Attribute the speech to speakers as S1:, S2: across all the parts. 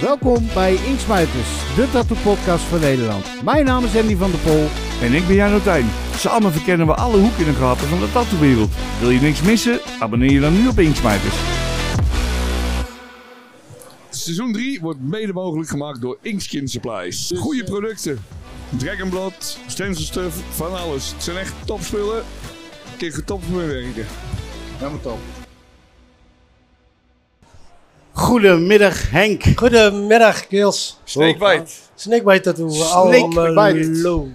S1: Welkom bij Inksmuiters, de tattoo podcast van Nederland. Mijn naam is Andy van der Pol.
S2: En ik ben Jan Otijn. Samen verkennen we alle hoeken en gaten van de tattoowereld. Wil je niks missen? Abonneer je dan nu op Inksmijters.
S3: Seizoen 3 wordt mede mogelijk gemaakt door Inkskin Supplies.
S4: Dus,
S3: Goede
S4: eh,
S3: producten. Dragonblood, stencilstuff, van alles. Het zijn echt topspullen. Tegen top mee werken.
S1: Helemaal top. Goedemiddag Henk.
S5: Goedemiddag, Kils.
S4: Snakebite.
S5: Snakebite tattoo.
S1: Snakebite.
S5: Almelo.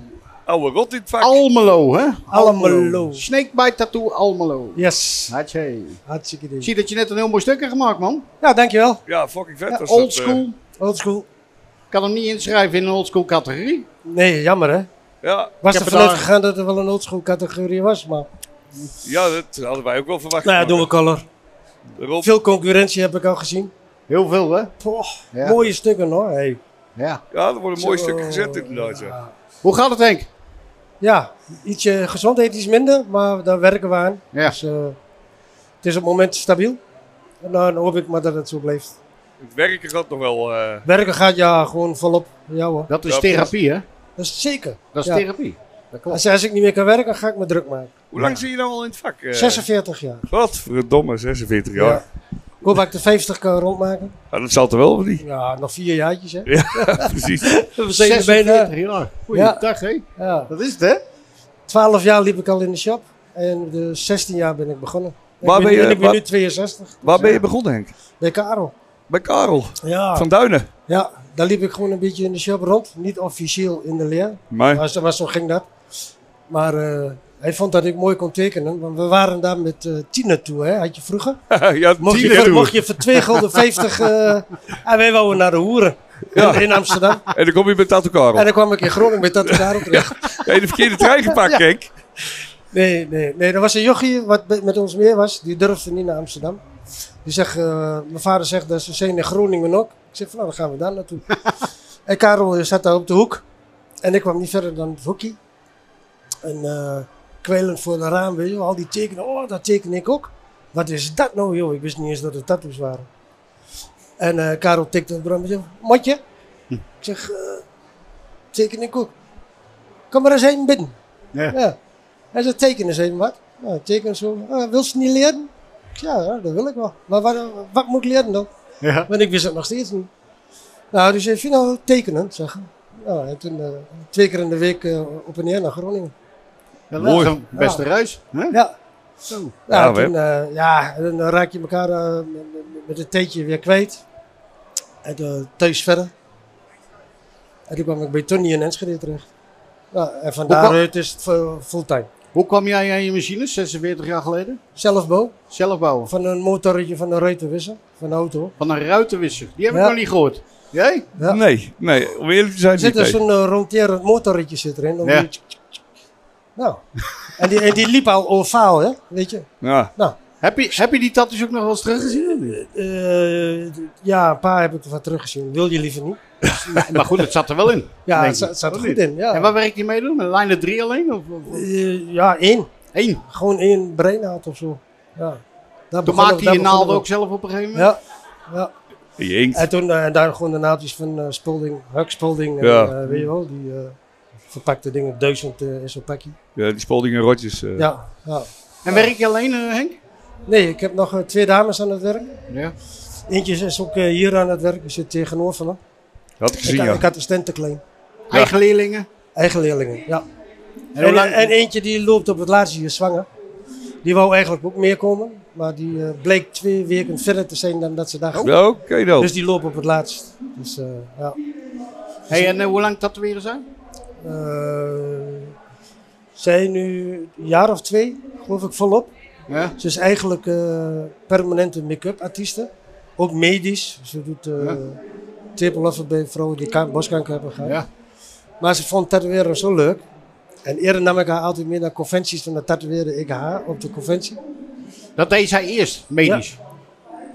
S4: Oude rot in het vak.
S1: Almelo, hè?
S5: Almelo.
S1: Snakebite Tattoo Almelo.
S5: Yes.
S1: Hatje.
S5: Hartstikke
S1: Ik
S5: idee.
S1: zie dat je net een heel mooi stuk hebt gemaakt, man.
S5: Ja, dankjewel.
S4: Ja, fucking vet.
S1: Ja,
S4: was
S1: old
S4: dat, eh.
S1: school.
S5: Old school.
S1: kan hem niet inschrijven in een old school categorie.
S5: Nee, jammer hè.
S4: ja,
S5: Was
S1: heb
S5: er
S1: het
S5: vanuit
S1: al-
S5: gegaan dat er wel een old school categorie was, maar...
S4: ja, dat hadden wij ook wel verwacht.
S5: Nou ja,
S4: Maar
S5: doen we color.
S4: de rot-
S5: Veel concurrentie heb ik al gezien.
S1: Heel veel, hè?
S5: Poh,
S1: Ja.
S5: mooie stukken hoor. Hey.
S1: Ja.
S4: Ja, er wordt een mooi
S5: Zo,
S4: stuk gezet inderdaad. Ja.
S5: ja.
S1: Hoe gaat het, Henk?
S5: Ja, ietsje gezondheid iets minder, maar daar werken we aan.
S1: Ja.
S5: Dus eh, het is op het moment stabiel. En dan hoop ik maar dat het zo blijft.
S4: Het werken gaat nog wel. eh,
S5: Werken gaat ja gewoon volop. Ja hoor.
S1: Dat is
S4: Ja,
S1: therapie, hè?
S5: Dat is zeker.
S1: Dat is
S5: Ja.
S1: therapie. Dat klopt.
S5: Als, als ik niet meer kan werken, ga ik me druk maken.
S4: hoe lang zie je nou al in het vak? eh?
S5: 46 jaar.
S4: Wat? Verdomme, 46 jaar.
S5: Ja. Ik hoop dat ik de 50 kan rondmaken.
S4: Ja, dat zal toch wel of niet?
S5: Ja, nog vier jaartjes hè.
S4: Precies.
S5: We zijn er
S1: 46
S5: bijna.
S1: jaar. Goeiedag, hè?
S5: Ja.
S1: Dat is het, hè?
S5: 12 jaar liep ik al in de shop. En de 16 jaar ben ik begonnen. En
S4: Waar
S5: ik
S4: ben je-
S5: en ik ben
S4: waar-
S5: nu 62.
S4: Waar ben je begonnen, Henk?
S5: Bij Karel.
S4: Bij Karel
S5: Ja.
S4: van Duinen.
S5: ja, daar liep ik gewoon een beetje in de shop rond. Niet officieel in de leer.
S4: Maar,
S5: Maar zo, maar zo ging dat. Maar eh, hij vond dat ik mooi kon tekenen. Want we waren daar met eh tienen toe hè. Had je vroeger.
S4: ja,
S5: Mocht je,
S4: tiener
S5: voor,
S4: toe.
S5: mocht je voor 2 gulden 50... eh, en wij wouden naar de hoeren.
S4: Ja.
S5: In Amsterdam.
S4: En dan kom je bij Tattoo Karel.
S5: En dan kwam ik in Groningen met dat daarop terecht.
S4: Heb je de verkeerde trein gepakt, Henk?
S5: Nee, nee, nee. Er was een jochie wat be- met ons meer was. Die durfde niet naar Amsterdam. Die zegt, eh, mijn vader zegt, dat ze zijn in Groningen ook. Ik zeg, van, nou, dan gaan we daar naartoe. en Karel eh, zat daar op de hoek. En ik kwam niet verder dan het hoekje. En eh kwijlend voor de raam, weet je wel, Al die tekenen. Oh, dat teken ik ook. Wat is dat nou, joh? Ik wist niet eens dat het tattoos waren. En eh, Karel tikte op de raam en zei, Matje?
S1: Hm.
S5: Ik zeg, eh, teken ik ook. Kom maar eens heen binnen.
S1: Ja.
S5: ja. Hij zei, teken eens even wat. Nou, teken zo. Ah, wil ze niet leren? Ik zei, Ja, dat wil ik wel. Maar wat, wat moet ik leren dan?
S1: Ja.
S5: Want ik wist het nog steeds niet. Nou, dus heeft je nou tekenen, zeg. Nou, en toen eh, twee keer in de week eh, op en neer naar Groningen.
S1: Dat
S4: Mooi.
S1: is een Beste reis. hè?
S5: Ja.
S1: Zo.
S5: Nou,
S4: Ja,
S5: toen, eh, ja, en dan raak je elkaar eh, met- met een theetje weer kwijt. En eh, thuis verder. En toen kwam ik bij Tony in Enschede terecht. Nou, en van
S1: Hoe kwam-
S5: daaruit is het fu- fulltime.
S1: Hoe kwam jij aan je machine 46 jaar geleden?
S5: Zelfbouw,
S1: Zelf bouwen.
S5: van een motorretje van een ruiten wissen, van de auto.
S1: Van een ruitenwisser. Die heb ik
S5: Ja.
S1: nog niet gehoord. Jij?
S5: Ja.
S4: Nee, nee. Om eerlijk te zijn,
S5: Er zit
S4: niet.
S5: er
S4: nee.
S5: zo'n eh, ronderend motorritje zit erin. Dan
S1: Ja.
S5: moet je- Nou, en die, en die liep al ovaal, hè? Weet je?
S4: Ja.
S5: Nou,
S1: Heb je, heb je die tattoos ook nog wel eens teruggezien? of niet?
S5: Eh, d- ja, een paar heb ik ervan teruggezien. Wil je liever niet?
S1: Nee, maar goed, het zat er wel in.
S5: Ja,
S1: denk
S5: het
S1: ik.
S5: za- het zat er
S4: Oh,
S1: Of
S5: goed
S1: niet?
S5: in. Ja.
S1: Oh, En waar werkt die mee doen? Een lijn 3 alleen? Of, of, of-
S5: Eh, ja, één.
S1: één.
S5: Gewoon één breinhaat of zo. Ja. Daar
S1: Toen
S5: begonnen-
S1: maakte
S5: daar
S1: je naald
S5: begonnen we.
S1: ook zelf op een gegeven moment?
S5: Ja. ja.
S4: Je inkt.
S5: En toen eh, daar gewoon de naaldjes van eh Spolding, Huck Spolding, en,
S4: Ja.
S5: eh, weet je wel, die eh, verpakte dingen, duizend eh, in zo'n pakje.
S4: Ja, die spolding en rotjes. eh.
S5: Ja. ja.
S1: En werk je alleen, eh, Henk?
S5: Nee, ik heb nog eh, twee dames aan het werk.
S1: Ja.
S5: Eentje is ook eh, hier aan het werk, die zit tegenover me.
S4: Had ik
S5: Ik,
S4: gezien,
S5: had-
S4: ja.
S5: ik had een stand te klein.
S1: Eigen leerlingen?
S5: Eigen leerlingen, ja.
S1: En
S5: En,
S1: hoe lang-
S5: en eentje die loopt op het laatste jaar zwanger. Die wou eigenlijk ook meer komen, maar die eh, bleek twee weken verder te zijn dan dat ze dacht.
S4: Ja, Oké dan.
S5: Dus die loopt op het laatst. Dus eh, ja.
S1: hey, en eh, hoe lang tatoeëren zij?
S5: Eh, zij nu een jaar of twee, geloof ik, volop.
S1: Ja.
S5: Ze is eigenlijk eh, permanente make-up artieste. Ook medisch. Ze doet eh
S1: Ja.
S5: tepelaffer bij vrouwen die kan- borstkanker hebben gehad.
S1: ja.
S5: Maar ze vond tatoeëren zo leuk. En eerder nam ik haar altijd mee naar conventies en dan tatoeëerde ik haar op de conventie.
S1: Dat deed zij eerst, medisch.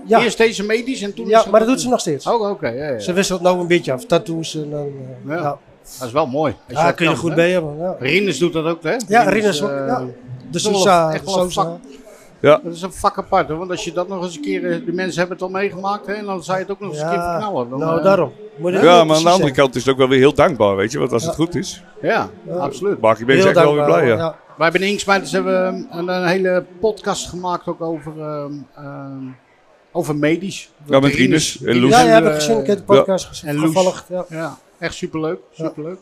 S5: Ja,
S1: Eerst deze medisch en toen...
S5: ja maar dat doet ze nog steeds.
S1: Oh, oké. ja, ja.
S5: Ze wisselt nou een beetje af. Tattoos en dan... eh,
S1: Ja.
S5: ja.
S1: Dat is wel mooi. Als je
S5: Ja,
S1: dat
S5: Ah, kun je er
S1: kan,
S5: goed
S1: hè?
S5: bij hebben. Ja,
S1: Rinus doet dat ook, hè?
S5: ja Rinus ook.
S1: eh,
S5: ja. De
S1: wel een-
S5: Sousa,
S1: echt
S5: de
S1: wel een
S5: Sousa.
S1: vak.
S4: Ja.
S6: Dat is een vak apart, hoor, want als je dat nog eens een keer, eh, de mensen hebben het al meegemaakt, hè, en dan zou je het ook nog eens een keer verknallen. Dan,
S5: nou
S6: eh,
S5: daarom. Moet je dat
S4: Ja,
S5: niet
S4: maar aan de andere
S5: precies
S4: kant is het ook wel weer heel dankbaar, weet je. Want als het goed is,
S6: Ja, absoluut.
S4: maak je
S5: zeggen.
S4: mensen echt
S5: Heel
S4: wel weer
S5: dankbaar,
S4: blij. Ja.
S6: Wij hebben in Inksmijters hebben we een, een hele podcast gemaakt ook over, ehm, ehm, over medisch.
S4: Ja, met
S6: De
S4: Ines en Loes.
S5: Ja, ja, heb ik
S6: eh,
S5: gezien. Ik heb de podcast gezien.
S6: en Loes.
S5: Gevolgd, ja.
S6: Ja, echt superleuk. superleuk.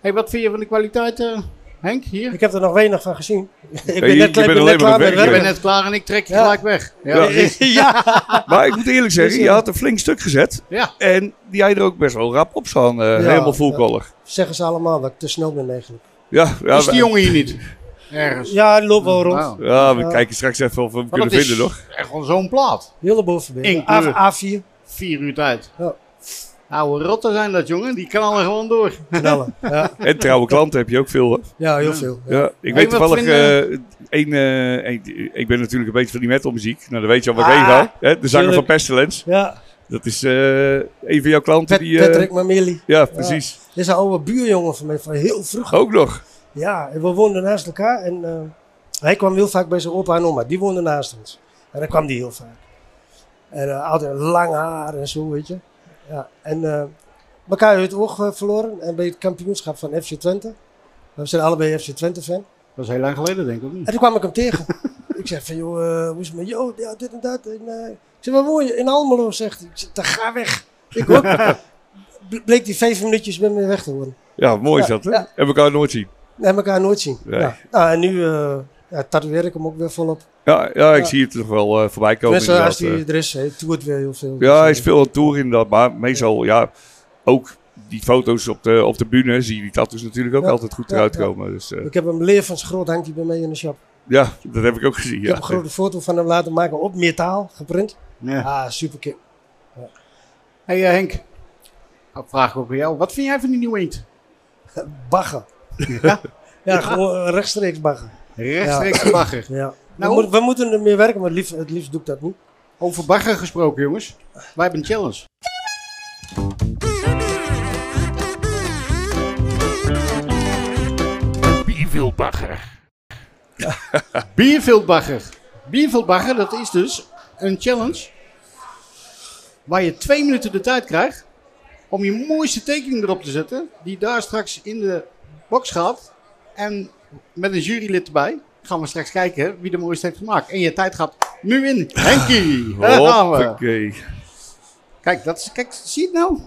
S6: Hey, wat vind je van de kwaliteit, eh, Henk, hier?
S5: Ik heb er nog weinig van gezien. ik
S4: je-
S5: ben
S4: je
S5: net, ik
S4: bent
S5: ben
S4: alleen
S5: net
S4: maar
S5: klaar met
S4: bezig.
S6: Je
S4: Ja.
S6: bent
S5: werken.
S6: net klaar en ik trek je
S5: Ja.
S6: gelijk weg. Ja,
S4: Ja.
S6: dat is-
S4: Maar ik moet eerlijk zeggen, je had een flink stuk gezet.
S6: ja.
S4: En die had je er ook best wel rap op staan. eh,
S5: Ja,
S4: helemaal
S5: ja.
S4: volkollig.
S5: Zeggen ze allemaal dat ik te snel ben eigenlijk.
S4: Ja, ja,
S6: is die
S4: we-
S6: jongen hier niet? Ergens.
S5: Ja, die loopt wel rond.
S6: Nou,
S4: ja, we
S5: Ja.
S4: kijken straks even of we hem
S6: maar
S4: kunnen
S6: dat is
S4: vinden nog.
S6: echt wel zo'n plaat.
S5: Heleboel verbindingen.
S6: Eén kleur.
S5: A, A4.
S6: Vier uur tijd.
S5: Ja.
S6: Oude rotten zijn dat, jongen. Die knallen gewoon door.
S5: Knallen. Ja,
S4: En trouwe klanten heb je ook veel. Hè?
S5: ja heel veel. Ja.
S4: Ja. Ik weet
S6: wat
S4: toevallig,
S6: vinden-
S4: eh, één, eh, één- ik ben natuurlijk een beetje van die metalmuziek. Nou, dan weet je al wat ik
S5: Ah,
S4: heen ga. Hè? De zanger van
S5: tuurlijk.
S4: Pestilence.
S5: Ja,
S4: Dat is eh, een van jouw klanten
S5: Pat-
S4: die... eh,
S5: Patrick Mamili.
S4: ja, precies.
S5: Dit is een oude buurjongen van mij, van heel vroeg.
S4: Ook nog.
S5: Ja, en we woonden naast elkaar en eh, hij kwam heel vaak bij zijn opa en oma. Die woonden naast ons. En dan kwam die heel vaak. En eh, altijd lang haar en zo, weet je. Ja, en eh elkaar uit het oog eh, verloren en bij het kampioenschap van FC Twente. We zijn allebei FC Twente fan.
S6: Dat is heel lang geleden, denk ik. Of niet?
S5: En toen kwam ik hem tegen. ik zei van, joh, eh, hoe is het met jou? Ja, dit en dat. En, eh, ik zei, waar woon je? In Almelo, zegt hij. Ik zei, dan ga weg. Ik ook. Ble- Bleek die vijf minuutjes met me weg te worden.
S4: Ja, mooi is
S5: Ja,
S4: dat. Hè?
S5: ja.
S4: Heb ik al nooit zien.
S5: En elkaar nooit zien.
S4: Nee.
S5: Ja. Nou, en nu eh ja, tatoeëer ik hem ook weer volop.
S4: Ja, ja ik
S5: Ja.
S4: zie het nog wel eh, voorbij komen.
S5: Tenminste, als
S4: inderdaad,
S5: hij er is, hij toert weer heel veel.
S4: eh. ja, hij
S5: Dus,
S4: is veel aan het toeren inderdaad. Maar meestal, ja, ook die foto's op de, op de bühne zie je die tattoos natuurlijk ook
S5: Ja.
S4: altijd goed
S5: Ja,
S4: eruit
S5: ja.
S4: komen. Dus eh,
S5: eh, Ik heb hem leer van zijn groot, hangt hij bij mij in de shop.
S4: ja, dat heb ik ook gezien.
S5: Ik
S4: Ja.
S5: heb een grote foto van hem laten maken op metaal, geprint.
S6: Ja.
S5: Ah, super kip.
S6: Hey eh, Henk, een vraag ook bij jou. Wat vind jij van die New Eend?
S5: Baggen. Ja, gewoon eh, rechtstreeks baggen.
S6: Rechtstreeks van bagger.
S5: Ja.
S6: Nou.
S5: we, moeten- we moeten er meer werken, maar het liefst, het liefst doe ik dat niet.
S6: Over bagger gesproken, jongens. Wij hebben een challenge. Bierveldbagger. Bierveldbagger, dat is dus een challenge waar je twee minuten de tijd krijgt om je mooiste tekening erop te zetten, die daar straks in de box gaat. En met een jurylid erbij gaan we straks kijken wie de mooiste heeft gemaakt. En je tijd gaat nu in. Henkie, daar gaan we.
S4: Hoppakee.
S6: Kijk, dat is, kijk, zie je het nou?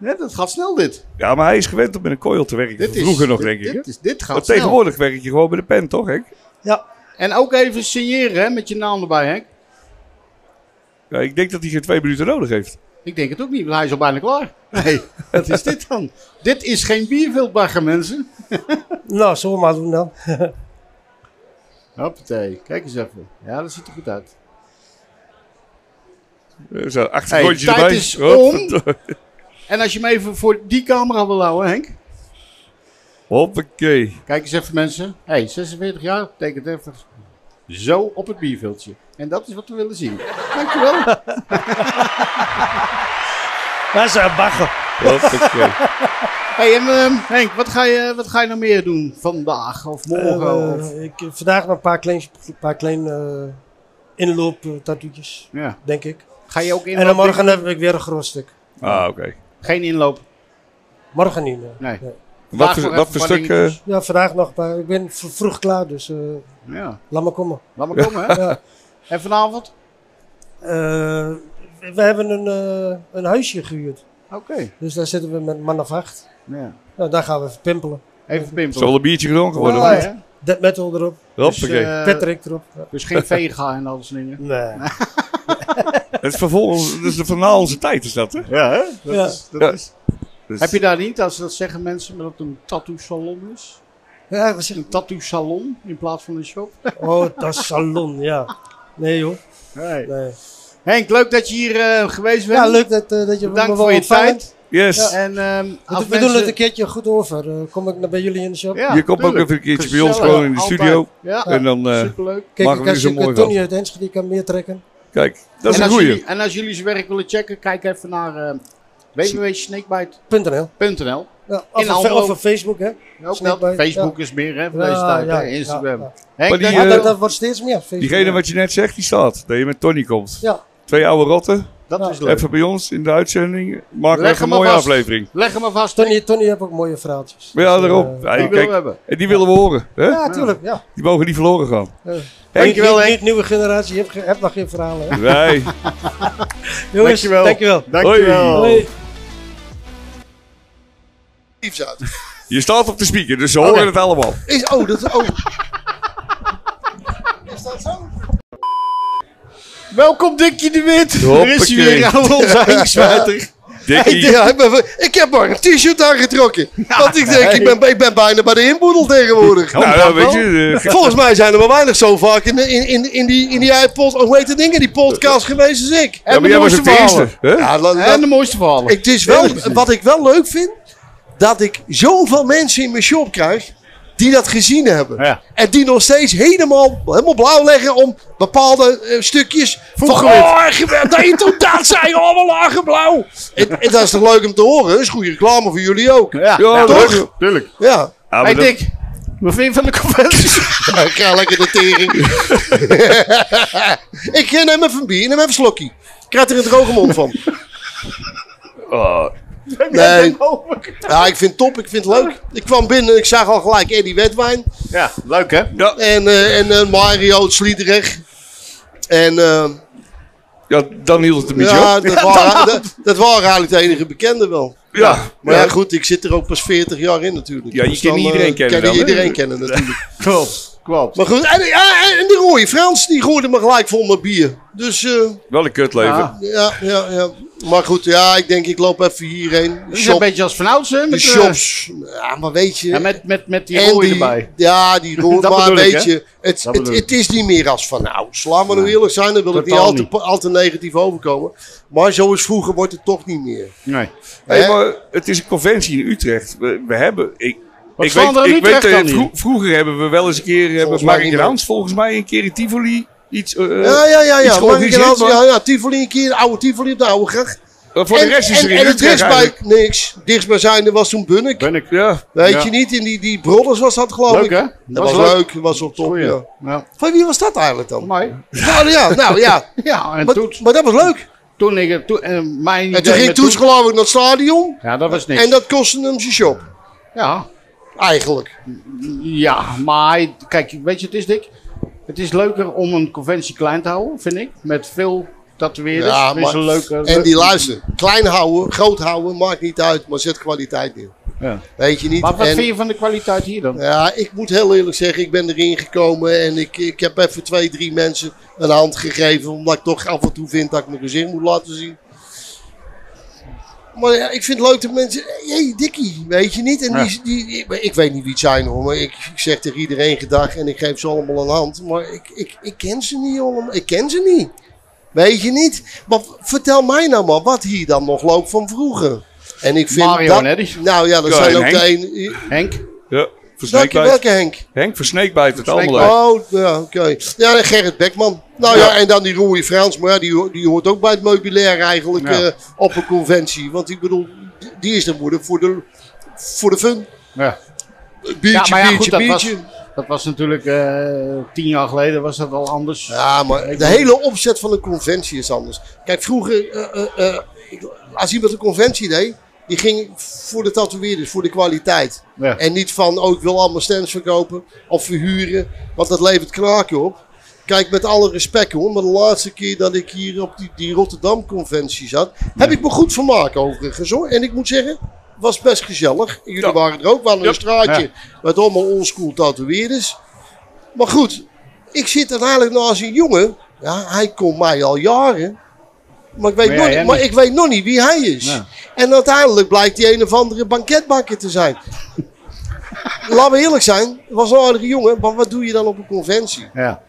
S6: Ja, dat gaat snel dit.
S4: Ja, maar hij is gewend om met een coil te werken.
S6: dit
S4: Van Vroeger
S6: is,
S4: nog,
S6: dit,
S4: denk ik.
S6: Dit,
S4: hè?
S6: is, dit gaat
S4: Want
S6: snel.
S4: tegenwoordig werk je gewoon met de pen, toch, Henk?
S5: Ja,
S6: En ook even signeren hè, met je naam erbij, Henk.
S4: Ja, ik denk dat hij geen twee minuten nodig heeft.
S6: Ik denk het ook niet, want hij is al bijna klaar. Nee, wat is dit dan? Dit is geen bierveldbagger, mensen.
S5: nou, zomaar doen dan.
S6: Hoppatee, kijk eens even. Ja, dat ziet er goed uit.
S4: Eh, Zo, acht
S6: Hey,
S4: rondjes
S6: tijd
S4: erbij.
S6: is
S4: Hop-
S6: En als je hem even voor die camera wil houden, Henk.
S4: Hoppakee.
S6: Kijk eens even, mensen. hey, 46 jaar, betekent even zo op het bierveldje. En dat is wat we willen zien. Dankjewel.
S5: Dat is een baggen.
S4: Hoppakee.
S6: hey, en ehm, Henk, wat ga, je, wat ga je nou meer doen vandaag of morgen?
S5: Eh,
S6: of,
S5: ik, vandaag nog een paar klein, paar klein eh, inloop eh, tattoetjes,
S6: ja.
S5: denk ik.
S6: Ga je ook
S5: En dan
S6: inlopen?
S5: morgen heb ik weer een groot stuk.
S4: Ah, oké.
S6: Geen inloop.
S5: Morgen niet. nee.
S6: Nee.
S4: Wat,
S6: Vraag
S4: voor-
S6: nog
S4: wat voor
S6: even wat
S4: stuk...
S6: dingetjes.
S4: eh,
S5: Ja, vandaag nog. Maar ik ben v- vroeg klaar, dus eh,
S6: Ja,
S5: laat maar komen.
S6: laat maar komen, hè.
S5: Ja.
S6: En vanavond?
S5: Eh, we hebben een, eh, een huisje gehuurd.
S6: Oké.
S5: Dus daar zitten we met een man of acht.
S6: Ja.
S5: Nou, daar gaan we even pimpelen.
S6: Even
S4: Zal
S6: pimpelen.
S4: er een biertje gedronken worden?
S5: Ja,
S4: of
S6: Mooi,
S4: niet?
S6: hè?
S5: Dead metal erop,
S6: Dus,
S4: Hoppakee.
S6: eh,
S5: Patrick erop. Ja.
S6: dus geen vega en alles dingen.
S5: Nee.
S4: Het is vervolgens, dat is de van na onze tijd, is dat, hè?
S6: Ja, hè? Dat
S5: Ja.
S6: Is, dat
S4: Ja.
S6: is.
S4: Dus-
S6: Heb je daar niet, als dat zeggen mensen, maar dat het een tattoo salon is?
S5: Ja, we zeggen,
S6: Een tattoo salon in plaats van een shop?
S5: oh, dat is salon, ja. Nee joh,
S6: Nee.
S5: nee.
S6: Henk, leuk dat je hier eh, geweest bent.
S5: Ja, leuk dat, eh, dat je
S6: Bedankt
S5: me
S6: voor
S5: wil
S6: je
S5: ontvangen.
S6: tijd.
S4: Yes.
S6: En, ehm,
S5: We,
S6: als
S5: we doen
S6: mensen-
S5: het een keertje goed over. Eh, kom ik naar bij jullie in de shop.
S6: Ja,
S4: je komt ook
S6: tuurlijk.
S4: even een keertje bij
S6: Gezellig.
S4: ons gewoon in de
S6: Altijd.
S4: studio.
S6: Ja,
S4: En dan, eh,
S6: superleuk.
S5: Kijk,
S4: Maken we
S5: ik
S4: er
S5: als
S4: zo
S5: ik
S4: mooi
S5: eh,
S4: van.
S5: Tony uit Enschede kan meer trekken.
S4: kijk, dat is
S6: en,
S4: een
S6: als
S4: goeie.
S6: jullie, en als jullie zijn werk willen checken, kijk even naar eh www.snakebite.nl.
S5: .nl. Nou, of, een,
S6: In
S5: fe-
S6: Almelo.
S5: of een Facebook, hè?
S6: Ook
S5: Snap
S6: dat.
S5: je?
S6: Facebook is meer, hè, van deze tijd. hè, Instagram.
S5: ja, ja.
S6: Henk,
S4: Maar die,
S6: dat-
S5: Maar
S4: eh,
S5: dat, dat wordt steeds meer. Facebook.
S4: Diegene wat je net zegt, die staat. Dat je met Tony komt.
S5: Ja,
S4: Twee oude rotten.
S6: dat
S5: ja.
S6: is leuk.
S4: Even bij ons in de uitzending. Maak
S6: Leg
S4: even
S6: hem
S4: een
S6: maar
S4: mooie
S6: vast.
S4: aflevering.
S6: Leg hem maar vast. Die
S5: Tony, Tony heeft ook mooie verhaaltjes.
S4: Maar ja,
S5: Dus,
S4: daarop.
S5: eh,
S4: Ja,
S6: willen
S4: kijk,
S6: we hebben.
S4: en die willen we horen. Hè?
S5: ja, tuurlijk. Ja.
S4: Die mogen niet verloren gaan.
S5: Eh,
S6: Dankjewel,
S5: niet-
S6: Henk.
S5: niet nieuwe generatie, je hebt, ge- hebt nog geen verhalen. hè?
S4: Nee.
S5: Jongens,
S6: Dankjewel.
S5: dankjewel.
S6: Dankjewel.
S5: Hoi.
S7: Liefst uit.
S4: Je staat op de speaker, dus ze horen het allemaal.
S7: Is, oh, dat is... Oh. Is dat zo?
S6: Welkom Dikkie de Wit. Er is hij
S4: Hoppakee.
S6: weer aan onze Henksmijter.
S7: Ik,
S4: Dikkie.
S7: denk, ja, ik, ben, ik heb maar een t-shirt aangetrokken. Want ik denk, ik ben, ik ben bijna bij de inboedel tegenwoordig.
S4: Nou, ja, weet je. eh,
S7: Volgens mij zijn er maar weinig zo vaak in, in, in, in die, in die iPod, hoe heet dat ding, in die podcast geweest als ik.
S4: ja, maar jij was ook de eerste. Hè?
S7: Ja, la- la-
S6: En de mooiste verhalen.
S7: ik, het is wel, wat ik wel leuk vind, dat ik zoveel mensen in mijn shop krijg die dat gezien hebben.
S6: Ja.
S7: En die nog steeds helemaal, helemaal blauw leggen om bepaalde eh, stukjes van... Oh, geweld, dat je toen dat zei, allemaal lagen blauw. En, en dat is toch leuk om te horen, dat is goede reclame voor jullie ook.
S6: Ja,
S4: Ja,
S7: toch?
S4: leuk.
S6: tuurlijk.
S7: Ja,
S4: Ja,
S6: Hey
S4: maar dat-
S6: Dick, wat vind je van de conventie?
S7: Ja, ik ga lekker de tering. ik eh, neem even een bier, neem even een slokje. Ik krijg er een droge mond van.
S4: Ah,
S7: Nee. Ja, ik vind het top, ik vind het leuk. Ik kwam binnen en ik zag al gelijk Eddie Wedwijn.
S6: Ja, leuk hè?
S7: En, eh, en eh, Mario uit Sliedrecht. En eh,
S4: ja, dan hield het een beetje op.
S7: ja, dat, waren, dat, dat waren eigenlijk de enige bekenden wel.
S4: Ja.
S7: Maar ja, goed, ik zit er ook pas 40 jaar in natuurlijk.
S4: Ja, je
S7: Dus
S4: kan
S7: dan, eh,
S4: iedereen kennen
S7: Kan je
S4: dan, hè?
S7: iedereen kennen natuurlijk.
S6: Klopt, klopt.
S7: Maar goed, en, ja, en de rooie Frans, die gooide me gelijk vol met bier. Dus... eh,
S4: Wel een kutleven.
S6: Ja.
S7: Ja, ja, ja. Maar goed, ja, ik denk ik loop even hierheen.
S6: Dat is een
S7: Shop,
S6: beetje als vanouds hè?
S7: de
S6: Met, eh,
S7: shops. Ja, maar weet je.
S6: ja, met, met, met die
S7: en
S6: rooien
S7: die-
S6: erbij.
S7: Ja, die roer.
S6: Dat
S7: maar
S6: bedoel ik,
S7: weet
S6: hè?
S7: je, het,
S6: Dat
S7: het,
S6: bedoel ik.
S7: het is niet meer als van nou, sla maar nou eerlijk zijn, dan wil ik niet
S6: Totaal
S7: al te, al te negatief overkomen. Maar zoals vroeger wordt het toch niet meer.
S6: Nee.
S4: Hey,
S7: Hè?
S4: maar het is een conventie in Utrecht. We, we hebben. Ik,
S6: Wat
S4: ik
S6: staan
S4: weet,
S6: er in
S4: ik weet
S6: Utrecht
S4: eh,
S6: dan
S4: vro-
S6: niet?
S4: vroeger hebben we wel eens een keer. Hebben
S7: Volgens mij
S4: Mark
S7: niet
S4: Rans volgens mij een keer in Tivoli iets. eh,
S7: ja, ja, ja,
S4: iets
S7: ja. Maar ik
S4: georganiseerd,
S7: had-
S4: maar-
S7: ja, ja, Tivoli een keer, de oude Tivoli op de oude gracht.
S4: eh, voor
S7: en,
S4: de rest is
S7: en,
S4: er in
S7: en het
S4: Utrecht.
S7: dichtstbij
S4: eigenlijk-
S7: niks. Dichtstbijzijnde was toen Bunnik.
S6: Ben ik.
S4: Ja.
S7: Weet
S6: Ja.
S7: je niet, in die, die Brodders was dat geloof
S6: Leuk
S7: ik.
S6: hè?
S7: Dat was, leuk, dat was op top,
S6: Goeie.
S7: ja.
S6: Ja,
S7: Van wie was dat eigenlijk dan?
S6: voor mij.
S7: Nou ja, nou ja.
S6: Ja, en
S7: Maar,
S6: toen,
S7: maar dat was leuk.
S6: toen ik... Toen, eh, mijn
S7: En toen
S6: idee
S7: ging
S6: met
S7: Toets geloof ik naar het stadion.
S6: Ja, dat was niks.
S7: En dat kostte hem zijn shop.
S6: Ja,
S7: Eigenlijk.
S6: ja, maar kijk, weet je wat het is Dick? Het is leuker om een conventie klein te houden, vind ik. Met veel tatoeëerders.
S7: Ja,
S6: Ja, is
S7: maar-
S6: een leuke...
S7: En die luister. Klein houden, groot houden, maakt niet uit. Maar zet kwaliteit in.
S6: Ja.
S7: Weet je niet.
S6: Maar wat
S7: En-
S6: vind je van de kwaliteit hier dan?
S7: Ja, ik moet heel eerlijk zeggen, ik ben erin gekomen en ik, ik heb even twee, drie mensen een hand gegeven. Omdat ik toch af en toe vind dat ik mijn gezin moet laten zien. Maar ja, ik vind het leuk dat mensen... Hé, hey, Dikkie, weet je niet? En die, die, ik, ik weet niet wie het zijn hoor, maar ik, ik zeg tegen iedereen gedag en ik geef ze allemaal een hand. Maar ik, ik, ik ken ze niet allemaal, ik ken ze niet. Weet je niet? Maar vertel mij nou maar wat hier dan nog loopt van vroeger. En ik vind
S6: Mario
S7: dat,
S6: en Eddie.
S7: Nou ja, dat
S4: Ja,
S7: zijn
S4: en
S7: ook de ene...
S6: Henk?
S4: Ja. Voor
S7: Welke,
S4: Snakebite.
S7: welke Henk?
S4: Henk, voor Snakebite het allemaal uit.
S7: Oh, ja, oké. Ja, en Gerrit Bekman. Nou ja, en dan die Roei Frans. Maar ja, die, ho- die hoort ook bij het meubilair eigenlijk
S6: Ja.
S7: eh, op een conventie. Want ik bedoel, die- die is de moeder voor de, voor de fun.
S6: Ja.
S7: Biertje,
S6: ja, maar ja,
S7: biertje,
S6: goed, dat
S7: biertje.
S6: was, dat was natuurlijk eh, tien jaar geleden was dat al anders.
S7: Ja, maar de hele opzet van een conventie is anders. Kijk, vroeger, eh, eh, eh, als iemand een conventie deed, die ging voor de tatoeëerders, voor de kwaliteit.
S6: Ja.
S7: En niet van, oh, ik wil allemaal stands verkopen of verhuren, want dat levert kraken op. Kijk, met alle respect hoor, maar de laatste keer dat ik hier op die, die Rotterdam-conventie zat, heb ik me goed vermaakt overigens hoor. En ik moet zeggen, het was best gezellig. Jullie
S4: Ja.
S7: waren er ook, we hadden een straatje
S6: Ja.
S7: met allemaal oldschool tatoeëerders. Maar goed, ik zit er eigenlijk naast een jongen. Ja, hij komt mij al jaren. Maar ik weet,
S6: Maar
S7: nog,
S6: jij
S7: niet-
S6: hem
S7: maar
S6: niet.
S7: ik weet nog niet wie hij is.
S6: Ja.
S7: En uiteindelijk blijkt die een of andere banketbakker te zijn. Laten we eerlijk zijn, het was een aardige jongen, maar wat doe je dan op een conventie?
S6: Ja.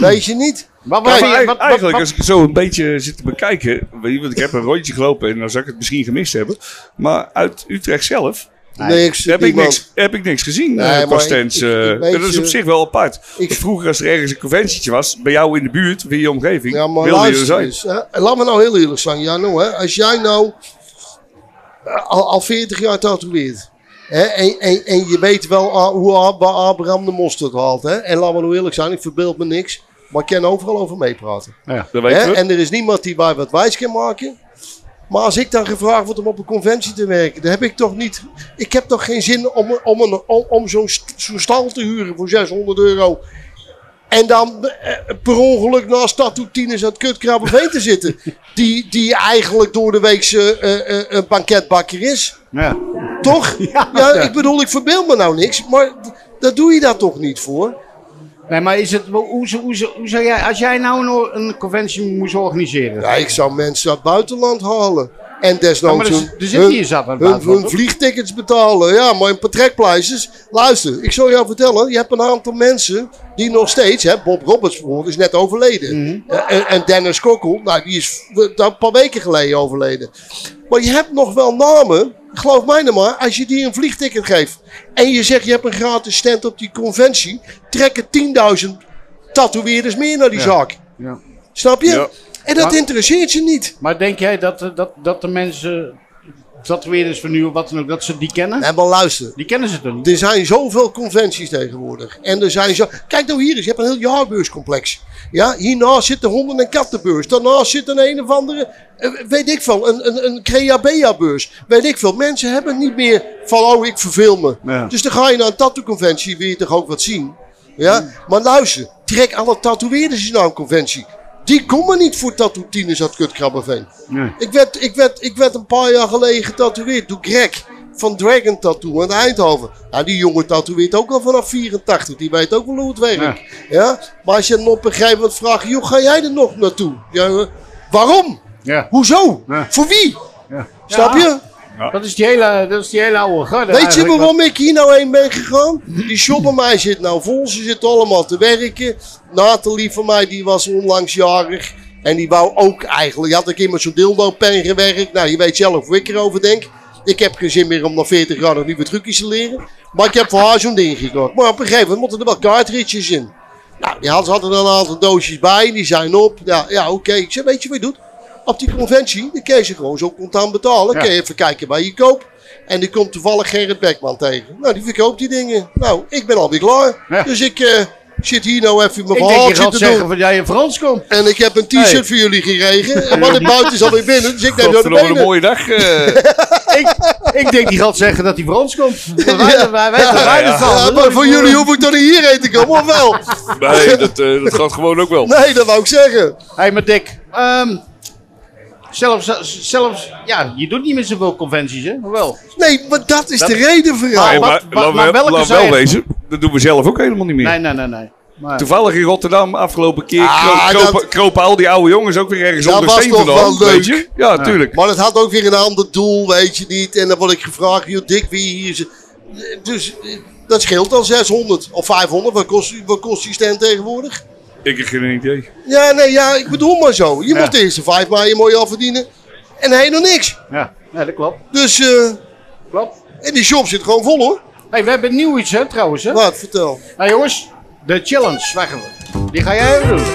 S7: Weet je niet?
S6: Maar wat,
S4: Kijk,
S6: wat,
S4: maar
S6: wat,
S4: eigenlijk,
S6: wat-
S4: als ik zo een beetje zit te bekijken. weet je, Want ik heb een rondje gelopen en dan zou ik het misschien gemist hebben. Maar uit Utrecht zelf
S7: Niks.
S4: Heb ik,
S7: niemand.
S4: niks, heb ik niks gezien
S7: Nee,
S4: eh,
S7: maar
S4: qua
S7: ik-
S4: stands.
S7: ik- ik
S4: eh.
S7: weet
S4: dat is
S7: je-
S4: op zich wel apart.
S7: ik-
S4: Vroeger als er ergens een conventietje was, bij jou in de buurt, in je omgeving,
S7: Ja, maar
S4: wilde je er
S7: luister
S4: zijn.
S7: eens. hè. Laat me nou heel eerlijk zijn, Jano. Hè. Als jij nou eh, al, al 40 jaar tatoeëert. Hè, en, en, en je weet wel ah, hoe Ab- Abraham de mosterd haalt. Hè? En laat maar nou eerlijk zijn, ik verbeeld me niks. Maar ik kan overal over meepraten.
S4: Dat weten
S7: Hè,
S4: we.
S7: En er is niemand die mij wat wijs kan maken. Maar als ik dan gevraagd word om op een conventie te werken, dan heb ik toch niet. Ik heb toch geen zin om, om, een- om, om zo'n st- zo'n stal te huren voor 600 euro. En dan eh, per ongeluk naast tattoo-tieners aan het kutkrabbeveen te zitten. Die, die eigenlijk door de week eh, eh, een banketbakker is.
S6: Ja.
S7: Toch? Ja, ik bedoel, ik verbeeld me nou niks. Maar d- daar doe je dat toch niet voor?
S6: Nee, maar is het, hoe, hoe, hoe, hoe zou jij, als jij nou een, or- een conventie moest organiseren?
S7: Ja, ik zou mensen uit het buitenland halen. En
S6: Ja, maar
S7: desnoods
S6: er,
S7: hun,
S6: zit- er zit
S7: hun-
S6: hier zat uit
S7: hun,
S6: het
S7: hun vliegtickets betalen. Ja, maar in vertrekpleisters. Luister, ik zal jou vertellen. Je hebt een aantal mensen die nog steeds... Hè, Bob Roberts bijvoorbeeld is net overleden.
S6: Mhm.
S7: Eh, en, en Dennis Kokkel, nou, die is eh, een paar weken geleden overleden. Maar je hebt nog wel namen. Geloof mij nou maar, als je die een vliegticket geeft... en je zegt je hebt een gratis stand op die conventie... trekken 10.000 tatoeëerders meer naar die zaak.
S6: Ja.
S7: Snap je?
S4: Ja.
S7: En dat
S6: Maar-
S7: interesseert je niet.
S6: Maar denk jij dat, eh, dat, dat de mensen, dat weer eens van nu of wat dan ook, dat ze die kennen?
S7: En maar luister,
S6: Die kennen ze toch niet?
S7: er zijn zoveel conventies tegenwoordig. En er zijn zo... Kijk nou hier eens, je hebt een heel jaarbeurscomplex. Ja, hiernaast zit de honden- en kattenbeurs. Daarnaast zit een een of andere, eh, weet ik veel, een, een, een Creabea-beurs. Weet ik veel. Mensen hebben niet meer van, oh, ik verveel me.
S6: Ja.
S7: Dus dan ga je naar een tattoo-conventie, wil je toch ook wat zien. Ja, maar luister, trek alle tatoeëerders eens naar een conventie. Die komen niet voor tattoo-tieners uit Kutkrabbenveen.
S6: Nee.
S7: Ik werd, ik, werd, ik werd een paar jaar geleden getatoeëerd door Greg van Dragon Tattoo aan Eindhoven. Nou, die jongen tatoeëert ook al vanaf 84. Die weet ook wel hoe het werkt. Ja. Maar als je hem op een gegeven moment vraagt, joh, ga jij er nog naartoe? Ja, eh, waarom?
S6: Ja.
S7: Hoezo?
S6: Ja.
S7: Voor wie? Snap je?
S6: Dat is die hele, dat is die hele oude garde
S7: Weet je
S6: eigenlijk,
S7: waarom ik hier nou heen ben gegaan? Die shop bij mij zit nou vol. Ze zitten allemaal te werken. Nathalie van mij, die was onlangs jarig. En die wou ook eigenlijk... Die had ik in met zo'n dildo-pen gewerkt. Nou, je weet zelf hoe ik erover denk. Ik heb geen zin meer om na 40 jaar nog nieuwe trucjes te leren. Maar ik heb voor haar zo'n ding gekocht. Maar op een gegeven moment moeten er wel cartridges in. Nou, die had, hadden er een aantal doosjes bij. Die zijn op. Ja, ja oké. Ik zei, weet je wat je doet? Op die conventie, dan kun je ze gewoon zo contant betalen. Dan kun je even kijken waar je koopt. En die komt toevallig Gerrit Beckman tegen. Nou, die verkoopt die dingen. Nou, ik ben alweer klaar.
S6: Ja.
S7: Dus ik eh, zit hier nou even mijn
S6: Ik denk je
S7: verhaaltje
S6: gaat
S7: te
S6: zeggen
S7: doen.
S6: van jij in Frans komt.
S7: En ik heb een t-shirt voor jullie gekregen. En maar de buiten is alweer binnen, dus ik neem jou de
S4: Godverdomme, een
S7: benen.
S4: mooie dag. eh.
S6: ik, ik denk die gaat zeggen dat hij Frans komt. Maar Wij, wij, wij, wij, wij
S4: ja.
S6: staan.
S7: Ja, maar voor jullie hoef ik dan niet hierheen te komen, of wel?
S4: nee, dat, eh, dat gaat gewoon ook wel.
S7: Nee, dat wou ik zeggen.
S6: Hey, maar Dick. ehm, zelfs, zelfs, ja, je doet niet meer zoveel conventies, hè? Hoewel.
S7: Nee, maar dat is
S6: Dat-
S7: de reden voor jou.
S4: Nee,
S6: wat-
S4: maar laat
S6: wat- maar
S4: wel,
S6: welke
S4: laat
S6: zijn
S4: wel
S6: er?
S4: wezen, dat doen we zelf ook helemaal niet meer.
S6: Nee, nee, nee, nee. Maar,
S4: Toevallig in Rotterdam, afgelopen keer,
S7: Ah,
S4: kro- kropen,
S7: dat-
S4: kropen al die oude jongens ook weer ergens
S7: Dat
S4: onder
S7: was
S4: steen
S7: toch
S4: vandaan.
S7: wel
S4: Weet
S7: leuk.
S4: je? Ja, tuurlijk.
S7: Maar het had ook weer een ander doel, weet je niet. En dan word ik gevraagd, joh, dik wie hier is. Dus eh, dat scheelt dan 600 of 500. Wat kost, wat kost die stand tegenwoordig?
S4: Ik heb geen idee.
S7: Ja, nee, ja, ik bedoel maar zo. Je moet de eerste vijf maar je mooi al verdienen. En helemaal niks.
S6: ja, nee, dat klopt.
S7: Dus, eh,
S6: klopt.
S7: en die shop zit gewoon vol hoor.
S6: Hey, we hebben nieuw iets, hè, trouwens, hè?
S7: Wat, vertel.
S6: Nou jongens, de challenge, wacht even. Die ga jij even doen.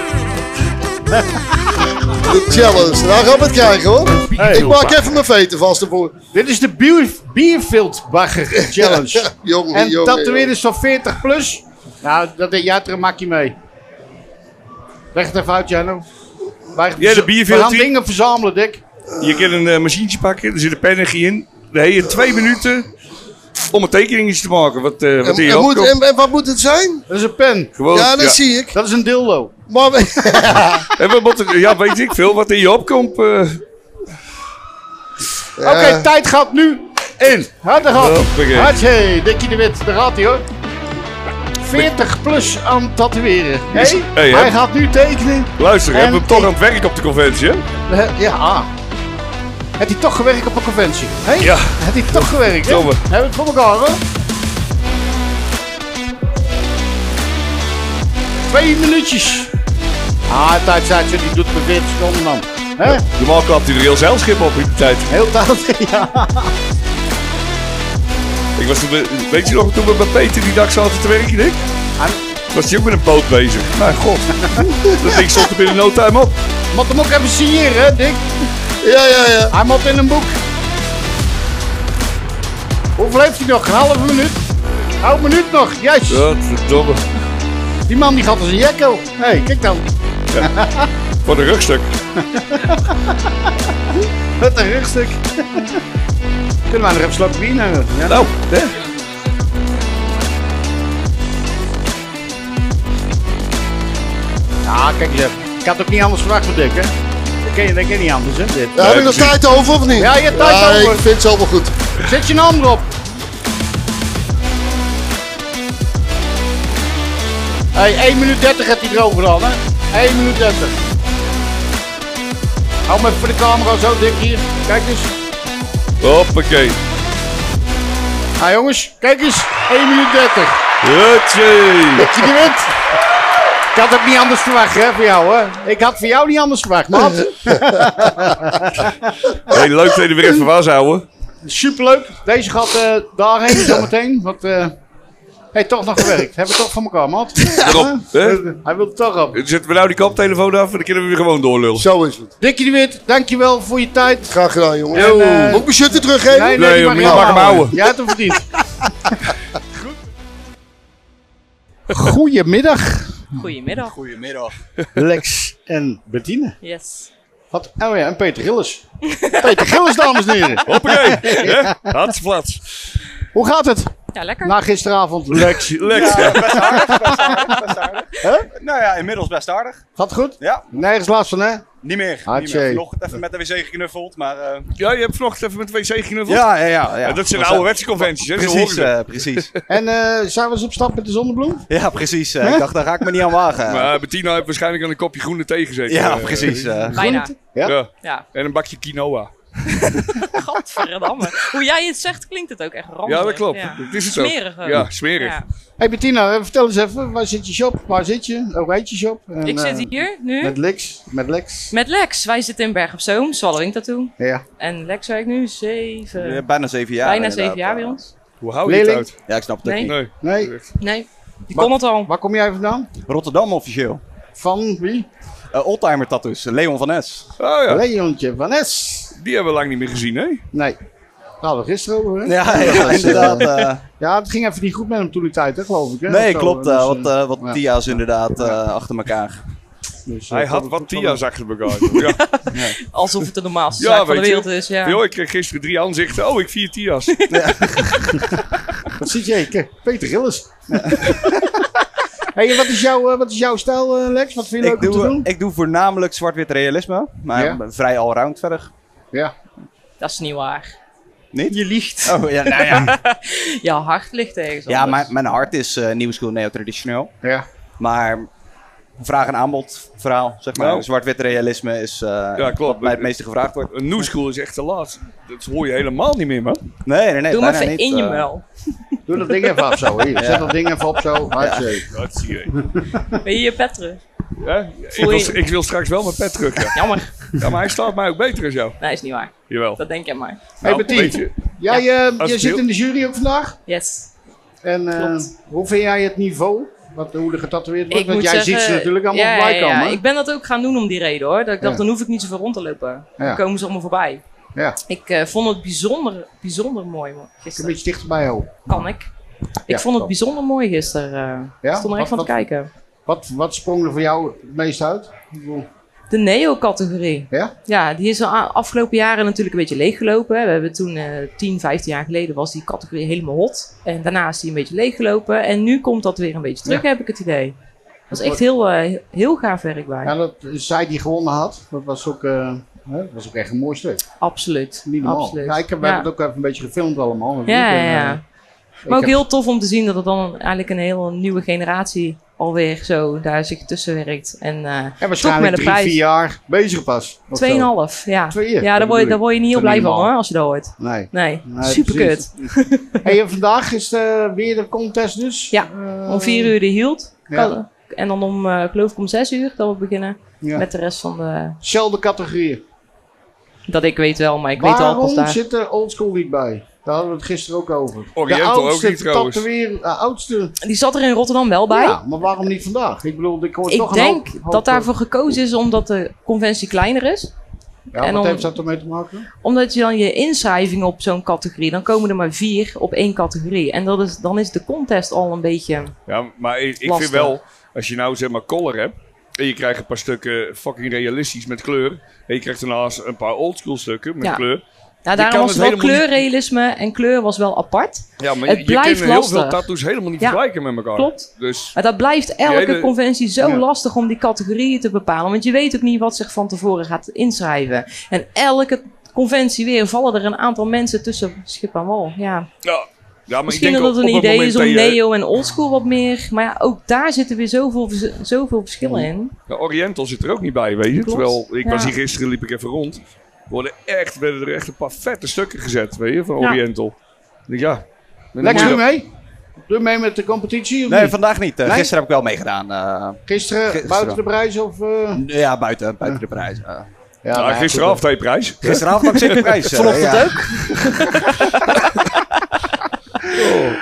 S7: De challenge. Nou gaan we het krijgen hoor. ik maak even mijn veten vast ervoor.
S6: Dit is de bier, Bierveldbagger Challenge.
S7: jongen, jongen,
S6: en
S7: jongen.
S6: tatoeëerders van 40 plus. Nou, dat denk jij, daar maak je mee. Leg het even uit, Jano. Wij
S4: Jij de
S6: we gaan
S4: bierveldtie?
S6: dingen verzamelen, Dick.
S4: Je kunt een eh, machientje pakken, er zit een pennetje in. Dan heb je twee minuten om een tekeningetje te maken. Wat, eh wat
S7: En,
S4: in je
S7: en
S4: hoofd
S7: moet,
S4: komt.
S7: en, en wat moet het zijn?
S6: Dat is een pen.
S4: Gewoon,
S7: ja, dat zie ik.
S6: Dat is een dildo.
S7: Maar
S4: En we moeten- ja, weet ik veel, wat in je opkomt. eh
S6: Oké, tijd gaat nu in. Harder gaat.
S4: Hoppakee.
S6: Hartje, Dickie de Wit. Daar gaat hij hoor. 40 plus aan tatoeëren. Hey,
S4: Hey,
S6: hij
S4: hè?
S6: gaat nu tekenen.
S4: luister,
S6: En
S4: hebben we hem toch
S6: ik-
S4: aan het werk op de conventie, hè?
S6: Eh, Ja. Heb hij toch gewerkt op een conventie? Hé?
S4: Ja.
S6: Heb hij toch gewerkt? hè?
S4: Domme.
S6: Hebben we het voor elkaar hoor? Twee minuutjes. Ah, tijd zei ze, die doet me 40 seconden man. Hè?
S4: Normaal klapt hij er heel zeilschip op in die tijd.
S6: Heel tijd. Ja.
S4: Ik was toen, bij- weet je nog, toen we bij Peter die dag zaten te werken, Dick? Was hij ook met een poot bezig? Mijn god. dat ding stond er binnen no time op.
S6: Moet hem ook even signeren, hè, Dick?
S7: ja, ja, ja.
S6: Hij moet in een boek. Hoeveel heeft hij nog? Een halve minuut? Half minuut nog, yes!
S4: Godverdomme.
S6: Die man die gaat als een jekko. Hé, hey, kijk dan.
S4: Wat een rugstuk.
S6: Wat een rugstuk. Kunnen wij nog even slapen bier nemen? Ja.
S4: Nou, hè?
S6: Ja, kijk eens even. Ik had ook niet anders verwacht van Dick, hè? Dat ken je, dat ken je niet anders, hè? Dit.
S7: Daar heb ik nog tijd over of niet?
S6: Ja, je hebt tijd over.
S7: ik vind het allemaal goed.
S6: Zet je naam erop. hey, 1 minuut 30 heeft hij erover dan, hè? 1 minuut 30. Hou me even voor de camera zo, Dick, hier. Kijk eens.
S4: Hoppakee.
S6: Ah, jongens, kijk eens. 1 minuut 30.
S4: Hutje.
S6: Dat je die wint. Ik had het niet anders verwacht, hè, voor jou, hè? Ik had voor jou niet anders verwacht, man.
S4: Hey, leuk dat je er weer even was, ouwe.
S6: Superleuk. Deze gaat eh, daarheen zometeen. Want eh hij heeft toch nog gewerkt. Hebben we toch van elkaar, man.
S4: Daarop, hè?
S6: Hij wil het toch op.
S4: Zetten we nou die koptelefoon af en dan kunnen we weer gewoon doorlullen.
S7: Zo is het.
S6: Dikkie de Wit, dankjewel voor je tijd.
S7: Graag gedaan, jongen.
S6: En, eh,
S7: Moet ik mijn shirt er teruggeven?
S6: nee,
S4: Nee,
S6: nee,
S4: joh,
S6: die mag, je
S4: je mag hem
S6: houden.
S4: houden.
S6: Jij hebt hem verdiend. Goedemiddag,
S8: Goedemiddag.
S6: Lex en Bettine.
S8: Yes.
S6: Wat? Oh ja, en Peter Gillis. Peter Gillis, dames en heren.
S4: Hoppakee. hè? Hartsplat.
S6: Hoe gaat het
S8: Ja, lekker.
S6: na gisteravond?
S4: Lex. Lex.
S9: Nou ja, inmiddels best aardig.
S6: Gaat goed?
S9: Ja.
S6: Nergens last van, hè?
S9: Niet meer. Niet
S6: Hartje.
S9: meer. Vanochtend even met de wc geknuffeld, maar... eh,
S4: Ja, je hebt vanochtend even met wc geknuffeld.
S9: ja, ja, ja, ja.
S4: Dat zijn ouderwetse conventies, hè? zo
S9: Precies,
S4: horen ze.
S9: eh, precies.
S6: En eh zijn we eens op stap met de zonnebloem?
S9: Ja, precies. eh, ik dacht, daar ga ik me niet aan wagen.
S4: Maar Bettina heeft waarschijnlijk aan een kopje groene thee gezeten.
S9: Eh, ja,
S4: eh,
S9: precies. eh.
S8: Bijna.
S6: Ja?
S4: Ja.
S8: Ja.
S4: En een bakje quinoa.
S8: Gadverdamme. Hoe jij het zegt, klinkt het ook echt ranzig.
S4: Ja, dat klopt.
S8: Ja.
S4: Dat is het ook.
S8: Smerig. ook.
S4: Ja, smerig.
S8: Ja.
S6: hey Bettina, eh, vertel eens even, waar zit je shop? Waar zit je? Hoe heet je shop? En,
S8: Ik
S6: eh,
S8: zit hier nu
S6: Met Lex. Met Lex.
S8: met Lex. Wij zitten in Berg op Zoom, Swallowing Tattoo.
S6: Ja.
S8: En Lex werkt nu zeven,
S9: Eh, Bijna zeven jaar.
S8: bijna
S9: inderdaad,
S8: zeven jaar
S9: eh.
S8: bij ons.
S4: Hoe hou je
S6: Leerling?
S4: het uit?
S9: Ja, ik snap het ook
S8: Nee.
S9: niet.
S4: Nee.
S6: Nee.
S8: Nee, die
S6: Maar-
S8: kon het al.
S6: Waar kom jij vandaan?
S9: Rotterdam officieel.
S6: Van wie?
S9: Eh oldtimer tattoos. Leon van S.
S4: Oh ja,
S6: Leontje van S.
S4: die hebben we lang niet meer gezien, hè?
S6: Nee. Daar hadden we gisteren over, hè?
S9: Ja, ja inderdaad. eh.
S6: Ja, het ging even niet goed met hem toen die tijd, hè, geloof ik. Hè?
S9: nee,
S6: Of zo,
S9: klopt.
S6: dus,
S9: eh,
S6: eh,
S9: wat eh, wat
S6: ja.
S9: Tia's inderdaad eh, achter elkaar.
S6: dus, eh,
S4: Hij had
S6: dat-
S4: wat tia's achter elkaar. Ja.
S8: Alsof het de normaalste
S4: Ja,
S8: zaak van de
S4: weet je.
S8: wereld is. Ja.
S4: Yo, ik kreeg gisteren drie aanzichten. Oh, ik vier tia's.
S6: Wat zit eh, je? Kijk, Peter Gillis. hey, en wat, is jouw, eh, wat is jouw stijl, eh, Lex? Wat vind je leuk
S9: Ik
S6: om te
S9: doe,
S6: doen?
S9: ik doe voornamelijk zwart-wit realisme, maar
S6: Ja.
S9: vrij allround verder.
S6: Ja.
S8: Dat is niet waar.
S9: Niet?
S8: Je liegt.
S9: Oh, ja, nou ja.
S8: Ja, hart ligt ergens
S9: Ja,
S8: anders.
S9: mijn, mijn hart is eh nieuw school neo-traditioneel.
S6: ja.
S9: Maar vraag en aanbod verhaal, zeg maar.
S4: Nou.
S9: Zwart-wit realisme is eh,
S4: Ja, klopt.
S9: wat mij het meeste gevraagd wordt.
S4: Een new school is echt te laat. Dat hoor je helemaal niet meer, man.
S9: Nee, nee, nee.
S8: Doe maar
S9: bijna
S8: even
S9: niet,
S8: in je
S9: eh.
S8: muil.
S6: Doe dat ding even af zo. Hier, Zet dat ding even op zo. Hartstikke.
S4: Dat zie je.
S8: Ben je je pet terug?
S4: Ja? Ik, wil, ik wil straks wel mijn pet terug. Ja.
S8: Jammer.
S4: Ja, maar hij staat mij ook beter als jou.
S8: Nee, is niet waar.
S4: Jawel.
S8: Dat denk jij maar.
S6: Hey,
S4: Nou,
S6: Bettine.
S4: weet je,
S6: Jij eh,
S4: Als
S6: je
S4: het
S6: zit
S4: wil.
S6: in de jury ook vandaag.
S8: Yes.
S6: En eh,
S8: Klopt.
S6: hoe vind jij het niveau? Wat, hoe er getatoeëerd wordt? Want jij ziet ze
S8: zeggen,
S6: natuurlijk allemaal
S8: ja,
S6: voorbij
S8: ja,
S6: komen.
S8: Ja, ik ben dat ook gaan doen om die reden hoor. Dat ik dacht,
S6: Ja.
S8: dan hoef ik niet zoveel rond te lopen.
S6: Ja.
S8: Dan komen ze allemaal voorbij.
S6: Ja.
S8: Ik eh, vond het bijzonder, bijzonder mooi man,
S6: Een
S8: gisteren.
S6: beetje dichterbij houden.
S8: Kan ik. Ik
S6: Ja,
S8: vond het
S6: klopt.
S8: bijzonder mooi gisteren. eh.
S6: Ja?
S8: Ik stond er echt van
S6: Wat-
S8: te kijken.
S6: Wat, wat sprong er voor jou het meest uit? Ik bedoel,
S8: De neo-categorie.
S6: Ja?
S8: Ja, die is de a- afgelopen jaren natuurlijk een beetje leeggelopen. hè. We hebben toen eh 10, 15 jaar geleden was die categorie helemaal hot. En daarna is die een beetje leeggelopen. En nu komt dat weer een beetje terug, heb ik het idee. Dat is echt heel, eh, heel gaaf werk bij.
S6: Ja, Nou, dat eh, zij die gewonnen had, dat was ook, eh, hè, dat was ook echt een mooi stuk.
S8: Absoluut.
S6: Niet normaal.
S8: Absoluut.
S6: Ja, ik heb, we
S8: Ja.
S6: hebben het ook even een beetje gefilmd allemaal. natuurlijk.
S8: Ja,
S6: En,
S8: ja, ja.
S6: eh, ik
S8: Maar ook
S6: heb-
S8: heel tof om te zien dat er dan eigenlijk een hele nieuwe generatie alweer zo daar zich tussen werkt. En eh
S6: En
S8: met
S6: waarschijnlijk
S8: een
S6: drie,
S8: prijs.
S6: vier jaar bezig pas. of zo.
S8: 2,5, ja.
S6: Twee jaar,
S8: ja,
S6: dat
S8: daar word, je,
S6: bedoel
S8: daar word je niet
S6: Dat
S8: heel
S6: is
S8: blij van
S6: normaal.
S8: hoor, als je dat hoort.
S6: Nee.
S8: Nee,
S6: Nee,
S8: super kut.
S6: precies. Hey, en vandaag is eh, weer de contest dus?
S8: Ja,
S6: Eh,
S8: Om 4 uur de hield.
S6: ja.
S8: En dan om, eh, ik geloof ik om 6 uur dat we beginnen.
S6: Ja.
S8: Met de rest van de...
S6: Zelfde categorieën.
S8: Dat ik weet wel, maar ik weet al pas
S6: Waarom
S8: daar.
S6: zit er oldschool niet bij? Daar hadden we het gisteren ook over.
S4: Oriental
S6: de
S4: ook
S6: oudste
S4: niet trouwens.
S6: tatoeëer- eh, oudste.
S8: Die zat er in Rotterdam wel bij.
S6: Ja, maar waarom niet vandaag? Ik bedoel, ik hoor toch
S8: Ik
S6: een
S8: denk
S6: hoop- hoop-
S8: dat daarvoor gekozen is omdat de conventie kleiner is.
S6: Ja,
S8: En
S6: wat
S8: om-
S6: heeft dat ermee te maken?
S8: Omdat je dan je inschrijving op zo'n categorie, dan komen er maar vier op één categorie. En dat is, dan is de contest al een beetje.
S4: Ja, maar ik, ik vind
S8: Lastig.
S4: wel, als je nou zeg maar color hebt en je krijgt een paar stukken fucking realistisch met kleur en je krijgt daarnaast een paar oldschool stukken met
S8: Ja.
S4: kleur.
S8: Nou,
S4: kan
S8: daarom was
S4: het
S8: het wel
S4: helemaal niet-
S8: kleurrealisme en kleur was wel apart.
S4: Ja, maar
S8: Het
S4: je, je
S8: blijft
S4: kan heel veel
S8: lastig.
S4: tattoos helemaal niet
S8: Ja,
S4: vergelijken met elkaar.
S8: klopt.
S4: Dus
S8: Maar dat blijft elke
S4: hele-
S8: conventie zo
S4: Ja.
S8: lastig om die categorieën te bepalen. Want je weet ook niet wat zich van tevoren gaat inschrijven. En elke conventie weer vallen er een aantal mensen tussen schip en wal. Ja.
S4: ja, ja maar
S8: Misschien
S4: ik denk
S8: dat het
S4: op-
S8: een
S4: op
S8: idee
S4: moment
S8: is om
S4: dat je-
S8: neo en oldschool wat meer. Maar ja, ook daar zitten weer zoveel, vers- zoveel verschillen in.
S4: De Oriental zit er ook niet bij, weet je.
S8: Klopt,
S4: Terwijl, ik was
S8: ja.
S4: hier gisteren, liep ik even rond. Worden echt, werden er echt een paar vette stukken gezet, weet je, van
S8: Ja.
S4: Oriental. Ik denk, Ja.
S6: Lex,
S4: Ja.
S6: doe mee? Doe mee met de competitie? Of
S9: Nee,
S6: niet?
S9: vandaag niet. Eh,
S6: Nee?
S9: Gisteren heb ik wel meegedaan. eh,
S6: Gisteren,
S9: Gisteren.
S6: buiten de prijs of... eh?
S9: ja, buiten, buiten de prijs. eh.
S6: Ja,
S4: Nou,
S6: nou,
S4: gisteravond twee prijs.
S9: gisteravond had ik zeker prijs. eh, Vanochtend ja. ook?
S4: Oh.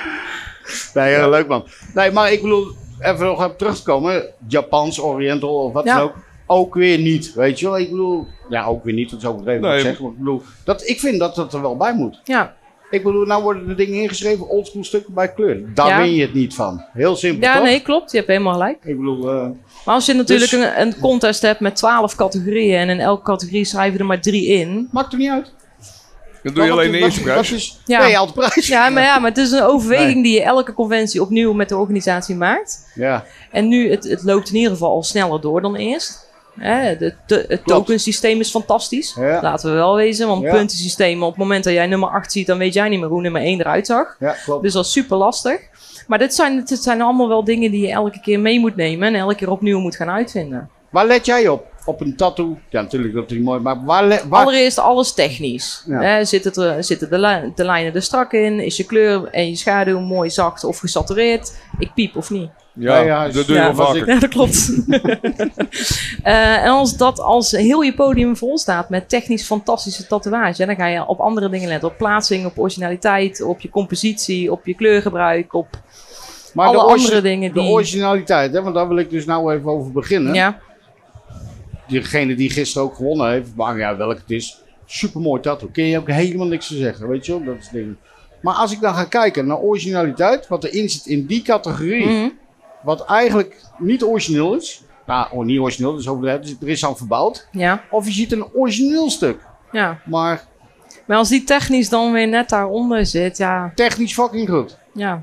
S6: Nee, heel leuk man. Nee, maar ik bedoel, even nog op terug te komen. Japans, Oriental of wat
S8: Ja.
S6: dan ook. Ook weer niet, weet je wel. Ik bedoel, ja, ook weer niet, dat is overdreven wat
S4: Nee,
S6: ik zeg. Maar ik bedoel, dat, ik vind dat dat er wel bij moet.
S8: Ja,
S6: Ik bedoel, nou worden de dingen ingeschreven, oldschool stukken bij kleur. Daar
S8: Ja.
S6: win je het niet van. Heel simpel,
S8: ja
S6: toch?
S8: nee, klopt. Je hebt helemaal gelijk.
S6: Ik bedoel, eh,
S8: Maar als je natuurlijk
S6: Dus-
S8: een, een contest hebt met twaalf categorieën. En in elke categorie schrijven er maar drie in.
S6: maakt er niet uit.
S4: Dan doe je
S6: Wat-
S4: alleen de
S6: wat-
S4: eerste prijs.
S6: wat is,
S8: Ja.
S6: Nee, je haalt de prijs.
S8: Ja, maar, ja, maar het is een overweging die je elke conventie opnieuw met de organisatie maakt.
S6: Ja.
S8: En nu, het, het loopt in ieder geval al sneller door dan eerst. Hè, de, de- het tokensysteem is fantastisch.
S6: Ja.
S8: Laten we wel wezen. Want
S6: Ja.
S8: puntensystemen, op het moment dat jij nummer 8 ziet, dan weet jij niet meer hoe nummer 1 eruit zag.
S6: ja, klopt.
S8: Dus dat is super lastig. Maar dit zijn, dit zijn allemaal wel dingen die je elke keer mee moet nemen en elke keer opnieuw moet gaan uitvinden.
S6: Waar let jij op? Op een tattoo? Ja, natuurlijk dat is niet mooi, maar waar... le- waar...
S8: Allereerst alles technisch.
S6: Ja.
S8: Hè, zitten er, zitten de, li- de lijnen er strak in? Is je kleur en je schaduw mooi zacht of gesatureerd? Ik piep of niet?
S4: Ja,
S6: Nee, ja,
S4: dat doe je
S8: ja,
S4: wel
S6: was
S4: vaker.
S8: Ja, dat klopt. Eh, en als dat als heel je podium vol staat met technisch fantastische tatoeage, hè, dan ga je op andere dingen letten. Op plaatsing, op originaliteit, op je compositie, op je kleurgebruik, op
S6: Maar
S8: alle
S6: de origi-
S8: andere dingen die.
S6: De originaliteit, hè, want daar wil ik dus nou even over beginnen.
S8: ja,
S6: Degene die gisteren ook gewonnen heeft, maar ja, welk het is, supermooi tattoo. Kun je ook helemaal niks te zeggen, weet je wel, dat is het ding. Maar als ik dan ga kijken naar originaliteit, wat erin zit in die categorie,
S8: Mhm.
S6: wat eigenlijk niet origineel is. Nou, oh, niet origineel, dat is overdreven, dus er is aan verbouwd.
S8: ja,
S6: Of je ziet een origineel stuk,
S8: ja.
S6: maar
S8: Maar als die technisch dan weer net daaronder zit, ja.
S6: technisch fucking goed.
S8: ja.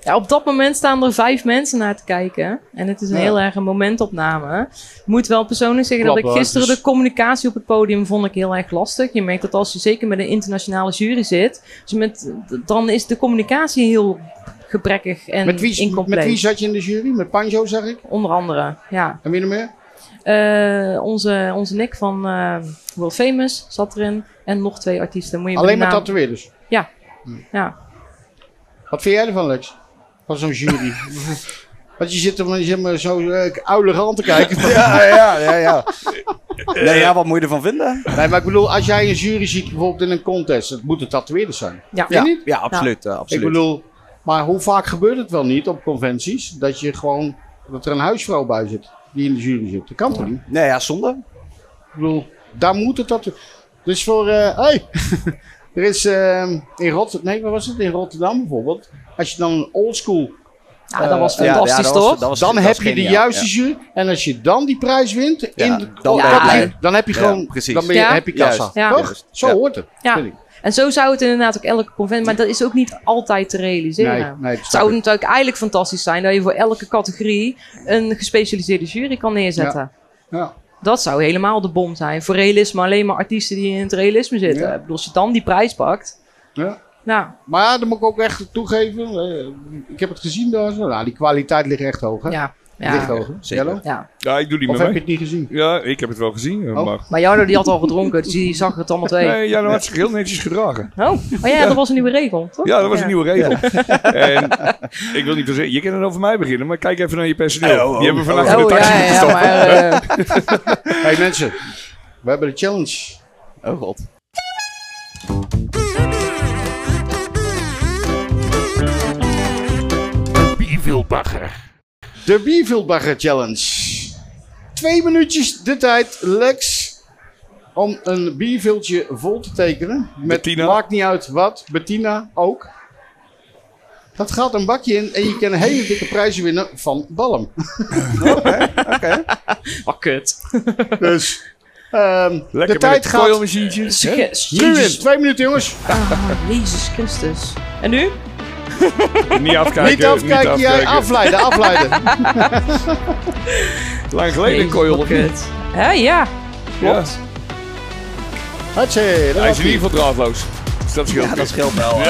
S8: Ja, op dat moment staan er vijf mensen naar te kijken. En het is een
S6: Ja.
S8: heel erg een momentopname. Ik moet wel persoonlijk zeggen dat
S6: Klopt,
S8: ik
S6: hoor. Dus-
S8: gisteren
S6: Het is-
S8: de communicatie op het podium vond ik heel erg lastig. Je merkt dat als je zeker met een internationale jury zit, dus met, dan is de communicatie heel gebrekkig en
S6: Met wie,
S8: incompleet.
S6: met wie zat je in de jury? Met Panjo, zeg ik.
S8: Onder andere, ja.
S6: En wie nog meer?
S8: Eh, onze, onze Nick van eh World Famous zat erin. En nog twee artiesten. Moet je
S6: Alleen
S8: bij
S6: maar
S8: de naam-
S6: tatoeëerders. Hm.
S8: Ja.
S6: Wat vind jij ervan, Lex? Van zo'n jury? Want je zit er maar- je zit maar zo eh, ouderlijk aan te kijken. Eh,
S9: Ja, ja, ja, ja. Nee, ja, wat moet je ervan vinden?
S6: Nee, maar ik bedoel, als jij een jury ziet bijvoorbeeld in een contest, dat moet een tatoeëerder zijn.
S8: Ja.
S9: Ja, ja absoluut. eh, absoluut.
S6: Nou. Ik bedoel, maar hoe vaak gebeurt het wel niet op conventies dat je gewoon, dat er een huisvrouw bij zit die in de jury zit? Dat kan toch niet?
S9: Nee, ja, zonde.
S6: Ik bedoel, daar moet het dat. Dus voor, eh hey, er is ehm, in Rotterdam, nee, waar was het? In Rotterdam bijvoorbeeld. Als je dan een oldschool eh,
S8: Ja, Ah, dat was
S9: Ja, ja,
S8: fantastisch,
S9: dat was-
S8: toch?
S9: dat was-
S6: dan
S9: dat
S6: heb
S9: was
S6: je de
S9: geniaal,
S6: juiste
S9: ja.
S6: jury. En als je dan die prijs wint, in de,
S9: dan
S6: op
S8: ben je
S6: dat
S8: blij.
S6: moment, dan heb je
S9: Ja,
S6: gewoon
S9: precies.
S6: dan ben je,
S8: Ja.
S6: heb je kassa.
S9: Juist,
S8: ja.
S6: Toch?
S9: Juist,
S6: Zo
S9: ja.
S6: hoort het.
S8: Ja.
S6: vind ik.
S8: En zo zou het inderdaad ook elke conventie, maar dat is ook niet altijd te realiseren.
S6: Nee, nee, dat
S8: het
S6: snap
S8: zou
S6: ik.
S8: natuurlijk eigenlijk fantastisch zijn dat je voor elke categorie een gespecialiseerde jury kan neerzetten.
S6: Ja.
S8: Dat zou helemaal de bom zijn. Voor realisme alleen maar artiesten die in het realisme zitten.
S6: Ja.
S8: Ik bedoel, als je dan die prijs pakt.
S6: Ja.
S8: Nou,
S6: Maar ja, dat moet ik ook echt toegeven. eh, ik heb het gezien daar. zo. Nou, die kwaliteit ligt echt hoog. Hè?
S8: ja.
S6: ligt
S8: ja,
S6: hoog. hè?
S9: zeker.
S6: Jelle?
S8: ja.
S4: Ja, ik doe die
S6: Of
S4: met
S6: heb je
S4: mij.
S6: het niet gezien?
S4: Ja, ik heb het wel gezien. eh,
S6: Oh.
S4: Maar...
S8: Maar Jarno die had al gedronken, dus die zag het allemaal twee.
S4: Nee, ja, dat had zich heel netjes gedragen.
S8: Oh. oh ja, dat was een nieuwe regel, toch?
S4: Ja, dat was een nieuwe regel. En ik wil niet zeggen, je kan er over mij beginnen, maar kijk even naar je personeel.
S9: Oh, oh,
S4: die hebben
S9: oh,
S4: vannacht in
S8: Oh
S4: de taxi
S8: ja, ja,
S4: gestopt.
S8: maar... eh,
S6: hey mensen, we hebben de challenge.
S9: Oh god.
S6: De Bierveldbagger Challenge. Twee minuutjes de tijd, Lex. om een bierviltje vol te tekenen. Met
S4: Bettina.
S6: maakt niet uit wat, Bettina ook. Dat gaat een bakje in en je kan een hele dikke prijzen winnen van Balm.
S4: Oh,
S9: Oh,
S8: Wat kut.
S6: Dus ehm, de
S4: Lekker
S6: tijd
S4: met
S6: gaat
S4: een machientje.
S6: nu in.
S8: Jezus.
S6: Twee minuten jongens.
S8: Ah, Jezus Christus. En nu?
S4: Niet afkijken.
S6: niet afkijken, jij afleiden, afleiden.
S4: Lang geleden een
S8: Jezus,
S4: coil
S8: wat
S4: of niet?
S8: kut. Hè, ja. Klopt.
S6: Hatsé, daar
S4: Hij
S6: was
S4: is in
S6: die.
S4: ieder geval draadloos. Dus dat scheelt.
S9: Ja, dat scheelt wel.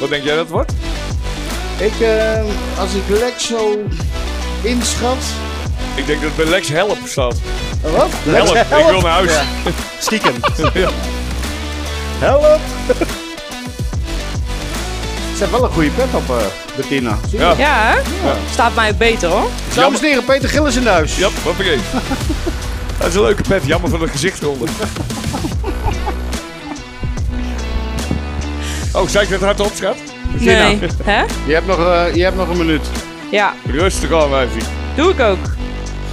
S4: Wat denk jij dat het wordt?
S6: Ik, eh, als ik Lex zo inschat...
S4: Ik denk dat het bij Lex help staat.
S6: Oh, Wat? Lex,
S4: Help, ik wil naar huis.
S9: Stiekem.
S6: Help! Ze heeft wel een goede pet op, eh Bettina. Zie je?
S4: Ja.
S8: Ja, hè? Staat mij beter, hoor.
S6: Dames en heren, Peter Gillis in de huis.
S4: Ja, wat vergeet. Dat is een leuke pet. Jammer van het gezicht eronder. Oh, zei ik dat hardop, schat?
S8: Nee. Hè?
S6: Je, hebt nog, eh, je hebt nog een minuut.
S8: Ja,
S4: Rustig aan, wijfie.
S8: doe ik ook.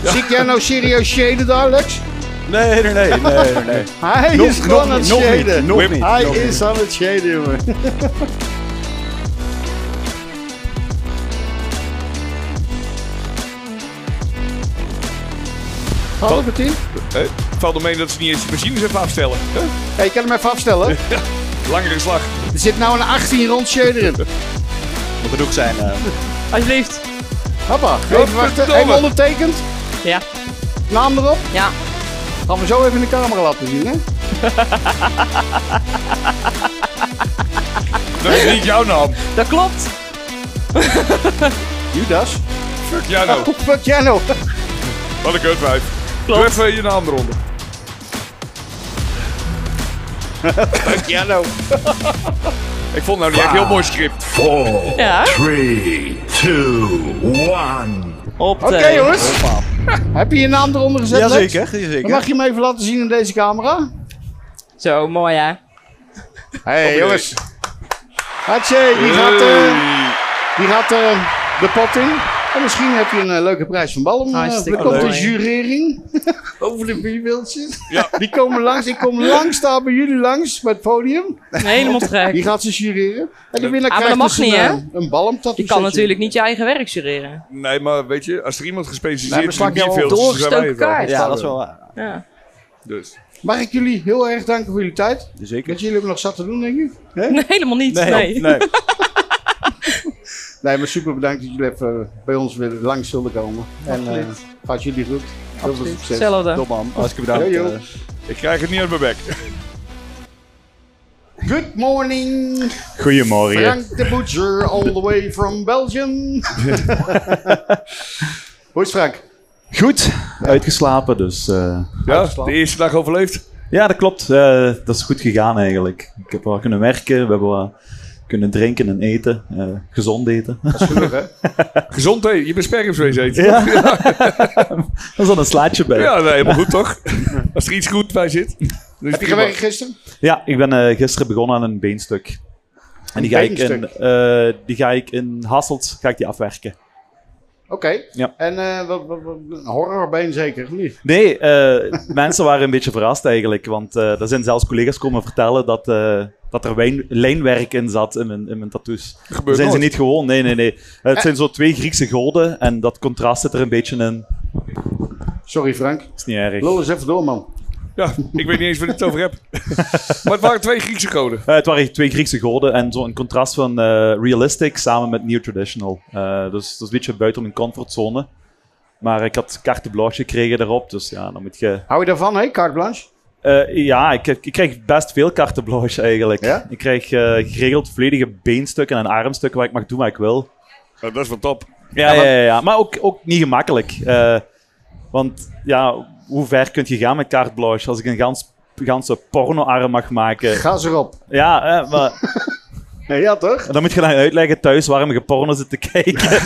S6: Zie ik jij nou serieus shaden daar, Lex?
S9: Nee, nee, nee, nee, nee, nee.
S6: Hij
S9: Nog-
S6: is
S9: nog
S6: gewoon
S9: niet,
S6: aan het
S9: nog niet,
S6: shaden.
S9: nog
S6: Wim,
S9: niet,
S6: Hij
S9: nog
S6: is aan het shaden, jongen. Hallo, Bettina.
S4: Eh, Het valt me mee dat ze niet eens de machines even afstellen. Huh?
S6: Hey, ik kan hem even afstellen. Er
S4: Langere slag.
S6: zit nou een 18 rond shader in.
S9: Moet genoeg zijn. eh.
S8: Alsjeblieft.
S6: Hoppa, even wachten.
S4: verdomme.
S6: Even ondertekend.
S8: Ja.
S6: Naam erop.
S8: Ja.
S6: Gaan we zo even in de camera laten zien, hè?
S4: Dat is niet jouw naam.
S8: Dat klopt.
S6: Judas.
S4: Fuck jou nou.
S6: Oh, fuck jij nou.
S4: Wat een kutwijf. Doe even je naam eronder.
S6: Fuck jij nou.
S4: Ik vond nou niet echt heel mooi script.
S8: Ja.
S2: 3, 2, 1.
S8: Op de...
S6: Oké, jongens. Heb je je naam eronder gezet, Lex?
S9: Jazeker,
S6: Dan
S9: jazeker.
S6: Mag je hem even laten zien in deze camera?
S8: Zo, mooi, hè?
S6: Hé, hey, jongens. Hatsé, die gaat, eh, die gaat eh, de pot in. En misschien heb je een eh, leuke prijs van Ballum. eh,
S8: Hartstikke
S6: er komt een
S8: leuk.
S6: jurering over de bierbeeldjes. Die komen langs. Ik kom langs, daar bij jullie langs, bij het podium.
S8: Helemaal trek.
S6: Die gaat ze jureren. En de winnaar
S8: Ah, maar
S6: krijgt
S8: dat
S6: dus
S8: mag niet,
S6: een,
S8: hè?
S6: eh, een balmtattoo.
S8: Je kan natuurlijk niet je eigen werk jureren.
S4: Nee, maar weet je, als er iemand
S6: Nee,
S4: gespecialiseerd
S6: maar
S4: is,
S6: sla
S4: in
S6: ik jou
S4: bierveeltjes,
S8: op
S4: dan zijn wij het wel.
S8: doorgestoken kaart.
S9: Ja, dat is wel waar.
S8: Ja.
S4: Dus.
S6: Mag ik jullie heel erg danken voor jullie tijd?
S9: Zeker.
S6: Want jullie hebben nog zat te doen, denk ik.
S8: Nee, helemaal niet. Nee.
S9: nee.
S6: Nee, maar super bedankt dat jullie even bij ons weer langs zullen komen. En eh, gaat jullie goed. Heel veel succes.
S8: Hetzelfde.
S9: Top man, hartstikke bedankt.
S6: Yo, yo.
S9: eh.
S4: Ik krijg het niet uit mijn bek.
S6: Good morning,
S4: Goedemorgen.
S6: Frank de Butcher, all the way from Belgium. Hoe is Frank?
S10: Goed, uitgeslapen dus. eh.
S4: Ja, de eerste dag overleefd.
S10: Ja, dat klopt. Eh, dat is goed gegaan eigenlijk. Ik heb wel kunnen werken, we hebben wel kunnen drinken en eten. eh, gezond eten.
S4: Gezond, hé. Je bent spergumswees eten.
S10: Ja. dat is dan een slaatje bij. Ja,
S4: Ja, nee, helemaal goed toch? Als er iets goed bij zit. dan is het
S6: Heb je
S4: prima.
S6: gewerkt gisteren?
S10: ik ben eh, gisteren begonnen aan een beenstuk. En die
S6: Een
S10: ga, ik in,
S6: beenstuk?
S10: eh, die ga ik in Hasselt ga ik die afwerken.
S6: Oké.
S10: Ja.
S6: En eh wat, wat, wat, een horrorbeen zeker, of niet?
S10: Nee, eh, mensen waren een beetje verrast eigenlijk. Want eh er zijn zelfs collega's komen vertellen dat, eh, dat er wijn- lijnwerk in zat in mijn, in mijn tattoos.
S4: Gebeurt
S10: zijn
S4: nooit.
S10: ze niet gewoon. Nee, nee, nee. Het
S6: Eh.
S10: zijn zo twee Griekse goden en dat contrast zit er een beetje in.
S6: Sorry Frank.
S10: Is niet erg.
S6: Lul eens even door, man.
S4: Ja, ik weet niet eens waar ik het over heb. maar het waren twee Griekse goden.
S10: Eh, het waren twee Griekse goden en zo'n contrast van eh, realistic samen met new traditional. Eh, dus dat is een beetje buiten mijn comfortzone. Maar ik had carte blanche gekregen daarop, dus ja, dan moet je...
S6: Hou je daarvan, hè, carte blanche?
S10: Eh, ja, ik, ik krijg best veel carte blanche eigenlijk.
S6: Ja?
S10: Ik krijg eh, geregeld volledige beenstukken en armstukken waar ik mag doen wat ik wil.
S4: Nou, dat is wel top.
S10: Ja, ja, ja, ja. maar ook, ook niet gemakkelijk. Eh, want ja, hoe ver kun je gaan met carte blanche als ik een gans, ganse pornoarm mag maken?
S6: Ga ze erop.
S10: Ja, eh, maar
S6: Nee, ja, toch?
S10: dan moet je dan uitleggen thuis waarom je porno zit te kijken.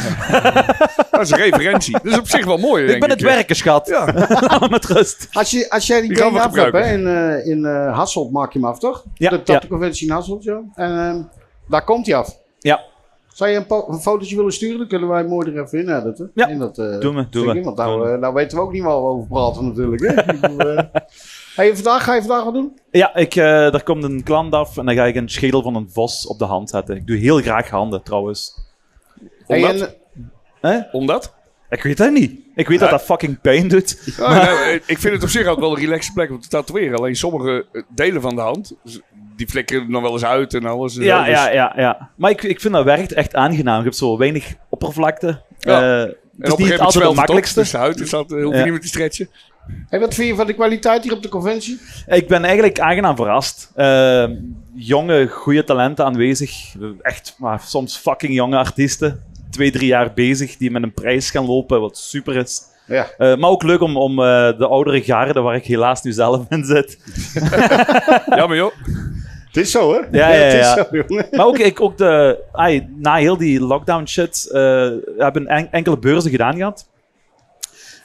S4: Dat is een referentie. Dat is op zich wel mooi,
S10: ik ben het werken, schat.
S4: Ja.
S10: Laat me met rust.
S6: Als, je, als jij die
S4: Die gaan
S6: kleding
S4: we
S6: af hebt, hè, in,
S4: gebruiken.
S6: eh, in eh, Hasselt maak je hem af, toch?
S10: Ja,
S6: De tattoo conventie in Hasselt, ja. En ehm, daar komt hij af.
S10: Ja.
S6: Zou je een, po- een fotootje willen sturen? Dan kunnen wij mooi er even in editen.
S10: Ja.
S6: En dat, eh,
S10: Doe me, doe
S6: ding
S10: me.
S6: in, Want nou,
S10: Doe me.
S6: eh, nou weten we ook niet waar we over praten natuurlijk. Hè? Ik bedoel, eh, ga, je vandaag, ga je vandaag wat doen?
S10: Ja, ik, eh, daar komt een klant af en dan ga ik een schedel van een vos op de hand zetten. Ik doe heel graag handen trouwens.
S6: Hey,
S4: Omdat?
S6: en, eh,
S10: Hè?
S4: Omdat?
S10: Ik weet dat niet. Ik weet dat dat fucking pijn doet.
S6: Oh,
S4: Ja, nou,
S6: eh,
S4: ik vind het op zich altijd wel een relaxe plek om te tatoeëren. Alleen sommige eh, delen van de hand, dus die flikkeren nog wel eens uit en alles. en zo,
S10: Ja,
S4: dus-
S10: ja, ja, ja. Maar ik, ik vind dat werkt echt aangenaam. Je hebt zo weinig oppervlakte.
S4: Ja.
S10: Eh,
S4: En
S10: het
S4: op
S10: is
S4: een
S10: niet
S4: gegeven moment
S10: altijd het
S4: zwelt het op,
S10: makkelijkste.
S4: dus de huid is dat, eh, hoef je
S10: Ja.
S4: niet meer te stretchen.
S6: hey, wat vind je van de kwaliteit hier op de conventie?
S10: Ik ben eigenlijk aangenaam verrast. Eh, jonge, goede talenten aanwezig. Echt, maar soms fucking jonge artiesten. Twee, drie jaar bezig die met een prijs gaan lopen, wat super is.
S6: Ja.
S10: Eh, maar ook leuk om, om eh, de oudere garde, waar ik helaas nu zelf in zit.
S4: Ja, maar joh.
S6: Het is zo, hè?
S10: Ja, ja,
S6: Het is
S10: ja.
S6: zo, jongen.
S10: Maar ook, ik, ook de, ai, na heel die lockdown shit, eh hebben en- enkele beurzen gedaan gehad.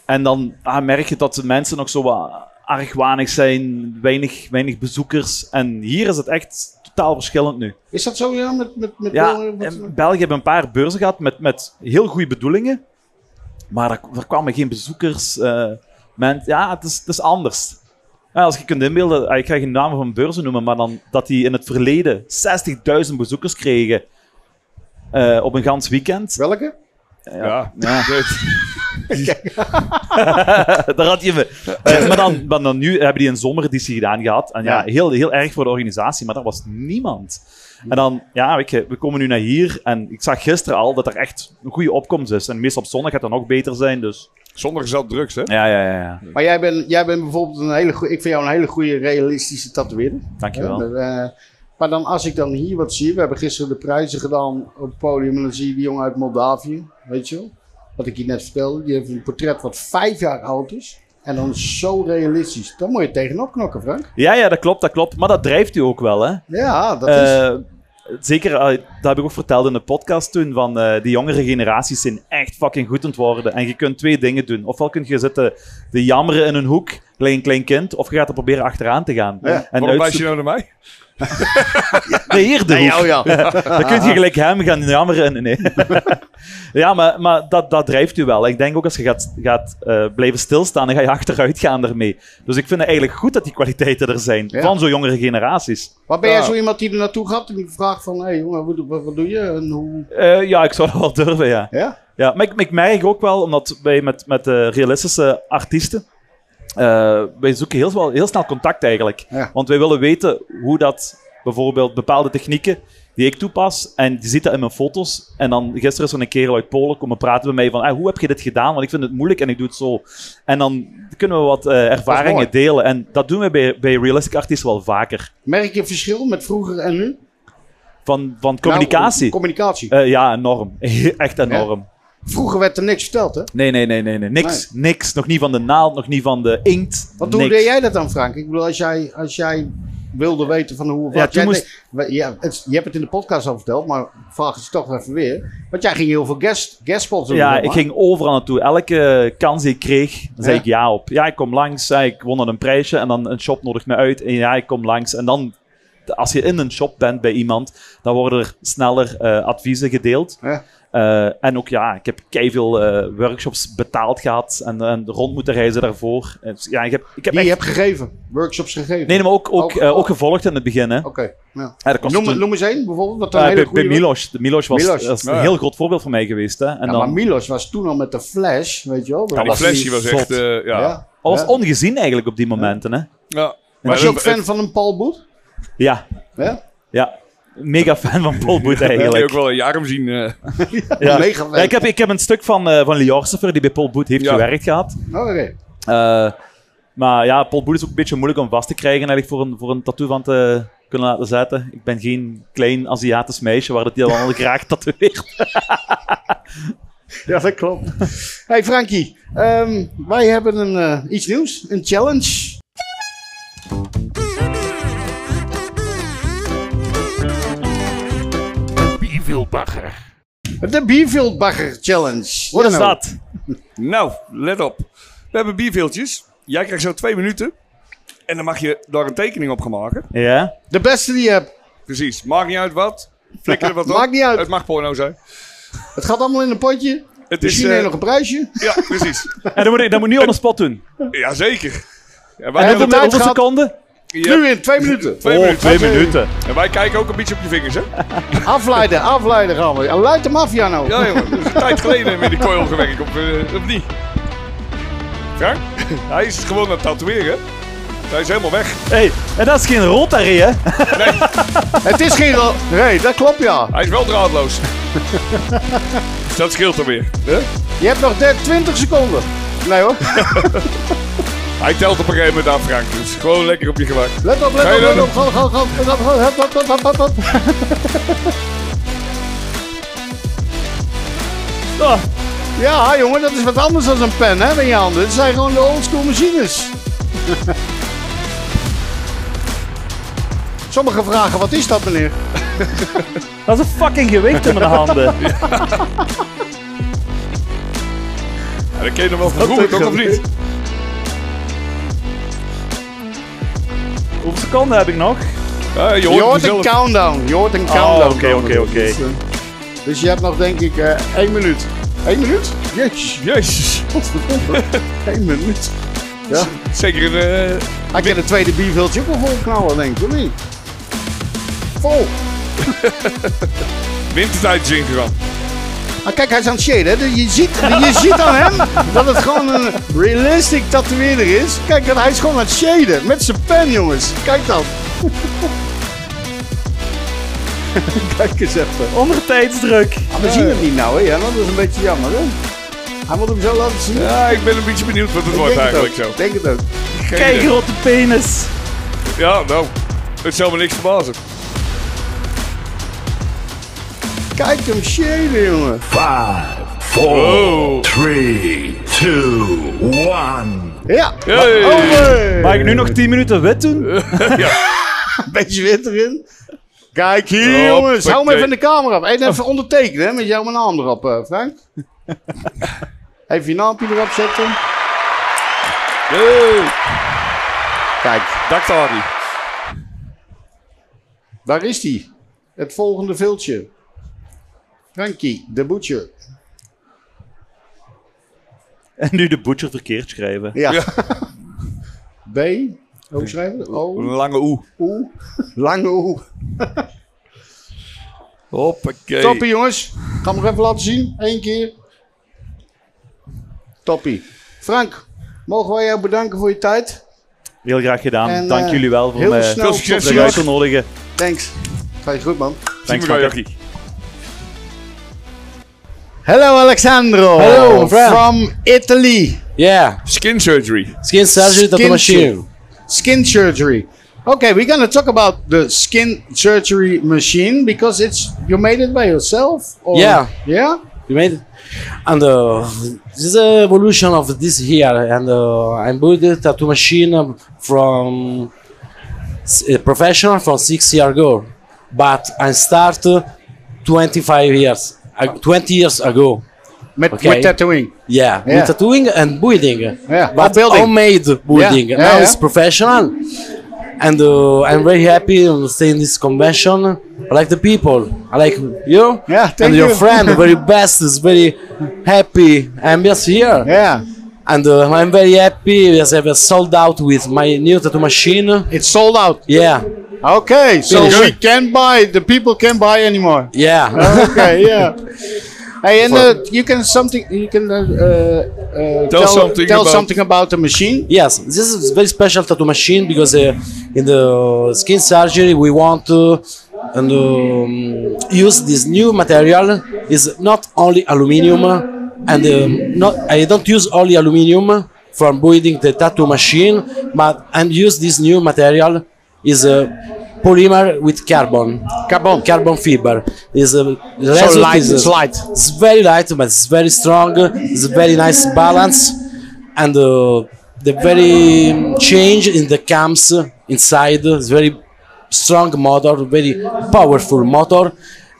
S10: En dan ah, merk je dat de mensen nog zo wat argwanig zijn, weinig, weinig bezoekers. En hier is het echt totaal verschillend nu.
S6: Is dat zo, ja? Met, met, met
S10: Ja,
S6: wat-
S10: in België hebben een paar beurzen gehad met, met heel goede bedoelingen. Maar er, er kwamen geen bezoekers. eh, men, ja, het is, het is anders. Ja, als je kunt inbeelden, ah, ik ga geen namen van beurzen noemen, maar dan dat die in het verleden 60.000 bezoekers kregen eh, op een gans weekend.
S6: Welke?
S4: Ja.
S10: Daar had je me. Eh, maar, dan, maar dan nu hebben die een zomereditie gedaan gehad. En ja,
S6: Ja.
S10: heel, heel erg voor de organisatie, maar er was niemand. En dan, ja, weet je, we komen nu naar hier. En ik zag gisteren al dat er echt een goede opkomst is. En meestal op zondag gaat dat nog beter zijn, dus...
S4: Zondag is dat drugs, hè?
S10: Ja, ja, ja. ja.
S6: Maar jij bent, jij bent bijvoorbeeld een hele goede... Ik vind jou een hele goede realistische tatoeëerder.
S10: Dankjewel.
S6: Ja, maar, eh, maar dan als ik dan hier wat zie, we hebben gisteren de prijzen gedaan op het podium en dan zie je die jongen uit Moldavië, weet je wel. Wat ik je net vertelde, die heeft een portret wat vijf jaar oud is en dan zo realistisch. Daar moet je tegenop knokken, Frank.
S10: Ja, ja, dat klopt, dat klopt. Maar dat drijft u ook wel, hè?
S6: Ja, dat is...
S10: Eh, zeker, eh, dat heb ik ook verteld in de podcast toen, van eh die jongere generaties zijn echt fucking goed aan het worden. En je kunt twee dingen doen. Ofwel kun je zitten te jammeren in een hoek, gelijk een klein kind, of je gaat er proberen achteraan te gaan. en
S4: Waarom wijs
S10: uitzoeken-
S4: je nou naar mij?
S10: Nee, hier de hoek.
S6: ja.
S10: Dan kun je gelijk hem gaan jammeren. en- Nee. ja, maar, maar dat, dat drijft u wel. Ik denk ook als je gaat, gaat eh, blijven stilstaan, dan ga je achteruit gaan daarmee. Dus ik vind het eigenlijk goed dat die kwaliteiten er zijn,
S6: Ja.
S10: van zo'n jongere generaties.
S6: Maar ben jij
S4: Ja.
S6: zo iemand die er naartoe gaat en die vraagt van, hé hey, jongen, wat, wat, wat doe je en hoe...
S10: Eh, ja, ik zou dat wel durven, ja.
S6: Ja?
S10: Ja, maar ik, ik merk ook wel, omdat wij met, met eh, realistische artiesten, eh, wij zoeken heel, wel- heel snel contact eigenlijk.
S6: Ja.
S10: Want wij willen weten hoe dat bijvoorbeeld bepaalde technieken die ik toepas, en die zitten in mijn foto's. En dan gisteren is er een kerel uit Polen komen praten bij mij van, "Ah, hoe heb je dit gedaan? Want ik vind het moeilijk en ik doe het zo. En dan kunnen we wat eh,
S6: mooi.
S10: ervaringen delen. En dat doen we bij, bij realistic artiesten wel vaker.
S6: Merk je verschil met vroeger en nu?
S10: Van, van communicatie.
S6: Nou, communicatie.
S10: Eh, ja, enorm. Echt enorm.
S6: Vroeger werd er niks verteld, hè?
S10: Nee, nee, nee, nee, nee. Niks, niks. Nog niet van de naald, nog niet van de inkt.
S6: Want hoe
S10: niks.
S6: deed jij dat dan, Frank? Ik bedoel, als jij, als jij wilde weten van hoe...
S10: Ja,
S6: wat
S10: toen
S6: jij
S10: moest-
S6: deed- we- ja, het- je hebt het in de podcast al verteld, maar vraag het toch even weer. Want jij ging heel veel guest, guest spots doen.
S10: Ja,
S6: zeg
S10: ik
S6: maar.
S10: ging overal naartoe. Elke kans die ik kreeg, zei
S6: Ja.
S10: ik ja op. Ja, ik kom langs. Ja, ik won dan een prijsje en dan een shop nodigt me uit. En ja, ik kom langs. En dan, als je in een shop bent bij iemand, dan worden er sneller eh, adviezen gedeeld.
S6: Ja.
S10: Eh, en ook ja, ik heb keiveel eh workshops betaald gehad en, en rond moeten reizen daarvoor. Dus ja, ik heb, ik heb
S6: Die
S10: echt...
S6: je hebt gegeven, workshops gegeven.
S10: Nee, maar ook, ook,
S6: Ook- oh.
S10: eh, ook gevolgd in het begin. Hè.
S6: Oké, ja.
S10: Ja, dat kost
S6: noem,
S10: toen-
S6: noem eens één bijvoorbeeld. Wat een
S10: Ja,
S6: hele
S10: bij, bij
S6: goede
S10: Milos. De Milos was,
S6: Milos,
S10: dat is een
S4: ja.
S10: heel groot voorbeeld voor mij geweest. Hè? En
S6: Ja, maar
S10: dan,
S6: Milos was toen al met de Flash, weet je wel.
S4: Ja, die
S10: was
S4: flash
S10: niet
S4: die was
S10: zot.
S4: echt... eh,
S6: ja.
S4: ja.
S10: dat was
S6: Ja.
S10: ongezien eigenlijk op die momenten. Hè?
S4: ja.
S6: Was je ook
S4: het-
S6: fan van een Paul Boet?
S10: Ja,
S6: Ja?
S10: ja. Mega fan van Paul Boet
S4: Dat kun je ook
S10: eigenlijk.
S4: wel een jaar om zien. eh.
S10: Ja.
S6: Mega fan.
S10: Ja, ik, heb, ik heb een stuk van, eh van Lior Sefer die bij Paul Boet heeft
S4: Ja.
S10: gewerkt gehad.
S6: Oh, Oké.
S10: Eh, maar ja, Paul Boet is ook een beetje moeilijk om vast te krijgen eigenlijk voor een, voor een tattoo van te kunnen laten zetten. Ik ben geen klein Aziatisch meisje waar dat die allemaal graag tatoeëert.
S6: Ja, dat klopt. hey Frankie, ehm, wij hebben een, eh, iets nieuws, een challenge. Bierveelbagger. De Bierveelbagger Challenge.
S10: Wat is
S6: Ja, nou.
S10: dat?
S4: Nou, let op. We hebben bierveeltjes. Jij krijgt zo twee minuten. En dan mag je daar een tekening op gaan maken.
S10: Ja?
S6: De beste die je hebt.
S4: Precies. Maakt niet uit wat. Flikker er wat op.
S6: Maakt niet uit.
S4: Het mag porno zijn.
S6: Het gaat allemaal in een potje.
S4: Het
S6: Misschien
S4: eh,
S6: neem je nog een prijsje.
S4: Ja, precies.
S10: En dan moet, ik- dan moet je nu on the spot doen.
S4: Jazeker. En wij,
S10: En hoeveel,
S4: hebben
S6: tijd
S10: hoeveel
S6: gehad?
S10: seconden?
S4: Ja.
S6: Nu in, twee minuten.
S4: twee
S10: Oh,
S4: minuten.
S10: twee minuten.
S4: en wij kijken ook een beetje op je vingers, hè?
S6: Afleiden, afleiden gaan we. Luid de maffia nou.
S4: Ja, jongen. Dat is een tijd geleden hebben we in die coil gewerkt, of, eh, of niet? Frank? Hij is gewoon aan het tatoeëren. Hij is helemaal weg.
S10: Hey, en dat is geen Rotary, hè?
S6: Het is geen... ro- Nee, dat klopt ja.
S4: Hij is wel draadloos. Dus dat scheelt dan weer. hè?
S6: Je hebt nog de- 20 seconden. Nee hoor.
S4: Hij telt op een gegeven moment aan, Frank. Dus gewoon lekker op je gemak.
S6: Let op,
S4: Ga
S6: let
S4: je
S6: op, let
S4: dan-
S6: op. Gaan, gaan, gaan. Let op, let op, let op, let op.
S10: Oh,
S6: Ja, jongen, dat is wat anders dan een pen, hè, met je handen. Het zijn gewoon de oldschool machines. Sommigen vragen, wat is dat, meneer?
S10: dat is een fucking gewicht in mijn handen.
S4: En dan ken je hem wel van vroeger, toch of niet?
S10: Hoeveel seconden heb ik nog?
S4: Ja, Ah, je
S6: Je
S4: hoort
S6: hoort
S4: hem
S6: een
S4: zelf.
S6: countdown. Je hoort een
S10: Oh,
S6: countdown.
S10: oké, oké, oké.
S6: Dus je hebt nog, denk ik, eh één minuut. Eén minuut? Yes.
S4: Jezus.
S6: Eén minuut.
S4: Zeker een... eh,
S6: Hij kan de tweede bierveeltje ook wel volknallen, denk ik, of niet? Vol.
S4: Wintertijd is ingegaan.
S6: Ah, kijk, hij is aan het shaden. hè. Dus Je ziet, je ziet aan hem dat het gewoon een realistic tatoeëerder is. Kijk, dat hij is gewoon aan het shaden. Met zijn pen, jongens. Kijk dan. kijk eens even.
S10: Onder tijdsdruk.
S6: Ah, we zien hem niet nou, hè? Ja, dat is een beetje jammer, hè? Hij moet hem zo laten zien.
S4: Ja, ik ben een beetje benieuwd wat het wordt
S6: denk het ook.
S4: eigenlijk zo.
S6: denk het ook.
S4: Geen
S10: Kijk,
S4: idee.
S10: rotte penis.
S4: Ja, nou. Het zou me niks verbazen.
S6: Kijk hem shaden, jongen.
S4: Oh.
S6: Ja,
S4: Hey.
S6: over.
S10: Mag ik nu nog 10 minuten wit doen?
S6: beetje wit erin. Kijk hier, jongens. Hou hem even in de camera af. En even ondertekenen, hè, met jouw naam erop, eh, Frank. even je naampje erop zetten. Kijk,
S4: Daktari.
S6: waar is die? Het volgende viltje. Frankie, de butcher.
S10: En nu de butcher verkeerd schrijven.
S6: Ja. B. Hoe schrijven we dat?
S4: Een
S6: O.
S4: lange oe.
S6: Oe. Lange oe.
S4: Hoppakee.
S6: Toppie, jongens. Ga hem nog even laten zien. Eén keer. Toppie. Frank, mogen wij jou bedanken voor je tijd?
S10: Heel graag gedaan.
S6: En,
S10: Dank
S6: eh,
S10: jullie wel voor
S6: heel
S10: me
S6: snel
S10: voor
S4: succes,
S10: de
S4: jongens.
S10: uit te nodigen.
S6: Thanks. Ga je goed, man.
S10: Thanks,
S4: Zien we wel,
S10: makker.
S6: Hello, Alexandro.
S11: Hello, Frank.
S6: From Italy.
S11: Yeah,
S4: Skin surgery.
S11: skin surgery
S6: Skin
S11: tattoo machine.
S6: Skin surgery. Okay, we're gonna talk about the skin surgery machine because it's you made it by yourself. Or,
S11: Yeah.
S6: Yeah.
S11: You made it? And uh, this is the evolution of this here. And uh, I built a tattoo machine um, from s- a professional from six years ago. But I started 25 years, uh, 20 years ago.
S6: Met,
S11: Okay.
S6: With tattooing.
S11: Yeah,
S6: Yeah.
S11: with tattooing and building.
S6: Yeah,
S11: but
S6: oh, building.
S11: homemade building.
S6: Yeah,
S11: Now
S6: yeah,
S11: it's
S6: yeah.
S11: professional, and uh, I'm very happy on staying this convention. I like the people. I like you.
S6: Yeah, thank
S11: and your
S6: you.
S11: friend, very best, is very happy. I'm just here,
S6: Yeah.
S11: and uh, I'm very happy. Yes, I've sold out with my new tattoo machine.
S6: It's sold out.
S11: Yeah,
S6: Okay, so
S11: Finish.
S6: we can buy. The people can buy anymore.
S11: yeah.
S6: Okay. Yeah. Hey, and uh, you can something. You can uh, uh, tell,
S4: something
S6: Tell
S4: about-
S6: something about the machine.
S11: Yes, this is very special tattoo machine because uh, in the skin surgery we want to and, um, use this new material. is not only aluminium, and um, not I don't use only aluminium from building the tattoo machine, but I use this new material is a polymer with carbon. Carbon. Carbon fiber is a result
S6: light,
S11: is uh, a-
S6: it's light.
S11: it's very light, but it's very strong. It's a very nice balance, and uh, the very um, change in the cams inside is very strong motor, very powerful motor,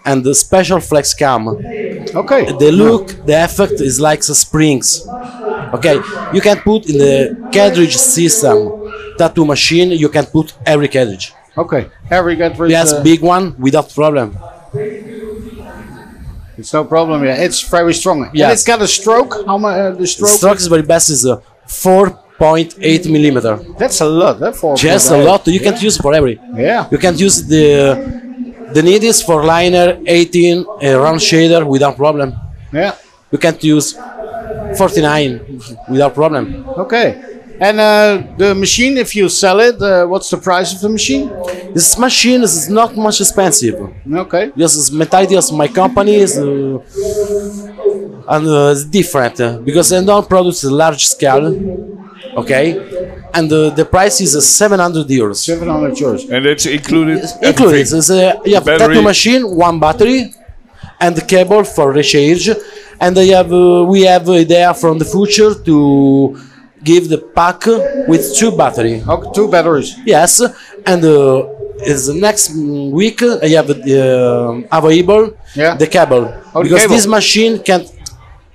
S11: and the special flex cam
S6: Okay.
S11: the look, the effect is like the springs. Okay, you can put in the cartridge system tattoo machine. You can put every cartridge.
S6: Okay. Every country.
S11: Yes,
S6: uh,
S11: big one without problem.
S6: It's no problem. Yeah, it's very strong. Yeah,
S11: Yeah.
S6: and it's got a stroke. How much uh, the stroke?
S11: Stroke is very best is uh, 4.8 millimeter.
S6: That's a lot. That for
S11: Just a lot. You can't use for every.
S6: Yeah.
S11: You can't use the the need is for liner 18 uh, round shader without problem.
S6: Yeah.
S11: You can't use 49 without problem.
S6: Okay. And uh, the machine, if you sell it, uh, what's the price of the machine?
S11: This machine is not much expensive.
S6: Okay.
S11: Yes, it's mentality of my company is uh, and uh, it's different uh, because I don't produce a large scale. Okay, and uh, the price is uh, 700 euros.
S6: 700 euros.
S4: And that's included.
S11: Included. It's, uh, you have
S4: Battery.
S11: tattoo machine, one battery, and the cable for recharge. And I have, uh, we have idea from the future to give the pack with two battery.
S6: two batteries.
S11: Yes, and uh, is the next mm, week I have uh, available the cable
S6: Oh, the
S11: because
S6: cable.
S11: this machine can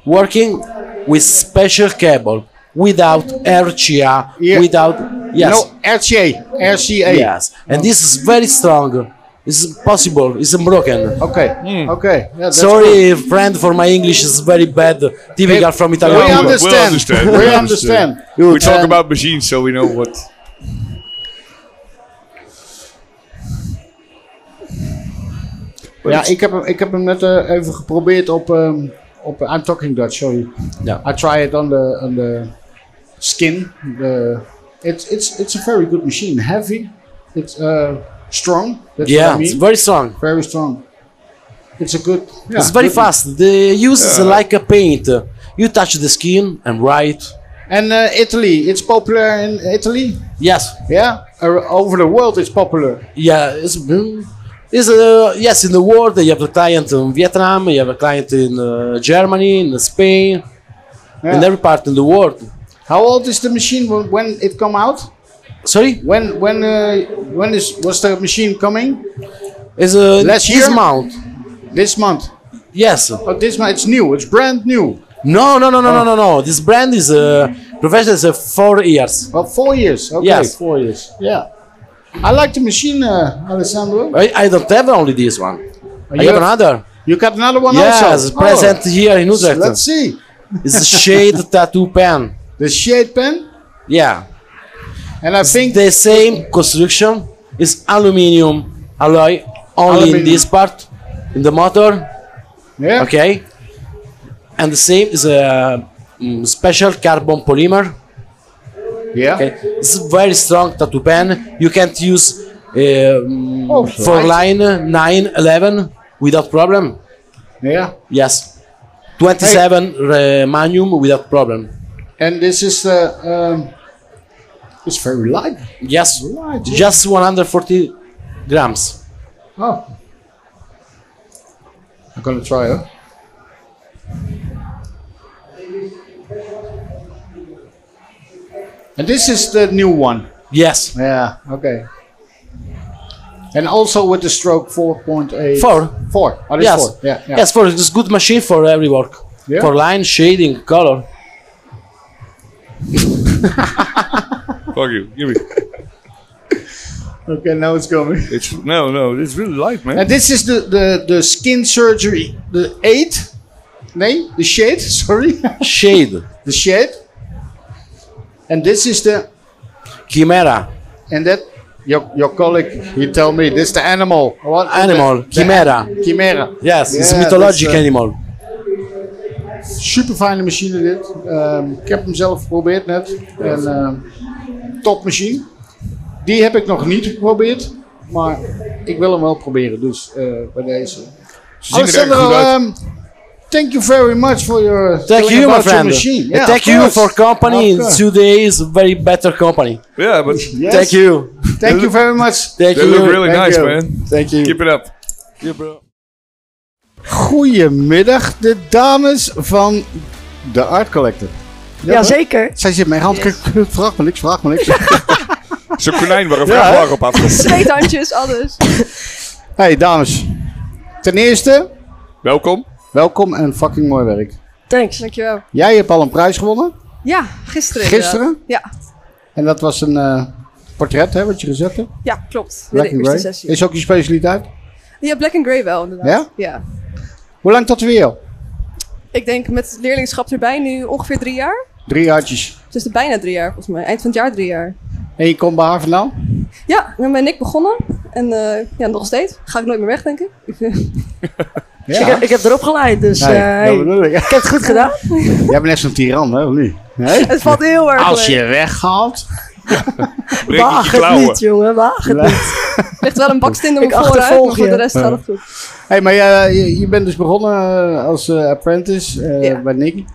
S11: working with special cable without RCA, without yes.
S6: No, RCA. RCA.
S11: Yes, and this is very strong. It's possible. It's broken.
S6: Okay. Okay. Yeah, that's
S11: Sorry, friend, for my English is very bad. Typical from Italian.
S4: We
S11: people.
S4: understand. We understand. We
S11: Good.
S6: eh,
S4: talk
S11: And-
S4: about machines, so we know what.
S6: Ja, ik heb, hem- ik heb hem net eh, even geprobeerd op, ehm, op. I'm talking Dutch, sorry.
S11: Ja.
S6: I try it on the, on the skin. The, it's, it's, it's a very good machine. Heavy. It's uh, strong. That's
S11: Yeah,
S6: what I mean.
S11: it's very strong.
S6: Very strong. It's a good. yeah,
S11: it's very
S6: good-
S11: fast. The use is
S6: Yeah.
S11: like a paint. You touch the skin and write.
S6: And uh, Italy, it's popular in Italy.
S11: Yes.
S6: Yeah, Ar- over the world it's popular.
S11: Yeah, it's, hmm, it's uh, yes in the world you have a client in Vietnam, you have a client in uh, Germany, in Spain, in every part in the world.
S6: How old is the machine wh- when it come out?
S11: Sorry.
S6: When when uh, when is was the machine coming?
S11: Is uh,
S6: last
S11: this
S6: year?
S11: month.
S6: This month.
S11: Yes.
S6: Oh, this month it's new. It's brand new.
S11: No, no, no, no, no, no, no. This brand is uh, professional is uh, four years.
S6: Oh, four years. Okay,
S11: Yes.
S6: four years. Yeah. I like the machine, uh, Alessandro.
S11: I, I don't have only this one. I have
S6: you have-
S11: another.
S6: You got another one
S11: yes,
S6: also?
S11: it's present
S6: Oh.
S11: here in Utrecht.
S6: Let's see.
S11: It's a shade tattoo pen.
S6: The shade pen?
S11: Yeah.
S6: And I think
S11: the same construction is aluminium alloy only in
S6: Aluminium.
S11: this part, in the motor.
S6: Yeah.
S11: Okay. And the same is a mm, special carbon polymer.
S6: Yeah.
S11: Okay. It's a very strong tattoo pen. You can't use um,
S6: Oh,
S11: for
S6: right.
S11: line uh, 9, 11 without problem.
S6: Yeah.
S11: Yes. 27 uh, manium without problem.
S6: And this is the. Um, it's very light.
S11: Yes.
S6: Right.
S11: Just 140 grams.
S6: Oh. I'm gonna try it. And this is the new one.
S11: Yes.
S6: Yeah. Okay. And also with the stroke 4.8.
S11: Four.
S6: Four. Oh, this
S11: yes.
S6: four. Yeah, yeah.
S11: Yes, for it's good machine for every work.
S6: Yeah.
S11: For line, shading, color.
S4: Fuck you. Give me.
S6: Okay, now it's going.
S4: It's no, no. It's really light, man.
S6: And this is the, the, the skin surgery, the eight, nee, the shade, sorry.
S11: Shade.
S6: The shade. And this is the.
S11: Chimera.
S6: And that, your, your colleague, he tell me, this the animal. What is
S11: Animal,
S6: that? The-
S11: chimera.
S6: Chimera.
S11: Yes, it's
S6: Yeah,
S11: mythologic
S6: that's, eh,
S11: animal.
S6: Super fijne machine dit. Ehm, ik heb hem zelf geprobeerd net. En, ehm, top machine. Die heb ik nog niet geprobeerd. Maar ik wil hem wel proberen. Dus eh, bij deze.
S11: zien er erg
S6: Alessandro,
S11: goed uit.
S6: ehm, thank you very much for your
S11: Thank
S6: telling
S11: you, my
S6: about your
S11: friend.
S6: machine.
S11: And
S6: Yeah,
S11: Thank
S6: of
S11: you
S6: course.
S11: for company.
S6: Of
S11: In
S6: course.
S11: two days, very better company.
S4: Yeah, but
S6: Yes.
S11: Thank you.
S6: Thank you very much.
S11: Thank you.
S4: They look really
S11: Thank
S4: nice,
S11: you.
S4: man.
S11: Thank you.
S4: Keep it up. Keep it up.
S6: Goedemiddag, de dames van de Art Collector.
S12: Jazeker.
S6: Zij zit mijn hand. Vraag me niks, vraag me niks.
S4: Zo'n konijn waar een
S6: Ja,
S4: vrachtwagen
S6: hè?
S4: op afkomt.
S12: Zweethandjes, alles.
S6: Hey dames, ten eerste.
S4: Welkom.
S6: Welkom en fucking mooi werk.
S12: Thanks. Dankjewel.
S6: Jij hebt al een prijs gewonnen.
S12: Ja, gisteren.
S6: Gisteren?
S12: inderdaad. Ja,
S6: En dat was een eh, portret, hè, wat je gezet hebt.
S12: ja klopt. Bij
S6: Black
S12: de
S6: and
S12: eerste
S6: grey.
S12: sessie.
S6: Is ook je specialiteit?
S12: Ja, Black and Grey wel, inderdaad.
S6: Ja? Hoe lang tot weer? al?
S12: Ik denk met het leerlingschap erbij nu ongeveer drie jaar.
S6: Drie jaartjes.
S12: Dus het is bijna drie jaar, volgens mij. Eind van het jaar drie jaar.
S6: En je komt bij haar vandaan?
S12: Ja, ik ben bij Nick begonnen. En eh, ja, nog steeds. Ga ik nooit meer weg, denk ik.
S13: Dus Ik, heb, ik heb erop geleid, dus
S6: Nee,
S13: eh,
S6: dat bedoel ik.
S13: ik heb het goed gedaan.
S6: Jij bent net zo'n tiran, hè, of niet? Nee?
S13: Het valt heel erg
S6: Als je
S13: leuk.
S6: weghaalt. Breek ik je
S13: Waag het
S6: klauwen.
S13: niet, jongen, waag het
S6: Nee.
S13: niet.
S12: ligt wel een baksteen door
S13: Ik
S12: mijn vooruit,
S13: achtervolg
S12: maar voor
S13: je.
S12: de rest gaat het
S6: Ja.
S12: goed.
S6: Hey, maar jij- je, je bent dus begonnen eh, als eh, apprentice eh, bij Nick.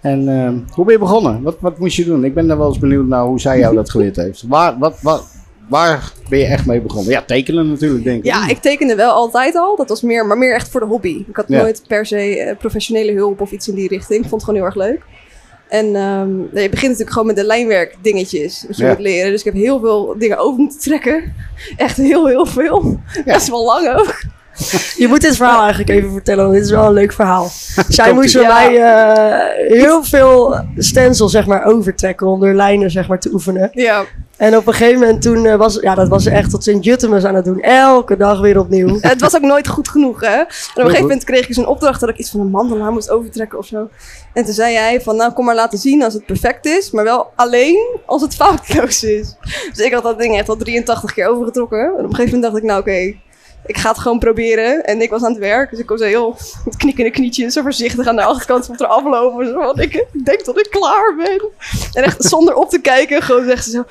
S6: En ehm, hoe ben je begonnen? Wat, wat moest je doen? Ik ben daar wel eens benieuwd naar hoe zij jou dat geleerd heeft. Waar, wat, wat, waar ben je echt mee begonnen? Ja, tekenen natuurlijk, denk ik.
S12: Ja, ik tekende wel altijd al. Dat was meer, maar meer echt voor de hobby. Ik had
S6: Ja.
S12: nooit per se eh, professionele hulp of iets in die richting. Ik vond het gewoon heel erg leuk. En ehm, nee, je begint natuurlijk gewoon met de lijnwerk dingetjes. Wat je
S13: Ja.
S12: moet leren. Dus ik heb heel veel dingen over moeten trekken. Echt heel, heel veel. Best wel lang ook.
S13: Je moet dit verhaal eigenlijk even vertellen, want dit is wel een leuk verhaal. Zij
S12: Komt-ie.
S13: moest bij
S12: Ja.
S13: mij eh, heel veel stencil zeg maar, overtrekken om door lijnen zeg maar, te oefenen.
S12: Ja.
S13: En op een gegeven moment toen eh, was, ja, dat was ze echt tot Sint-Juttemus aan het doen. Elke dag weer opnieuw.
S12: Het was ook nooit goed genoeg, hè? En op een gegeven
S13: goed.
S12: moment kreeg ik zo'n opdracht dat ik iets van een mandelaar moest overtrekken of zo. En toen zei hij van, nou, kom maar laten zien als het perfect is, maar wel alleen als het foutloos is. Dus ik had dat ding echt al 83 keer overgetrokken. En op een gegeven moment dacht ik, nou, oké, ik ga het gewoon proberen. En ik was aan het werk, dus ik was heel met knikkende knietjes, zo voorzichtig aan de achterkant van eraf lopen. Zo van, ik denk dat ik klaar ben. En echt zonder op te kijken, gewoon zegt ze zo...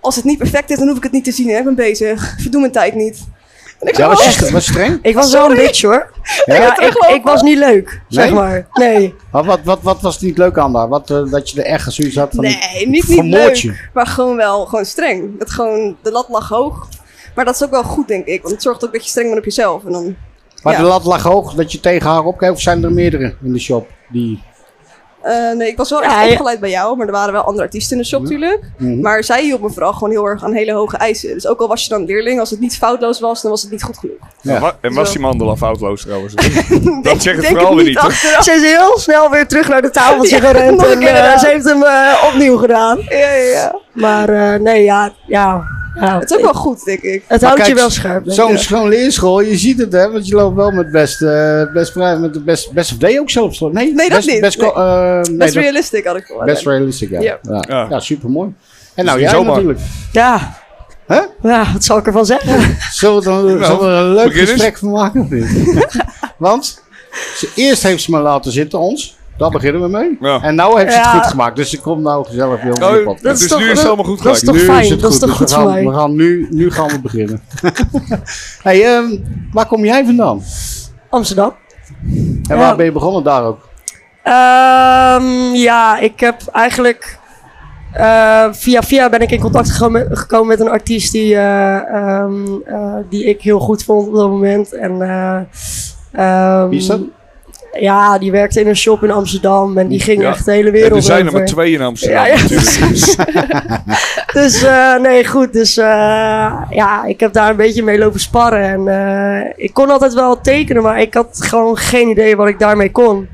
S12: Als het niet perfect is, dan hoef ik het niet te zien. Hè? Ik ben bezig. Verdoe mijn tijd niet. En ik
S6: Ja,
S12: zo,
S6: was,
S12: oh.
S6: je, was je streng?
S13: Ik was wel een
S12: Sorry.
S13: bitch hoor.
S6: Ja?
S13: Ja, ik, ik was niet leuk, zeg
S6: Nee?
S13: maar. Nee.
S6: Maar wat, wat, wat was niet leuk aan daar? Wat, eh, dat je er echt zoiets had van...
S12: Nee, niet, niet
S6: vermoord
S12: leuk,
S6: je.
S12: maar gewoon wel gewoon streng. Het gewoon, de lat lag hoog. Maar dat is ook wel goed, denk ik. Want het zorgt ook dat je streng bent op jezelf. En dan,
S6: Maar
S12: ja.
S6: de lat lag hoog dat je tegen haar opkijkt. Of zijn er meerdere in de shop die...
S12: Eh, nee, ik was wel
S13: Ja,
S12: echt
S13: ja.
S12: opgeleid bij jou. Maar er waren wel andere artiesten in de shop, natuurlijk.
S6: Mhm.
S12: Maar zij hielp me vooral gewoon heel erg aan hele hoge eisen. Dus ook al was je dan leerling, als het niet foutloos was, dan was het niet goed genoeg.
S4: En wa- En was die mandela foutloos trouwens? dat zeg
S13: Ik
S4: het
S13: denk
S4: vooral weer
S13: het niet
S4: niet. hoor.
S13: achteraf. Ze is heel snel weer terug naar de tafeltje
S12: Ja,
S13: gerend.
S12: nog een
S13: En,
S12: keer
S13: eh,
S12: gedaan.
S13: ze heeft hem eh, opnieuw gedaan.
S12: Ja, ja, ja.
S13: Maar eh, nee, ja, ja, ja.
S12: Het is ook wel goed, denk ik.
S13: Het
S6: Maar
S13: houdt je
S6: kijk,
S13: wel scherp. denk
S6: Zo'n
S13: ik.
S6: schoon leerschool, je ziet het hè, want je loopt wel met best, eh best, vrij- met de best, best of day ook zelfs. hoor. Nee,
S12: Nee, dat
S6: best,
S12: niet.
S6: Best,
S12: Nee.
S6: co- eh, nee,
S12: Best
S6: dat-
S12: realistic had ik wel.
S6: Best realistic, ja.
S12: Ja.
S6: Ja,
S4: Ja.
S6: super mooi. En nou,
S4: niet
S6: jij
S4: zomaar.
S6: natuurlijk.
S13: Ja.
S6: Hè?
S13: Ja, wat zal ik ervan zeggen?
S6: Zullen we er,
S4: Nou,
S6: zullen we er een leuk
S4: begin eens.
S6: gesprek van maken of niet? Want ze, eerst heeft ze me laten zitten, ons. Daar beginnen we mee. En nou heeft ze het
S13: Ja.
S6: goed gemaakt. Dus ze komt nou gezellig weer op
S4: Oh,
S6: de podcast.
S13: dat is Dus toch- nu is het dat- allemaal goed dat is gelijk. toch
S6: Nu
S13: fijn,
S6: het
S13: dat is
S6: goed. Dus
S13: toch goed
S6: we
S13: voor
S6: gaan,
S13: mij?
S6: we gaan nu, nu gaan we beginnen. hey, ehm, waar kom jij vandaan?
S13: Amsterdam.
S6: En
S13: Ja.
S6: waar ben je begonnen daar ook?
S13: Ehm, ja, ik heb eigenlijk. eh, via via ben ik in contact gekomen, gekomen met een artiest die, eh, ehm, eh, die ik heel goed vond op dat moment. En, eh, ehm,
S4: Wie is dat?
S13: Ja, die werkte in een shop in Amsterdam en die ging
S4: Ja.
S13: echt de hele
S4: En
S13: wereld
S4: Er zijn er
S13: over.
S4: maar twee in Amsterdam.
S13: Ja, ja,
S4: natuurlijk.
S13: Dus eh, nee, goed. Dus eh, ja, ik heb daar een beetje mee lopen sparren. En eh, ik kon altijd wel tekenen, maar ik had gewoon geen idee wat ik daarmee kon.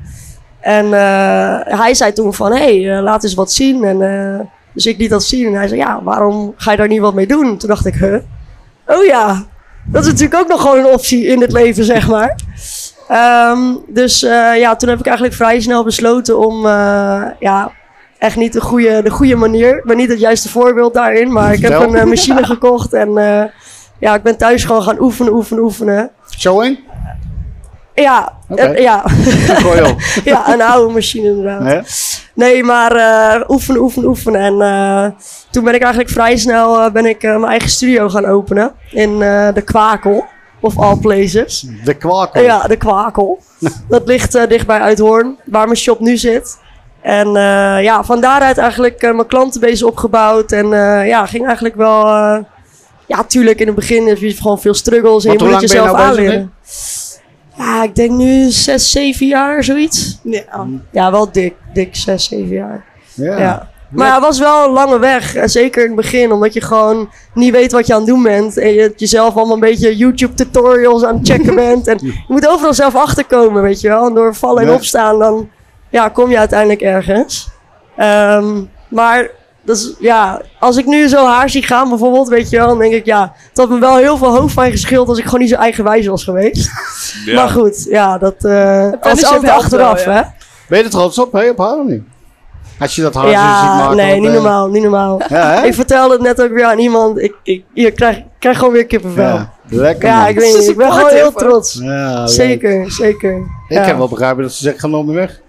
S13: En eh, hij zei toen van, hé, hey, eh, laat eens wat zien. En, eh, dus ik liet dat zien. En hij zei, ja, waarom ga je daar niet wat mee doen? Toen dacht ik, huh? Oh ja, dat is natuurlijk ook nog gewoon een optie in het leven, zeg maar. Ehm, dus eh, ja, toen heb ik eigenlijk vrij snel besloten om, eh, ja, echt niet de goede, de goede manier. Ik ben niet het juiste voorbeeld daarin, maar ik heb
S6: Vertel.
S13: een eh, machine gekocht en eh, ja, ik ben thuis gewoon gaan oefenen, oefenen, oefenen.
S6: Showing?
S13: Ja,
S6: Oké.
S13: eh, ja.
S6: Gooi op.
S13: ja, een oude machine inderdaad.
S6: Hè?
S13: Nee, maar eh, oefenen, oefenen, oefenen. En eh, toen ben ik eigenlijk vrij snel eh, ben ik, eh, mijn eigen studio gaan openen. In eh, de Kwakel, of all places.
S6: De kwakel.
S13: Ja, de Kwakel. dat ligt eh, dichtbij Uithoorn, waar mijn shop nu zit. En eh, ja, van daaruit eigenlijk eh, mijn klantenbase opgebouwd. En eh, ja, ging eigenlijk wel... eh, ja, tuurlijk, in het begin heb je gewoon veel struggles. En
S6: Want
S13: je
S6: hoe
S13: moet het
S6: lang ben je nou
S13: jezelf
S6: bezig?
S13: aanleren.
S6: hè?
S13: Ja, ik denk nu 6, 7 jaar, zoiets.
S12: Ja,
S13: ja wel dik, dik 6, 7 jaar.
S6: Ja.
S13: Maar het was wel een lange weg, en zeker in het begin, omdat je gewoon niet weet wat je aan het doen bent. En je jezelf allemaal een beetje YouTube-tutorials aan het checken bent. En je moet overal zelf achterkomen, weet je wel. En door vallen en
S6: Ja.
S13: opstaan, dan ja, kom je uiteindelijk ergens. Ehm, maar Dus ja, als ik nu zo haar zie gaan bijvoorbeeld, weet je wel, dan denk ik ja, het had me wel heel veel hoofdpijn geschild als ik gewoon niet zo eigenwijs was geweest.
S6: Ja.
S13: Maar goed, ja, dat eh
S6: Dat
S13: als altijd achteraf, hè.
S6: Ben je er trots op, hè, op haar of niet? Als je dat haar zo ziet
S13: Ja,
S6: maken.
S13: nee,
S6: want,
S13: niet
S6: eh,
S13: normaal, niet normaal.
S6: Ja, hè?
S13: ik vertelde het net ook weer aan iemand, ik, ik, ik krijg, ik krijg gewoon weer kippenvel.
S6: Ja, lekker
S13: Ja,
S6: man.
S13: ik weet niet, ik ben gewoon heel trots.
S6: Ja, leuk.
S13: zeker, zeker.
S6: Ik heb wel begrepen dat ze zegt, ga nooit meer weg.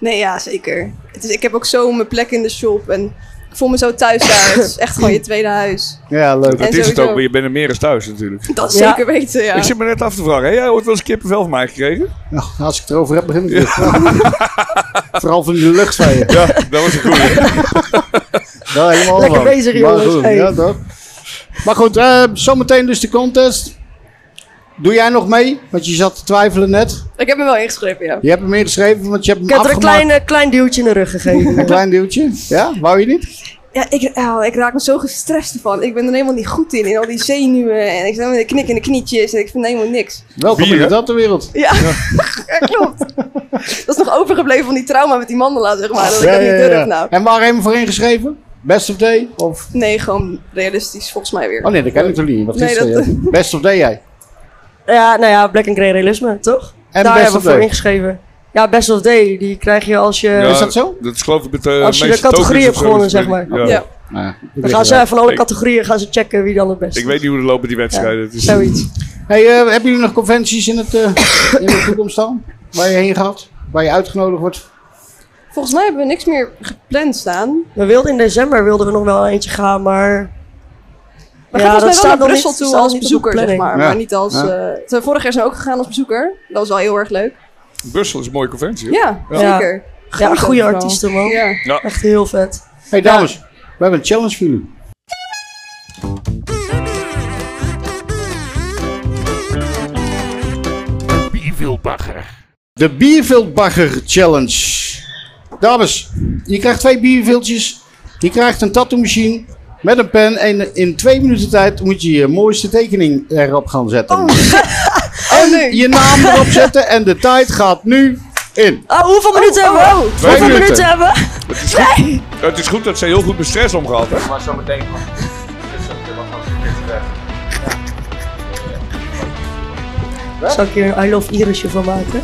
S12: Nee, ja, zeker. Het is, ik heb ook zo mijn plek in de shop en ik voel me zo thuis daar. Het is echt gewoon je tweede huis.
S6: Ja,
S12: En
S4: leuk. Dat is het
S12: sowieso-
S4: ook, maar je bent er meer eens thuis natuurlijk.
S12: Dat Ja. zeker weten, ja.
S4: Ik zit me net af te vragen, heb jij ooit wel eens kippenvel van mij gekregen?
S6: als ik het erover heb, begin ik weer. Vooral van die lucht, zei je.
S4: Ja, dat was een goeie.
S6: Ja, helemaal
S4: Lekker
S6: van.
S4: bezig,
S6: Maar
S4: jongens.
S6: goed,
S4: Hey.
S6: ja, toch? Maar goed, eh, zometeen dus de contest. Doe jij nog mee? Want je zat te twijfelen net.
S12: Ik heb me wel ingeschreven, Oh, ja.
S6: Je hebt hem ingeschreven, want je hebt
S13: Ik
S6: hem
S13: heb er een
S6: afgemaakt.
S13: klein, eh, klein duwtje in de rug gegeven.
S6: Een klein duwtje? Ja? Wou je niet?
S12: Ja, ik, oh, ik raak me zo gestrest ervan. Ik ben er helemaal niet goed in, in al die zenuwen. En ik zit helemaal in de knik en de knietjes en ik vind helemaal niks.
S6: Welkom in de datterwereld.
S12: Ja, dat is nog overgebleven van die trauma met die mandala, zeg maar. Dat ik
S6: Ja,
S12: dat
S6: ja,
S12: niet
S6: ja.
S12: durf nou.
S6: En waar hebben we voor ingeschreven? Best of day? Of...
S12: Nee, gewoon realistisch, volgens mij weer.
S6: Oh nee, dat ken ik toch niet. Wat
S12: Nee,
S6: is
S12: dat-
S6: dat? Best of day jij?
S13: Ja, nou ja, Black and Grey Realisme, toch?
S6: En
S13: Daar
S6: Best
S13: hebben
S6: of
S13: we voor
S6: Day.
S13: ingeschreven. Ja, Best of Day, die krijg je als je...
S4: Dat is geloof ik het eh
S13: Als je de
S4: meeste tokens
S13: categorie hebt
S4: of zo,
S13: gewonnen,
S4: dat
S13: zeg
S4: weet ik.
S13: maar.
S4: Ja.
S13: Ja. Dan gaan ze van alle categorieën gaan ze checken wie dan het beste
S4: Ik weet niet hoe het lopen die wedstrijden. Het is-
S13: Zoiets.
S6: Hey, eh, hebben jullie nog conventies in, het, eh, in de toekomst dan? Waar je heen gaat? Waar je uitgenodigd wordt?
S12: Volgens mij hebben we niks meer gepland staan.
S13: We wilden in december wilden we nog wel eentje gaan, maar...
S12: We gaan volgens mij wel naar
S13: nog
S12: Brussel
S13: niet-
S12: toe
S13: staat
S12: als
S13: niet op de
S12: bezoeker, zeg
S13: planning.
S12: maar. Maar niet als... eh zijn we vorig jaar zijn we ook gegaan als bezoeker. Dat was wel heel erg leuk.
S4: Brussel is een mooie conventie. hè?
S12: Ja, zeker.
S13: Ja,
S12: Groot
S13: goede
S12: overal.
S13: artiesten, man.
S12: Ja.
S13: Echt heel vet.
S6: Hey dames, we hebben een challenge voor jullie.
S14: Bierveelbagger.
S6: De Bierveeltbagger Challenge. Dames, je krijgt twee bierveeltjes. Je krijgt een tattoo machine met een pen. En in twee minuten tijd moet je je mooiste tekening erop gaan zetten.
S13: Oh.
S6: en je naam erop zetten. En de tijd gaat nu in.
S13: Oh, hoeveel minuten hebben we?
S4: Twee
S13: hoeveel minuten,
S4: minuten.
S13: hebben
S4: Het is,
S13: we? Nee!
S4: goed, het is goed dat ze heel goed met stress omgaat. Hè?
S15: Maar zo meteen.
S13: Zal ik hier een I Love Irisje van maken?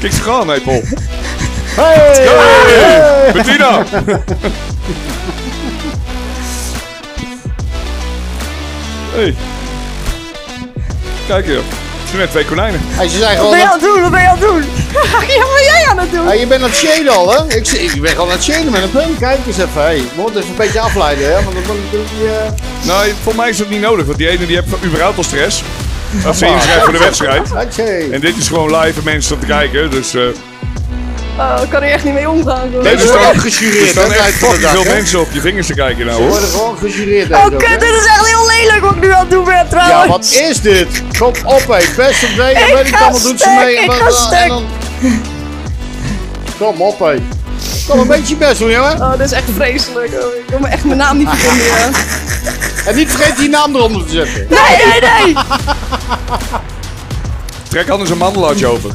S4: Kijk ze gaan, hé Paul.
S6: Hey!
S4: Hey! Bettina! hey. Kijk hier. Het zijn net twee konijnen.
S6: Hij zei
S13: Wat
S6: gewoon...
S13: ben je aan het doen? Wat ben je aan het doen?
S12: ja, wat ben jij aan het doen?
S6: Hey, je bent aan het shaden al, hè? Ik, zie- ik ben gewoon aan het shaden met een pen. Kijk eens even. Hey, je moet even een beetje afleiden, hè? Want dan dan doe je... eh,
S4: Nou, volgens mij is dat niet nodig, want die ene die heeft überhaupt al stress. Dat ze inschrijven voor de wedstrijd. En dit is gewoon live en mensen staan te kijken, dus... eh
S12: Oh, ik kan er echt niet mee omgaan. hoor.
S4: er staan- Er staan
S6: hè,
S4: echt
S6: tijd voor de
S4: fucking
S6: dag,
S4: veel
S6: hè?
S4: mensen op je vingers te kijken
S6: Ze
S4: nou, hoor.
S6: worden gewoon gejureerd.
S13: Oh
S6: deze ook, hè?
S13: kut, dit is echt heel lelijk wat ik nu aan het doen ben trouwens.
S6: Ja, wat is dit? Kom op, hé. Best of day,
S13: Ik
S6: weet ik
S13: ga
S6: allemaal, doet ze
S13: stuk,
S6: mee.
S13: ik
S6: wat-
S13: ga
S6: en
S13: stuk.
S6: dan- Kom op, hé. Kom een beetje je best doen, jongen.
S12: Oh, dit is echt vreselijk. Oh, ik wil me echt mijn naam niet verbinden.
S6: En niet vergeet die naam eronder te zetten.
S13: Nee, nee, nee!
S4: Trek anders een mandelaartje over.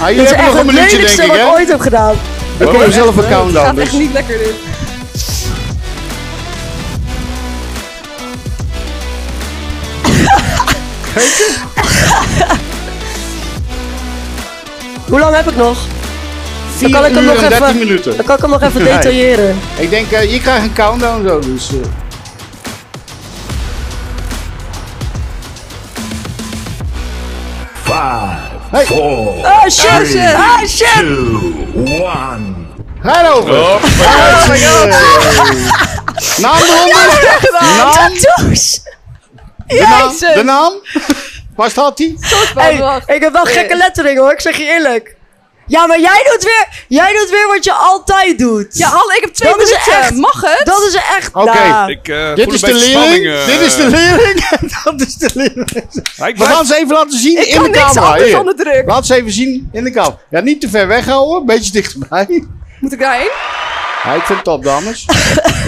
S6: Ah,
S13: Dit
S6: jullie
S13: is
S6: hebben
S13: echt
S6: nog een
S13: het
S6: minuutje,
S13: lelijkste
S6: denk ik,
S13: wat
S6: hè?
S13: ik ooit heb gedaan.
S6: We
S13: Oké.
S6: hebben zelf een
S12: Het
S6: countdown,
S12: gaat echt
S6: dus.
S12: niet lekker dit.
S13: Hoe lang heb ik nog? Dan kan ik hem nog even, Dan kan ik hem nog even detailleren.
S6: Ik denk, eh, je krijgt een countdown zo, dus... eh. Hey.
S13: Oh shit!
S6: Oh, shit.
S13: Ah, shit!
S6: Hij over!
S13: Oh my God.
S6: Naam
S13: Ja,
S6: eronder!
S13: dat heb ik gedaan.
S6: Naam!
S13: Tattoos.
S6: De naam!
S13: Jezus.
S6: De naam! Waar staat die?
S13: Hey, ik heb wel gekke lettering hoor, ik zeg je eerlijk. Ja, maar jij doet weer, jij doet weer wat je altijd doet.
S12: Ja, hallo, ik heb twee
S13: dat is
S12: minuten.
S13: Echt,
S12: Mag het?
S13: Dat is echt...
S6: Oké,
S13: nou,
S4: Ik, eh,
S6: dit
S4: voel
S6: is
S4: een
S6: de
S4: beetje
S6: leerling.
S4: spanning, eh.
S6: Dit is de leerling. Dat is de leerling.
S4: ik
S6: We
S4: blijf-
S6: gaan ze even laten zien
S4: Ik
S6: in
S4: kan
S6: de
S4: niks
S6: camera.
S4: anders
S6: Hier.
S4: dan de
S12: druk.
S6: Laat ze even zien in de camera. Ja, niet te ver weghouden. Een beetje dichterbij.
S12: Moet ik daarheen?
S6: Ja, ik vind het top, dames.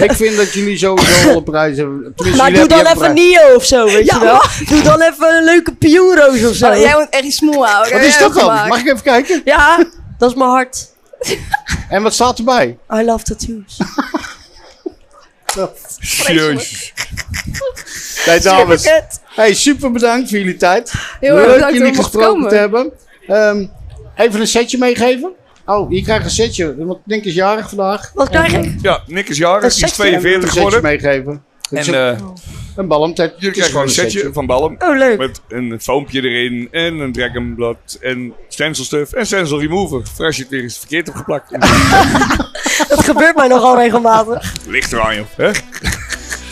S6: ik vind dat jullie sowieso wel een prijs hebben. Tenminste,
S13: Maar
S6: jullie
S13: doe dan
S6: hebben
S13: even
S6: die hebben
S13: Nio of zo, weet
S12: Ja,
S13: je wel.
S12: hoor.
S13: Doe dan even een leuke pioenroos of zo.
S12: Oh, jij moet echt iets smoel houden.
S13: Wat is dat dan? Mag
S6: ik even kijken?
S13: Ja, dat is mijn hart.
S6: prijs. En wat staat erbij?
S13: I love tattoos.
S6: Serieus. Hey, dames.
S12: Superkut.
S6: Hey, super bedankt voor jullie tijd.
S12: Heel erg
S6: Leuk
S12: bedankt dat
S6: jullie
S12: we mochten
S6: gesproken
S12: komen.
S6: te hebben. Ehm, even een setje meegeven. Oh, je krijgt een setje. Want Nick is jarig vandaag.
S13: Wat
S4: krijg
S13: ik?
S4: Ja, Nick is jarig, die is
S6: Een
S4: 42
S6: setje
S4: geworden.
S6: meegeven.
S4: En
S6: En,
S4: eh
S6: een balm. Jullie
S4: jullie krijgen een setje van Balm.
S13: Oh, leuk.
S4: Met een foompje erin en een dragonblad en stencilstuf en stencil remover. Voor als je het weer eens verkeerd hebt geplakt.
S13: dat gebeurt mij nogal regelmatig.
S4: Ligt er aan, joh. Hè?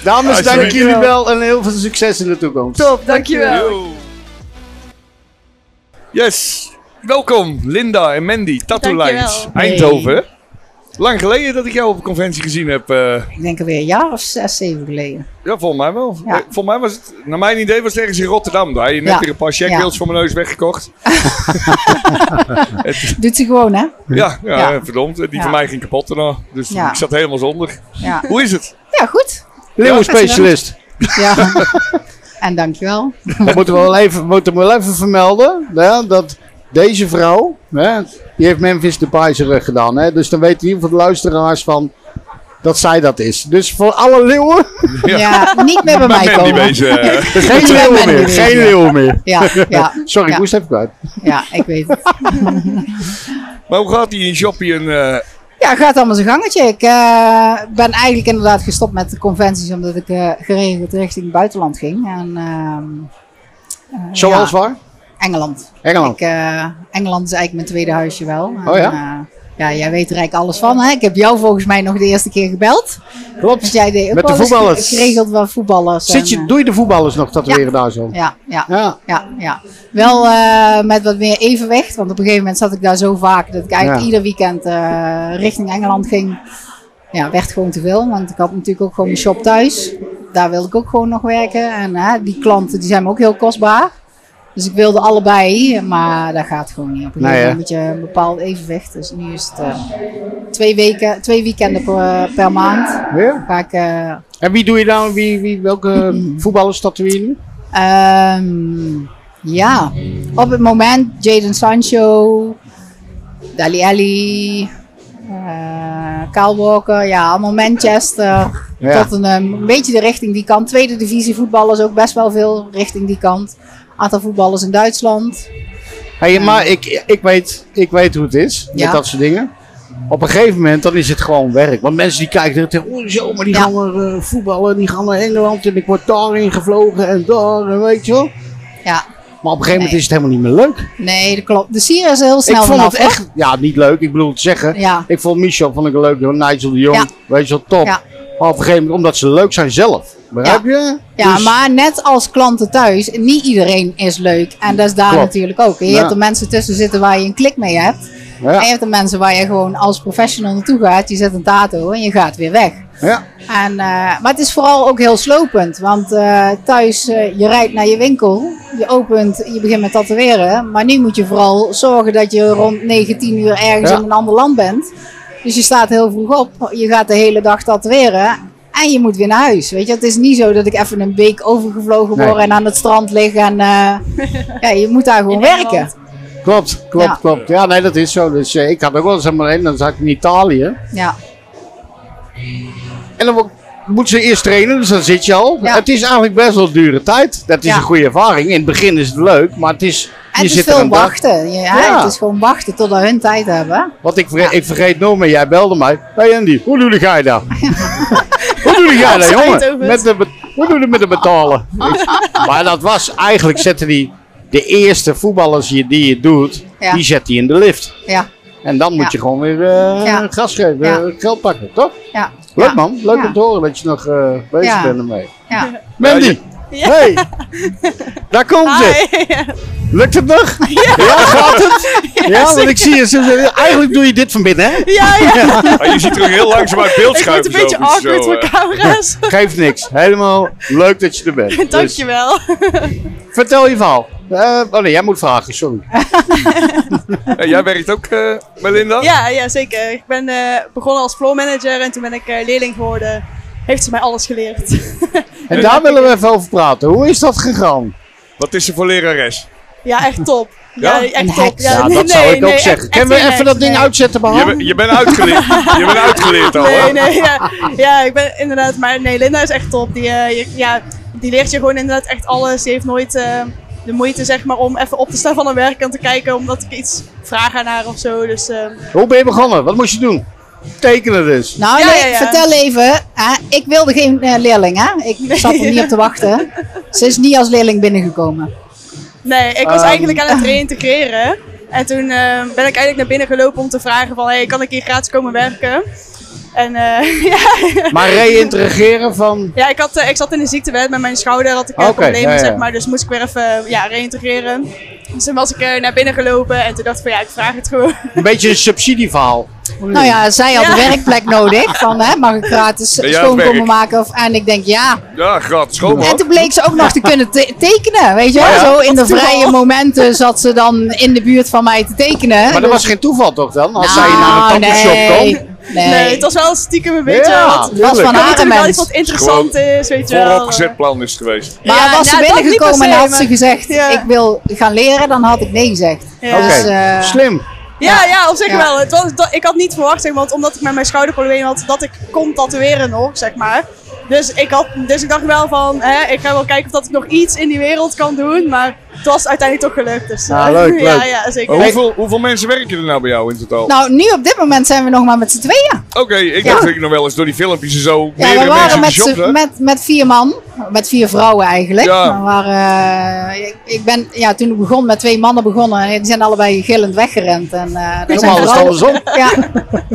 S6: Dames,
S4: Alsjeblieft.
S6: dank jullie wel en heel veel succes in de toekomst.
S13: Top,
S4: Yo. Yes, welkom Linda en Mandy, Tattoo
S16: Dankjewel.
S4: Lines,
S16: Hey.
S4: Eindhoven. Lang geleden dat ik jou op een conventie gezien heb. eh.
S16: Ik denk alweer een jaar of zes, zeven geleden.
S4: ja, volgens mij wel. Eh, Volgens mij was het, naar mijn idee was het ergens in Rotterdam. Daar had je net
S16: Ja.
S4: weer een paar
S16: Ja.
S4: checkbeelds voor mijn neus weggekocht. Het-
S16: Doet ze gewoon, hè?
S4: ja, ja,
S16: Ja.
S4: eh, verdomd. Die
S16: Ja.
S4: van mij ging kapot daarna. Dus
S16: Ja.
S4: ik zat helemaal zonder.
S16: Ja.
S4: Hoe is het?
S16: Ja, goed.
S6: Leeuwenspecialist.
S16: Ja. En dankjewel.
S6: Dat moeten we wel even, moeten we wel even vermelden. Hè, dat deze vrouw, hè, die heeft Memphis Depay zijn rug gedaan. Hè, dus dan weten in ieder geval de luisteraars van dat zij dat is. Dus voor alle leeuwen...
S16: Ja, niet meer bij mij
S6: Mandy
S16: komen.
S6: bezig, hè.
S16: Niet
S6: Geen
S16: bij
S6: leeuwen
S16: Mandy
S6: meer,
S16: bezig.
S6: geen leeuwen meer.
S16: Ja, ja.
S6: Sorry, ik
S16: ja.
S6: moest even kwijt.
S16: Ja, ik weet het.
S4: Maar hoe gaat die in shoppie en... eh,
S16: Ja, gaat allemaal zijn gangetje. Ik eh, ben eigenlijk inderdaad gestopt met de conventies omdat ik eh, geregeld richting het buitenland ging. En, ehm, eh,
S6: Zoals
S16: ja,
S6: waar?
S16: Engeland.
S6: Engeland.
S16: Ik, eh, Engeland is eigenlijk mijn tweede huisje wel. En,
S6: Oh ja?
S16: eh, ja, jij weet er eigenlijk alles van. Hè? Ik heb jou volgens mij nog de eerste keer gebeld.
S6: Klopt.
S16: Want jij deed ook
S6: Met de
S16: wel eens
S6: voetballers.
S16: geregeld wel voetballers.
S6: Zit
S16: en,
S6: je, doe je de voetballers nog tatoeëren daar zo?
S16: eh, ja, ja, ja. ja, Wel eh, met wat meer evenwicht. Want op een gegeven moment zat ik daar zo vaak dat ik eigenlijk
S6: Ja.
S16: ieder weekend eh, richting Engeland ging. Ja, werd gewoon te veel. Want ik had natuurlijk ook gewoon mijn shop thuis. Daar wilde ik ook gewoon nog werken. En eh, die klanten die zijn me ook heel kostbaar. Dus ik wilde allebei, maar dat gaat gewoon niet. Op een
S6: Nee,
S16: gegeven
S6: hè?
S16: moment moet je een bepaald evenwicht. Dus nu is het eh, twee, weken, twee weekenden per, per maand.
S6: Ja.
S16: Ga ik, eh,
S6: En wie doe je dan? Wie, wie, welke Ehm, voetballers tatoeëren jullie?
S16: Hmm. Ehm, ja, op het moment Jaden Sancho, Dali Ali, eh Kyle Walker, ja, allemaal Manchester.
S6: Ja.
S16: Tottenham, een beetje de richting die kant. Tweede divisie voetballers ook best wel veel richting die kant. Aantal voetballers in Duitsland.
S6: Hey, maar ik, ik, weet, ik weet hoe het is
S16: Ja.
S6: met dat soort dingen. Op een gegeven moment dan is het gewoon werk. Want mensen die kijken er tegen, oh zo, maar die gaan naar eh, voetballen, die gaan naar Engeland en ik word daarin gevlogen en daar, en weet je wel.
S16: Ja,
S6: Maar op een gegeven moment
S16: Nee.
S6: is het helemaal niet meer leuk.
S16: nee, dat klopt. De Sierra is er heel snel
S6: ik vond
S16: vanaf,
S6: het
S16: hoor.
S6: echt, ja, niet leuk. Ik bedoel te zeggen,
S16: Ja.
S6: ik vond Michel vond ik een leuk, joh, Nigel de Jong,
S16: Ja.
S6: weet je wel, top.
S16: Ja.
S6: Maar op een gegeven moment, omdat ze leuk zijn zelf. Begrijp je?
S16: Ja,
S6: Dus-
S16: maar net als klanten thuis, niet iedereen is leuk. En dat is daar
S6: Klopt.
S16: natuurlijk ook. Je
S6: Ja.
S16: hebt er mensen tussen zitten waar je een klik mee hebt.
S6: Ja.
S16: En je hebt er mensen waar je gewoon als professional naartoe gaat. Je zet een tato en je gaat weer weg.
S6: Ja.
S16: En, eh, maar het is vooral ook heel slopend. Want eh, thuis, eh, je rijdt naar je winkel, je opent, je begint met tatoeëren. Maar nu moet je vooral zorgen dat je rond 19 uur ergens
S6: Ja.
S16: in een ander land bent. Dus je staat heel vroeg op, je gaat de hele dag tatoeëren. En je moet weer naar huis. Weet je, het is niet zo dat ik even een week overgevlogen
S6: Nee.
S16: word en aan het strand lig. En eh, ja, je moet daar gewoon werken.
S6: Klopt, klopt,
S16: Ja.
S6: klopt. Ja, nee, dat is zo. Dus eh, ik had ook wel eens helemaal heen, dan zat ik in Italië.
S16: Ja.
S6: En dan wo- moeten ze eerst trainen, dus dan zit je al.
S16: Ja.
S6: Het is eigenlijk best wel dure tijd. Dat is
S16: Ja.
S6: een goede ervaring. In het begin is het leuk, maar het is.
S16: En
S6: je
S16: het is
S6: zit er
S16: veel
S6: een dag-
S16: wachten. Ja,
S6: Ja.
S16: Het is gewoon wachten totdat hun tijd hebben.
S6: Want ik, verge- ik vergeet nooit meer, jij belde mij. hey Andy, hoe doe jij dat? hoe doe jij dat,
S16: Altijd
S6: jongen?
S16: over het.
S6: Met de be- hoe doe je met de betalen? maar dat was eigenlijk, zetten die de eerste voetballers je- die je doet,
S16: Ja.
S6: die zet hij in de lift.
S16: Ja,
S6: En dan moet
S16: Ja.
S6: je gewoon weer eh,
S16: Ja.
S6: gas geven,
S16: Ja.
S6: eh, geld pakken, toch?
S16: ja.
S6: Leuk
S16: Ja.
S6: man, leuk
S16: Ja.
S6: om te horen dat je nog eh, bezig
S16: Ja.
S6: bent ermee.
S16: Ja.
S6: Mandy, hey, daar komt ze. Lukt het nog? Ja, gaat het? Ja, want ik zie je. ze- ze- Eigenlijk doe je dit van binnen, hè?
S4: Ja, ja. Ah, je ziet er ook heel langzaam uit beeld Ik word een schuiven, beetje zo, goed, awkward zo, voor eh.
S6: camera's. Geeft niks. Helemaal leuk dat je er bent. Dus,
S17: Dankjewel.
S6: vertel je verhaal. Eh, oh nee, jij moet vragen, sorry.
S4: En jij werkt ook, eh, Melinda?
S18: Ja, ja, zeker. Ik ben eh, begonnen als floor manager en toen ben ik eh, leerling geworden. Heeft ze mij alles geleerd.
S6: En daar willen we even over praten. Hoe is dat gegaan?
S4: Wat is ze voor lerares?
S18: ja, echt top.
S6: Ja?
S18: Ja,
S6: Een
S18: echt top.
S6: heks. Ja, dat zou ik ook zeggen. Kunnen we even dat ding uitzetten,
S4: Je,
S6: behalve?
S4: ben- je bent uitgeleerd. je bent uitgeleerd al, hè?
S18: Nee, nee, ja. ja, ik ben inderdaad, maar nee, Linda is echt top. Die, eh, je- ja, die leert je gewoon inderdaad echt alles. Die heeft nooit eh, de moeite, zeg maar, om even op te staan van haar werk en te kijken, omdat ik iets vraag aan haar of zo. Dus eh,
S6: Hoe ben je begonnen? Wat moest je doen? Tekenen dus.
S16: Nou,
S18: Ja,
S16: nee,
S18: ja, ja.
S16: vertel even. hè, ik wilde geen eh, leerling, hè? Ik
S18: Nee.
S16: zat er niet op te wachten. Ze is niet als leerling binnengekomen.
S18: Nee, ik was
S16: Ehm.
S18: eigenlijk aan het reïntegreren. En toen eh, ben ik eigenlijk naar binnen gelopen om te vragen van... Hey, kan ik hier gratis komen werken? En eh, ja.
S6: Maar reïntegreren van...
S18: Ja, ik, had, eh, ik zat in de ziektewet met mijn schouder. Had ik eh,
S6: Oké,
S18: problemen,
S6: ja, ja.
S18: zeg maar. Dus moest ik weer even ja, reïntegreren. Dus toen was ik eh, naar binnen gelopen. En toen dacht ik van ja, ik vraag het gewoon.
S6: Een beetje een subsidieverhaal.
S16: Nou ja, zij had een werkplek nodig. Van, hè, mag ik gratis
S4: Ben jij aan het
S16: schoon komen
S4: werk?
S16: maken? Of, en ik denk, ja.
S4: Ja, gratis schoon,
S16: En toen bleek ze ook nog te kunnen te- tekenen, weet je wel?
S6: Ja, ja.
S16: Zo in de
S6: Wat toeval.
S16: vrije momenten zat ze dan in de buurt van mij te tekenen.
S6: Maar dat
S16: Dus-
S6: was geen toeval toch dan? Als
S16: Nou,
S6: zij naar een tandenshop
S16: nee.
S6: kwam.
S16: Nee.
S18: het was wel stiekem een beetje...
S16: Ja,
S18: wat,
S16: het was van
S18: Ik
S16: haar
S18: weet ook wel
S16: mens.
S18: iets wat interessant is, weet je wel.
S4: Vooropgezet plan is het geweest.
S16: Maar
S18: Ja,
S16: was ze
S18: nou, dat niet per
S16: binnengekomen
S18: se,
S16: en had
S18: maar-
S16: ze gezegd,
S18: Ja.
S16: ik wil gaan leren, dan had ik nee gezegd.
S18: Ja.
S16: Dus,
S6: Oké,
S16: eh,
S6: slim.
S18: Ja, ja, op zich
S16: Ja.
S18: wel. Het was, dat, ik had niet verwacht, zeg maar, want omdat ik met mijn schouderprobleem had, dat ik kon tatoeëren nog, zeg maar. Dus ik, had, dus ik dacht wel van, hè, ik ga wel kijken of dat ik nog iets in die wereld kan doen. Maar het was uiteindelijk toch gelukt. Dus, eh, Ja, ja, zeker.
S4: Maar Hoeveel, hoeveel mensen werken er nou bij jou in totaal?
S16: Nou, nu op dit moment zijn we nog maar met z'n tweeën.
S4: Oké, ik dacht dat ik nog wel eens door die filmpjes en zo
S16: Ja, we
S4: meerdere mensen
S16: waren
S4: in de
S16: met,
S4: shop
S16: z'n-
S4: zag.
S16: met, met vier man, met vier vrouwen eigenlijk.
S4: Ja.
S16: We waren, eh, ik, ik ben ja, toen ik begon met twee mannen begonnen en die zijn allebei gillend weggerend. En, eh, daar zijn
S6: Normaal is het
S16: vrouwen-
S6: andersom.
S16: Ja,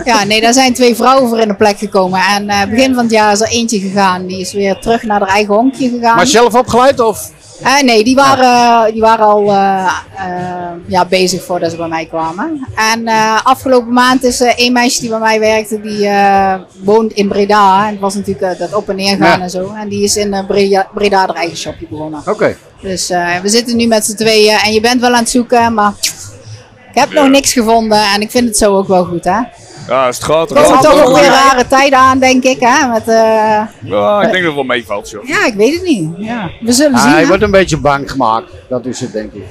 S16: ja, nee, daar zijn twee vrouwen voor in de plek gekomen. En eh, begin van het jaar is er eentje gegaan. Die is weer terug naar haar eigen honkje gegaan.
S6: Maar zelf opgeleid of?
S16: Eh, nee, die waren, die waren al eh, eh, ja, bezig voordat ze bij mij kwamen. En eh, afgelopen maand is eh één meisje die bij mij werkte, die eh, woont in Breda. En het was natuurlijk eh, dat op en neer gaan
S6: Ja.
S16: en zo. En die is in eh, Breda, Breda haar eigen shopje begonnen.
S6: Oké.
S16: Dus eh, we zitten nu met z'n tweeën en je bent wel aan het zoeken, maar ik heb nog niks gevonden. En ik vind het zo ook wel goed, hè.
S4: Ja, is het gaat
S16: Er
S4: er
S16: komen
S4: wel.
S16: toch ook weer rare tijden aan, denk ik, hè. Met, eh,
S4: Ja, ik denk dat het wel meevalt, joh.
S16: ja, ik weet het niet. Ja. We zullen zien,
S6: Hij
S16: hè.
S6: Ah, wordt een beetje bang gemaakt. Dat is het, denk ik.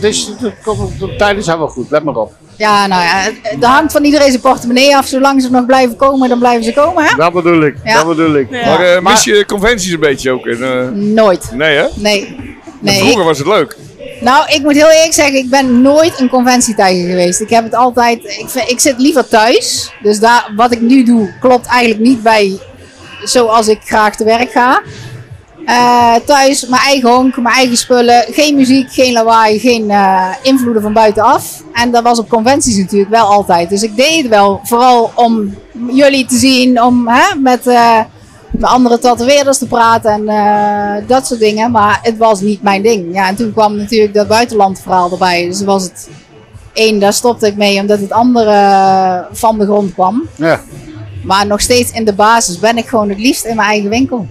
S6: Dus de, de, de tijden zijn wel goed. Let maar op.
S16: Ja, nou ja, het- het hangt van iedereen zijn portemonnee af. Zolang ze nog blijven komen, dan blijven ze komen, hè?
S6: Dat bedoel ik.
S16: Ja.
S6: Dat bedoel ik.
S4: Maar eh, mis je conventies een beetje ook? En, eh,
S16: Nooit.
S4: nee, hè?
S16: Nee. Nee,
S4: Vroeger
S16: ik,
S4: was het leuk.
S16: nou, ik moet heel eerlijk zeggen, ik ben nooit een conventietijger geweest. Ik heb het altijd, ik, vind- ik zit liever thuis. Dus daar, wat ik nu doe, klopt eigenlijk niet bij zoals ik graag te werk ga. Eh, thuis, mijn eigen honk, mijn eigen spullen. Geen muziek, geen lawaai, geen eh, invloeden van buitenaf. En dat was op conventies natuurlijk wel altijd. Dus ik deed het wel, vooral om jullie te zien, om hè, met, eh, met andere tatoeëerders te praten en eh, dat soort dingen. Maar het was niet mijn ding. Ja, en toen kwam natuurlijk dat buitenlandverhaal erbij. Dus was het één, daar stopte ik mee, omdat het andere eh, van de grond kwam.
S6: Ja.
S16: Maar nog steeds in de basis ben ik gewoon het liefst in mijn eigen winkel.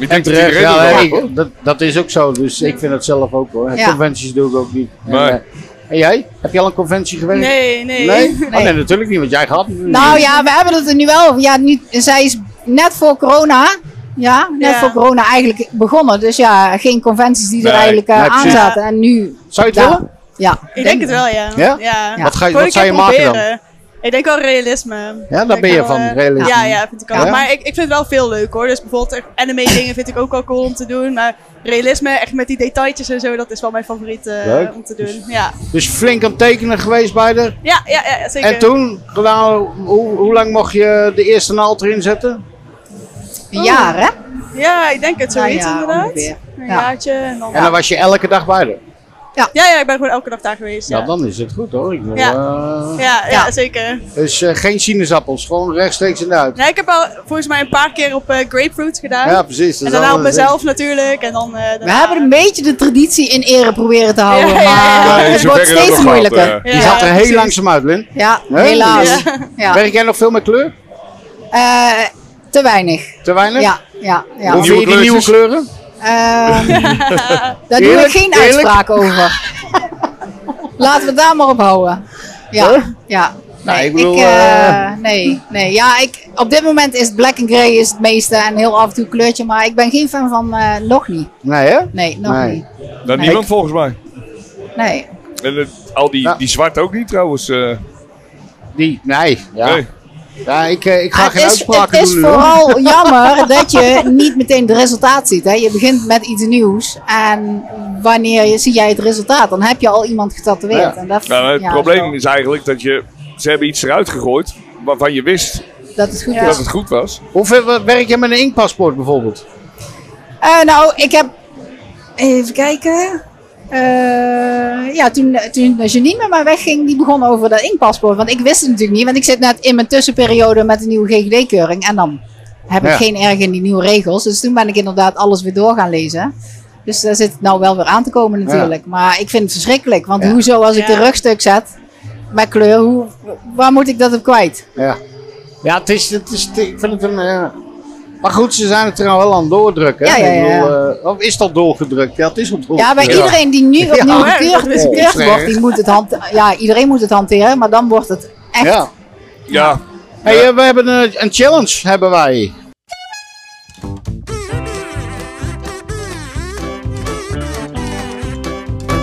S4: Ik
S6: en
S4: denk dat
S6: terecht,
S4: iedereen
S6: ja,
S4: dat
S6: nee,
S4: mag, hoor.
S6: ik- dat, dat is ook zo. Dus ik vind het zelf ook hoor. En
S16: Ja.
S6: Conventies doe ik ook niet.
S4: Nee.
S6: En, eh, en jij? Heb je al een conventie gewerkt?
S16: Nee, nee.
S6: Nee? Oh,
S16: Nee.
S6: nee, natuurlijk niet, want jij gaat niet.
S16: Nou ja, we hebben het er nu wel. Ja, nu, zij is net voor corona. Ja, net
S18: Ja.
S16: voor corona eigenlijk begonnen. Dus ja, geen conventies die
S6: Nee,
S16: er eigenlijk eh,
S6: nee,
S16: aan
S6: precies.
S16: zaten. En nu.
S6: Zou je het
S16: ja.
S6: willen?
S16: Ja.
S18: Ik denk het wel, ja.
S6: Ja? Wat ga je-
S18: Gewoon
S6: wat
S18: een
S6: zou je
S18: keer
S6: maken dan?
S18: proberen. Ik denk wel realisme.
S6: Ja, daar
S18: Ik
S6: ben je
S18: wel,
S6: van,
S18: eh,
S6: realisme.
S18: Ja, ja, vind ik ook.
S6: Ja?
S18: Maar ik, ik vind het wel veel leuk hoor. Dus bijvoorbeeld echt anime dingen vind ik ook wel cool om te doen. Maar realisme, echt met die detailtjes en zo, dat is wel mijn favoriet eh,
S6: Leuk.
S18: om te doen. Ja,
S6: Dus flink aan het tekenen geweest bij de.
S18: ja, ja, ja zeker.
S6: En toen, nou, hoe, hoe lang mocht je de eerste naald erin zetten?
S16: Een jaar, hè?
S18: Ja, ik denk het
S16: Nou
S18: zoiets
S16: ja,
S18: inderdaad.
S16: ongeveer.
S18: Een
S16: Ja.
S18: jaartje en dan...
S6: En dan was je elke dag bij de.
S18: ja. Ja, ja, ik ben gewoon elke dag daar geweest. Ja,
S6: Nou, dan is het goed hoor. Ik wil,
S18: Ja.
S6: eh,
S18: ja, ja, zeker.
S6: Dus eh, geen sinaasappels, gewoon rechtstreeks in de huid.
S18: Nee, ik heb al volgens mij een paar keer op eh, grapefruit gedaan.
S6: Ja, precies, dat
S18: En
S6: is
S18: daarna op
S6: altijd-
S18: mezelf natuurlijk. En dan, eh,
S16: We hebben een beetje de traditie in ere proberen te houden.
S18: Ja, ja, ja.
S16: Maar eh,
S6: Ja, in
S16: het
S6: zoverre
S16: wordt
S6: dat
S16: steeds
S6: nog
S16: moeilijker.
S6: gaat, eh. Die zat er heel langzaam uit, Lin.
S16: Ja,
S6: Hè?
S16: helaas. Ja.
S6: Werk jij nog veel met kleur?
S16: Eh, te weinig.
S6: Te weinig?
S16: Ja, ja, ja.
S6: Hoe vind je die nieuwe kleuren?
S16: Ehm, daar doe ik
S18: Eerlijk,
S16: geen
S18: eerlijk.
S16: uitspraak over. Laten we het daar maar op houden. Ja,
S18: Huh?
S16: ja.
S18: Nou, ik
S16: ik,
S18: bedoel,
S16: eh,
S18: eh,
S16: nee, nee. Ja, ik, op dit moment is black and grey is het meeste en heel af en toe kleurtje. Maar ik ben geen fan van eh, nog niet.
S6: Nee, hè?
S16: Nee, nog niet.
S4: Nou,
S16: Nee.
S4: niemand volgens mij.
S16: Nee.
S4: En eh, al die, die zwart ook niet trouwens. eh.
S6: Die, nee. Ja, ja ik, eh, ik ga
S16: Ah,
S6: geen
S16: het is,
S6: uitspraken
S16: het is
S6: doen.
S16: vooral jammer dat je niet meteen de resultaat ziet. Hè? Je begint met iets nieuws en wanneer je, zie jij het resultaat, dan heb je al iemand getatoeëerd.
S4: Ja.
S16: En dat,
S4: Nou, het
S16: ja,
S4: probleem is eigenlijk dat je, ze hebben iets eruit gegooid waarvan je wist
S16: dat het goed
S4: dat
S16: is.
S4: het goed was.
S6: Hoeveel werk je met een inkpaspoort bijvoorbeeld?
S16: Eh, nou, ik heb. Even kijken. Eh, ja, toen, toen Janine met mij wegging, die begon over dat inkpaspoort. Want ik wist het natuurlijk niet, want ik zit net in mijn tussenperiode met een nieuwe GGD-keuring. En dan heb ik
S19: Ja.
S16: geen erg in die nieuwe regels. Dus toen ben ik inderdaad alles weer door gaan lezen. Dus daar zit het nou wel weer aan te komen natuurlijk. Maar ik vind het verschrikkelijk. Want
S6: Ja.
S16: hoezo als ik
S6: Ja.
S16: de rugstuk zet met kleur, hoe, waar moet ik dat op kwijt?
S6: Ja. Ja, het is, het is, ik vind het een... eh, maar goed, ze zijn het er nou wel aan het doordrukken. hè?
S16: Ja, ja,
S6: Ik bedoel,
S16: ja.
S6: eh, of is dat doorgedrukt? Ja, het is al doorgedrukt.
S16: Ja, bij iedereen die nu opnieuw
S6: Ja.
S16: gekeurd,
S6: Ja.
S16: gekeurd wordt, die moet het hand, ja, iedereen moet het hanteren, maar dan wordt het echt.
S6: Ja.
S4: Ja.
S6: Hey, eh, we hebben een, een challenge, hebben wij.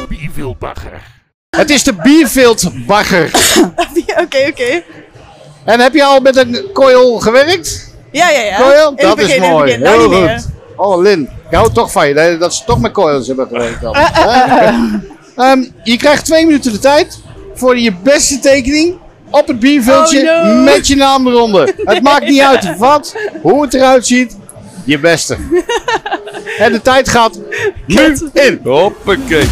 S20: Bievelbagger.
S6: Het is de Bierfield Bagger.
S18: Oké, oké.
S6: En heb je al met een koil gewerkt?
S18: Ja, ja, ja.
S6: Koil?
S18: In
S6: Nou Dat
S18: het begin,
S6: is
S18: in het
S6: mooi.
S18: begin. Nou,
S6: Heel
S18: niet
S6: goed. Oh, Lin, ik hou toch van je dat- dat ze toch met coils hebben gewerkt. dan.
S18: Eh, eh, eh, eh.
S6: Ehm, je krijgt twee minuten de tijd voor je beste tekening op het bierveldje
S18: Oh, no.
S6: met je naam eronder. Het maakt niet uit wat, hoe het eruit ziet, je beste. en de tijd gaat nu in.
S4: Hoppakee.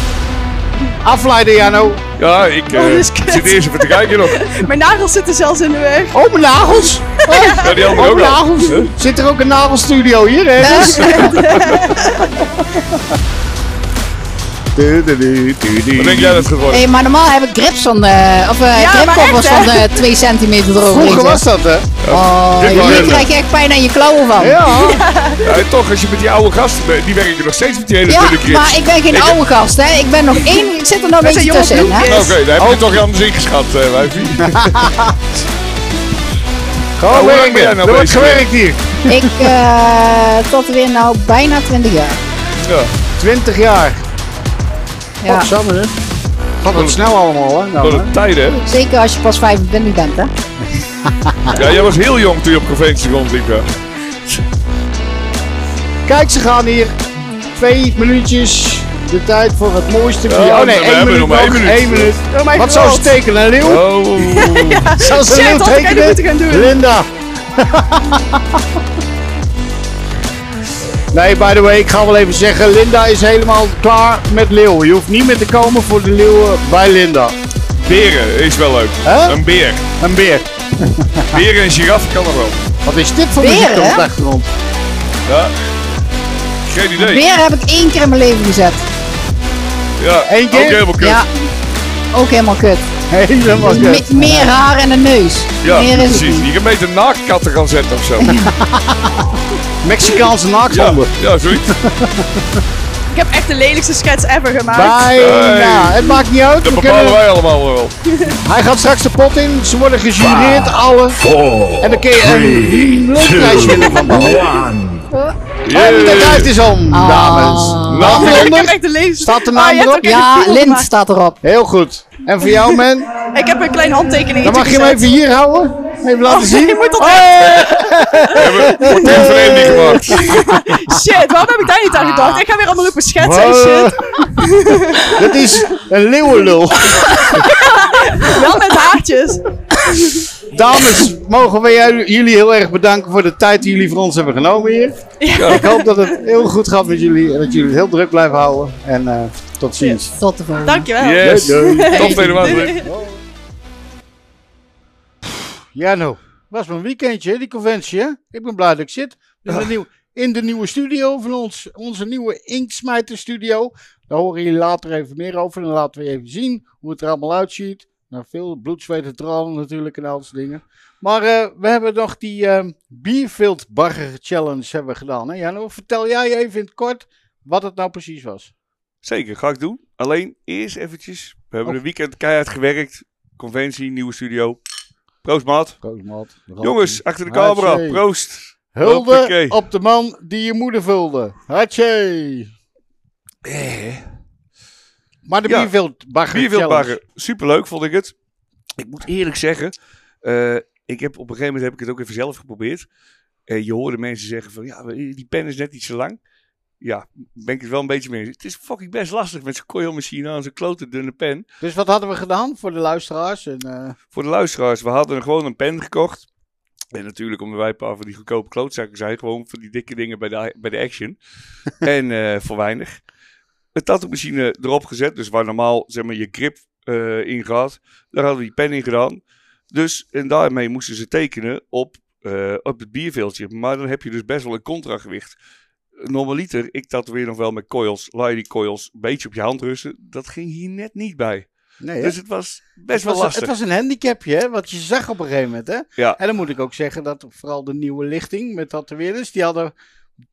S6: Afleiden, Jano.
S4: Ja, ik eh,
S6: Oh, dit is
S4: zit eerst even te kijken nog.
S18: Mijn nagels zitten zelfs in de weg.
S6: Oh, mijn nagels?
S4: Ja, die andere
S6: Oh,
S4: ook al.
S6: nagels.
S4: Huh?
S6: Zit er ook een nagelstudio hier, hè? Dus, eh,
S4: Wat denk jij dat het gaat worden?
S16: Hey, maar normaal heb ik grips van eh of eh
S18: Ja, maar
S16: gripkoppers
S18: echt,
S16: van
S18: hè?
S16: eh 2 centimeter erover.
S6: Vroeger was dat, hè?
S16: Oh,
S4: Dit was
S16: hier
S4: het.
S16: krijg je echt pijn aan je klauwen van.
S4: Ja, en toch, als je met die oude gasten bent, die werken nog steeds met die hele
S16: Ja,
S4: dunne grips.
S16: maar ik ben geen oude gast, hè? Ik ben nog één. Ik zit er nou een beetje tussenin,
S4: Oké,
S16: hè?
S4: daar heb je toch anders ingeschat, eh wijfie.
S6: Gewoon
S4: Hoe lang
S6: werken.
S4: ben jij nou
S6: Er wordt
S4: bezig?
S6: gewerkt hier.
S16: Ik eh tot weer nou bijna 20 jaar.
S4: Ja.
S6: 20 jaar.
S16: Ja.
S6: Wat samen, hè? Gaat het snel allemaal, hè? Nou,
S4: Wat een tijd, hè?
S16: Zeker als je pas 25 bent, hè?
S4: Ja, jij was heel jong toen je op conventie rondliep. ja.
S6: Kijk, ze gaan hier. Twee minuutjes. De tijd voor het mooiste
S4: Ja,
S6: bier. Oh nee,
S4: we
S6: één
S4: hebben
S6: minuut
S4: nog
S6: nog.
S4: maar één minuut.
S6: Eén minuut.
S4: Oh my
S6: Wat zou ze
S4: God.
S6: tekenen, hè, Leeuw?
S4: Oh.
S6: Zou ze
S4: Shit,
S6: Leeuw
S4: had ik eigenlijk moeten gaan
S6: tekenen?
S4: doen.
S6: Linda. Nee, by the way, ik ga wel even zeggen, Linda is helemaal klaar met Leeuw. Je hoeft niet meer te komen voor de leeuwen bij Linda.
S4: Beren is wel leuk.
S6: Hè?
S4: Een beer.
S6: Een beer.
S4: Beren en giraffe kan nog wel.
S6: Wat is dit voor
S16: Beren,
S6: muziek op de
S16: hè?
S6: achtergrond?
S4: Ja. Geen idee.
S16: Weer heb ik één keer in mijn leven gezet.
S4: Ja, Oh,
S6: Eén keer?
S4: Ook helemaal kut.
S16: Ja. Ook helemaal kut. Dus
S6: Helemaal
S16: Me- meer haar en een neus.
S4: Ja,
S16: meer is het
S4: precies. Je kan beter naaktkatten gaan zetten of zo.
S6: Mexicaanse naakzanden.
S4: Ja, ja, zoiets.
S18: Ik heb echt de lelijkste schets ever gemaakt.
S6: Bijna.
S4: Hey.
S6: Het maakt niet uit.
S4: Dat
S6: we
S4: bepalen
S6: kunnen-
S4: wij allemaal wel.
S6: Hij gaat straks de pot in. Ze worden gejureerd, alle. en dan kun je een leuk prijs winnen van de En de tijd is om,
S16: Ah.
S6: dames. Naam eronder? Staat de
S18: Ah,
S6: naam
S18: je hebt
S6: erop?
S18: ook echt een film gemaakt.
S16: staat erop.
S6: Heel goed. En voor jou, man?
S18: Ik heb een klein handtekening.
S6: Dan mag je hem even hier houden. Even laten
S18: Oh,
S6: zien.
S18: je moet dat
S4: Portretverending gemaakt.
S18: Shit, waarom heb ik daar niet aan gedacht? Ik ga weer allemaal lopen schetsen en shit.
S6: Dat is een leeuwenlul.
S18: Wel met haartjes.
S6: Dames, mogen wij jou- jullie heel erg bedanken voor de tijd die jullie voor ons hebben genomen hier.
S18: Ja.
S6: Ik hoop dat het heel goed gaat met jullie en dat jullie het heel druk blijven houden. En eh, tot ziens.
S16: Tot de volgende.
S18: Dankjewel.
S4: Yes.
S6: Doei, doei.
S4: Tot helemaal.
S6: Ja, nou, was mijn weekendje, hè, die conventie. Hè? Ik ben blij dat ik zit. In de, nieuw- in de nieuwe studio van ons, onze nieuwe Inksmijter studio. Daar horen jullie later even meer over. En dan laten we even zien hoe het er allemaal uitziet. Nou, veel bloed, zweet en tranen natuurlijk en al dat soort dingen. Maar eh, we hebben nog die ehm Bierfield Bagger Challenge hebben we gedaan. Hè? Jano, vertel jij even in het kort wat het nou precies was.
S4: Zeker, ga ik doen. Alleen eerst eventjes. We hebben een weekend keihard gewerkt. Conventie, nieuwe studio. Proost, maat.
S6: Proost, maat.
S4: Jongens, achter de camera.
S6: Hatschee.
S4: Proost.
S6: Hulde
S4: Hoppakee.
S6: op de man die je moeder vulde. Hatje. Eh. Maar de bierveldbagger
S4: Bierveldbagger. Superleuk vond ik het. Ik moet eerlijk zeggen, eh, ik heb op een gegeven moment heb ik het ook even zelf geprobeerd. Eh, je hoorde mensen zeggen van, ja, die pen is net iets te lang. Ja, ben ik het wel een beetje mee eens. Het is fucking best lastig met zo'n coilmachine aan, zo'n klote dunne pen.
S6: Dus wat hadden we gedaan voor de luisteraars? En, eh,
S4: Voor de luisteraars, we hadden gewoon een pen gekocht. En natuurlijk, omdat wij een paar van die goedkope klootzakken zijn, gewoon van die dikke dingen bij de, bij de Action. en eh, voor weinig. De tattoo-machine erop gezet, dus waar normaal zeg maar, je grip eh, in gaat, daar hadden we die pen in gedaan. Dus, en daarmee moesten ze tekenen op, eh, op het bierveeltje. Maar dan heb je dus best wel een contragewicht. Normaliter, ik tatoeëer nog wel met coils, lady coils, een beetje op je hand rusten. Dat ging hier net niet bij.
S6: nee, hè?
S4: dus het was best
S6: Het
S4: wel
S6: was-
S4: lastig.
S6: Het was een handicapje, hè, wat je zag op een gegeven moment. Hè?
S4: Ja.
S6: En dan moet ik ook zeggen dat vooral de nieuwe lichting met tatoeëerders, die hadden...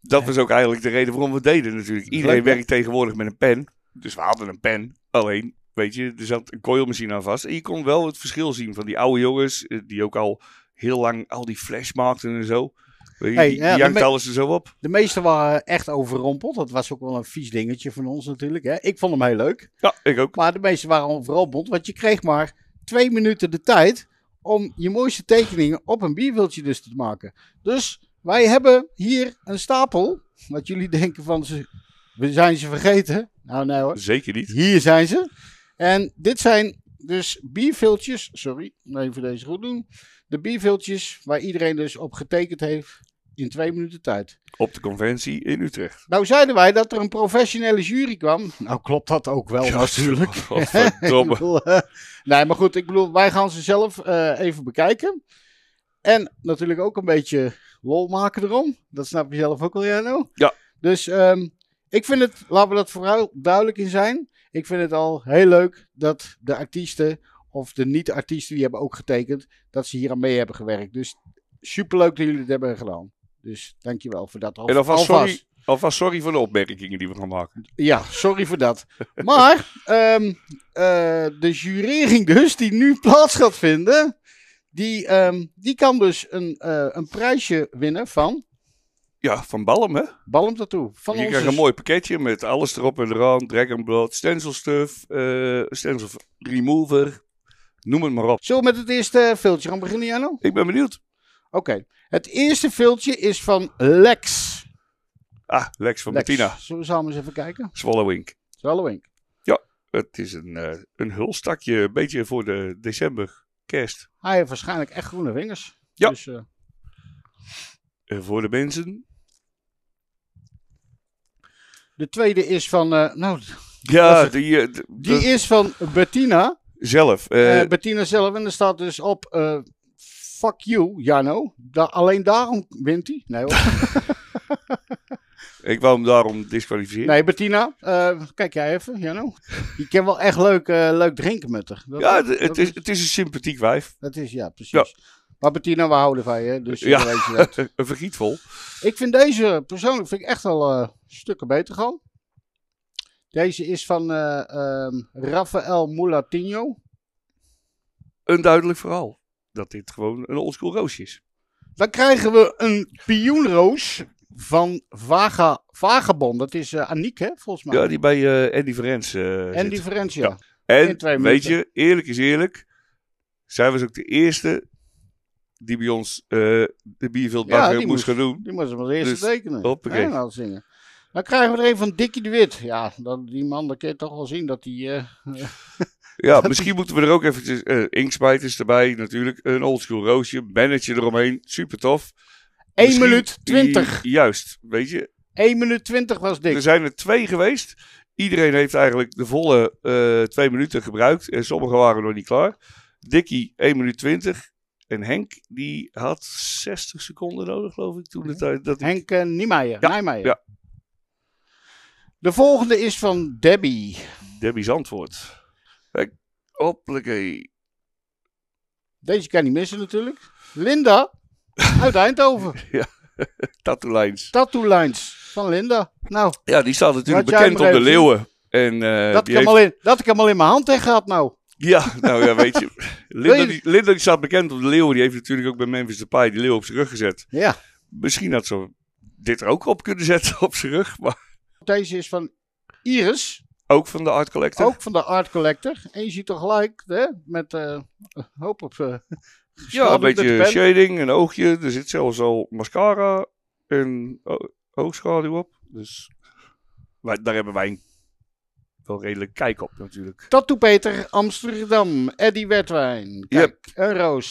S4: Dat was ook eigenlijk de reden waarom we het deden natuurlijk. Iedereen
S6: Leuk, hè?
S4: werkt tegenwoordig met een pen. Dus we hadden een pen. Alleen, weet je, er zat een coilmachine aan vast. En je kon wel het verschil zien van die oude jongens... eh, die ook al heel lang al die flash maakten en zo. Weet je,
S6: Hey,
S4: die
S6: ja, de
S4: jankt
S6: me-
S4: alles er zo op.
S6: De meesten waren echt overrompeld. Dat was ook wel een vies dingetje van ons natuurlijk. Hè? Ik vond hem heel leuk.
S4: Ja, ik ook.
S6: Maar de meesten waren overrompeld, want je kreeg maar twee minuten de tijd om je mooiste tekeningen op een bierviltje dus te maken. Dus wij hebben hier een stapel, wat jullie denken van, ze, we zijn ze vergeten. Nou, nee hoor.
S4: Zeker niet.
S6: Hier zijn ze. En dit zijn dus bierviltjes. Sorry, even deze goed doen. De bierviltjes waar iedereen dus op getekend heeft in twee minuten tijd.
S4: Op de conventie in Utrecht.
S6: Nou zeiden wij dat er een professionele jury kwam. Nou klopt dat ook wel natuurlijk.
S4: godverdomme.
S6: Ik bedoel, eh, nee, maar goed, ik bedoel, wij gaan ze zelf eh, even bekijken. En natuurlijk ook een beetje lol maken erom. Dat snap je zelf ook wel, Jano.
S4: Ja.
S6: Dus ehm, ik vind het, laten we dat vooral duidelijk in zijn. Ik vind het al heel leuk dat de artiesten of de niet-artiesten die hebben ook getekend, dat ze hier aan mee hebben gewerkt. Dus superleuk dat jullie het hebben gedaan. Dus dankjewel voor dat.
S4: en alvast
S6: alvast.
S4: sorry, alvast sorry voor de opmerkingen die we gaan maken.
S6: Ja, sorry voor dat. Maar ehm, eh, de jurering dus, die nu plaats gaat vinden, die, ehm, die kan dus een, eh, een prijsje winnen van
S4: Ja, van Balm, hè?
S6: Balm Tattoo. Van
S4: je
S6: ons
S4: krijgt een mooi pakketje met alles erop en eraan. Dragon Blood, stencil stuff, eh, stencil remover. Noem het maar op.
S6: Zullen we met het eerste filtje gaan beginnen, Jano?
S4: Ik ben benieuwd.
S6: Oké, het eerste filtje is van Lex.
S4: Ah, Lex van
S6: Lex.
S4: Bettina.
S6: Zullen we samen eens even kijken?
S4: Swallowing.
S6: Swallowing.
S4: Ja, het is een, eh, een hulstakje, een beetje voor de december, kerst.
S6: Hij heeft waarschijnlijk echt groene vingers.
S4: Ja.
S6: Dus, eh,
S4: Eh, voor de mensen.
S6: de tweede is van, eh, nou,
S4: Ja, die, eh, d-
S6: die
S4: d-
S6: is van Bettina.
S4: zelf. eh,
S6: Eh, Bettina zelf. En er staat dus op. eh, fuck you, Jano. Da- alleen daarom wint hij. Nee, hoor.
S4: ik wou hem daarom disqualificeren.
S6: nee Bettina. eh, kijk jij even, Jano. Je kan wel echt leuk, eh, leuk drinken met haar. Dat-
S4: ja, d-
S6: dat
S4: het is, het is een sympathiek wijf.
S6: Dat is, ja, precies. Maar Bettina, we houden van je. hè, Dus
S4: Ja,
S6: ja. weet je dat.
S4: een vergietvol.
S6: Ik vind deze persoonlijk vind ik echt al stukken beter gaan. Deze is van eh ehm Rafael Mulatinho.
S4: Een duidelijk verhaal. Dat dit gewoon een oldschool roosje is.
S6: Dan krijgen we een pioenroos van Vaga, Vagabond. Dat is eh Aniek, hè, volgens mij.
S4: Ja, die bij eh, Andy Verens. eh
S6: Andy
S4: zit.
S6: Verens, ja. In twee
S4: En weet
S6: minuten.
S4: je, eerlijk is eerlijk. Zij was ook de eerste die bij ons eh de bierveldbagger moest, gaan doen.
S6: Die moest hem als eerste
S4: Dus,
S6: tekenen.
S4: hoppakee.
S6: En dan zingen. Dan krijgen we er een van Dikkie de Wit. Ja, dan, die man, dan kun je toch wel zien dat hij... eh,
S4: Ja, misschien moeten we er ook eventjes... eh inksmijters erbij natuurlijk. Een oldschool roosje. Bennetje eromheen. Super tof.
S6: Eén
S4: Misschien-
S6: minuut twintig.
S4: Juist, weet je.
S6: 1 minuut 20 was dik.
S4: Er zijn er twee geweest. Iedereen heeft eigenlijk de volle eh, twee minuten gebruikt. En sommigen waren nog niet klaar. Dikkie 1 minuut 20. En Henk, die had 60 seconden nodig, geloof ik, toen de tijd. Dat
S6: Henk eh, Niemeyer. Nijmeijer.
S4: ja.
S6: De volgende is van Debbie.
S4: Debbie's antwoord. Kijk, hoppakee.
S6: Deze kan niet missen natuurlijk. Linda uit Eindhoven.
S4: Ja, Tattoo Lines.
S6: Tattoo Lines. Van Linda. Nou,
S4: Ja, die staat natuurlijk
S6: Laat jij
S4: bekend
S6: maar
S4: op de
S6: even zien.
S4: leeuwen. En, eh,
S6: dat,
S4: die
S6: ik hem
S4: heeft-
S6: al in, dat ik hem al in mijn hand tegen had nou.
S4: Ja, nou ja, weet je.
S6: Wil
S4: Linda,
S6: je-
S4: die, Linda die staat bekend op de leeuwen. Die heeft natuurlijk ook bij Memphis Depay die leeuw op zijn rug gezet.
S6: Ja.
S4: Misschien had ze dit er ook op kunnen zetten op zijn rug. Maar
S6: Deze is van Iris.
S4: ook van de Art Collector.
S6: Ook van de Art Collector. En je ziet toch gelijk, hè, met eh, een hoop op... eh,
S4: Ja, een
S6: geschilderd met de
S4: beetje
S6: pen.
S4: shading, een oogje. Er zit zelfs al mascara en o- oogschaduw op. Dus wij- daar hebben wij een- wel redelijk kijk op natuurlijk.
S6: Tattoo Peter Amsterdam. Eddie Wetwijn. Kijk, een roos.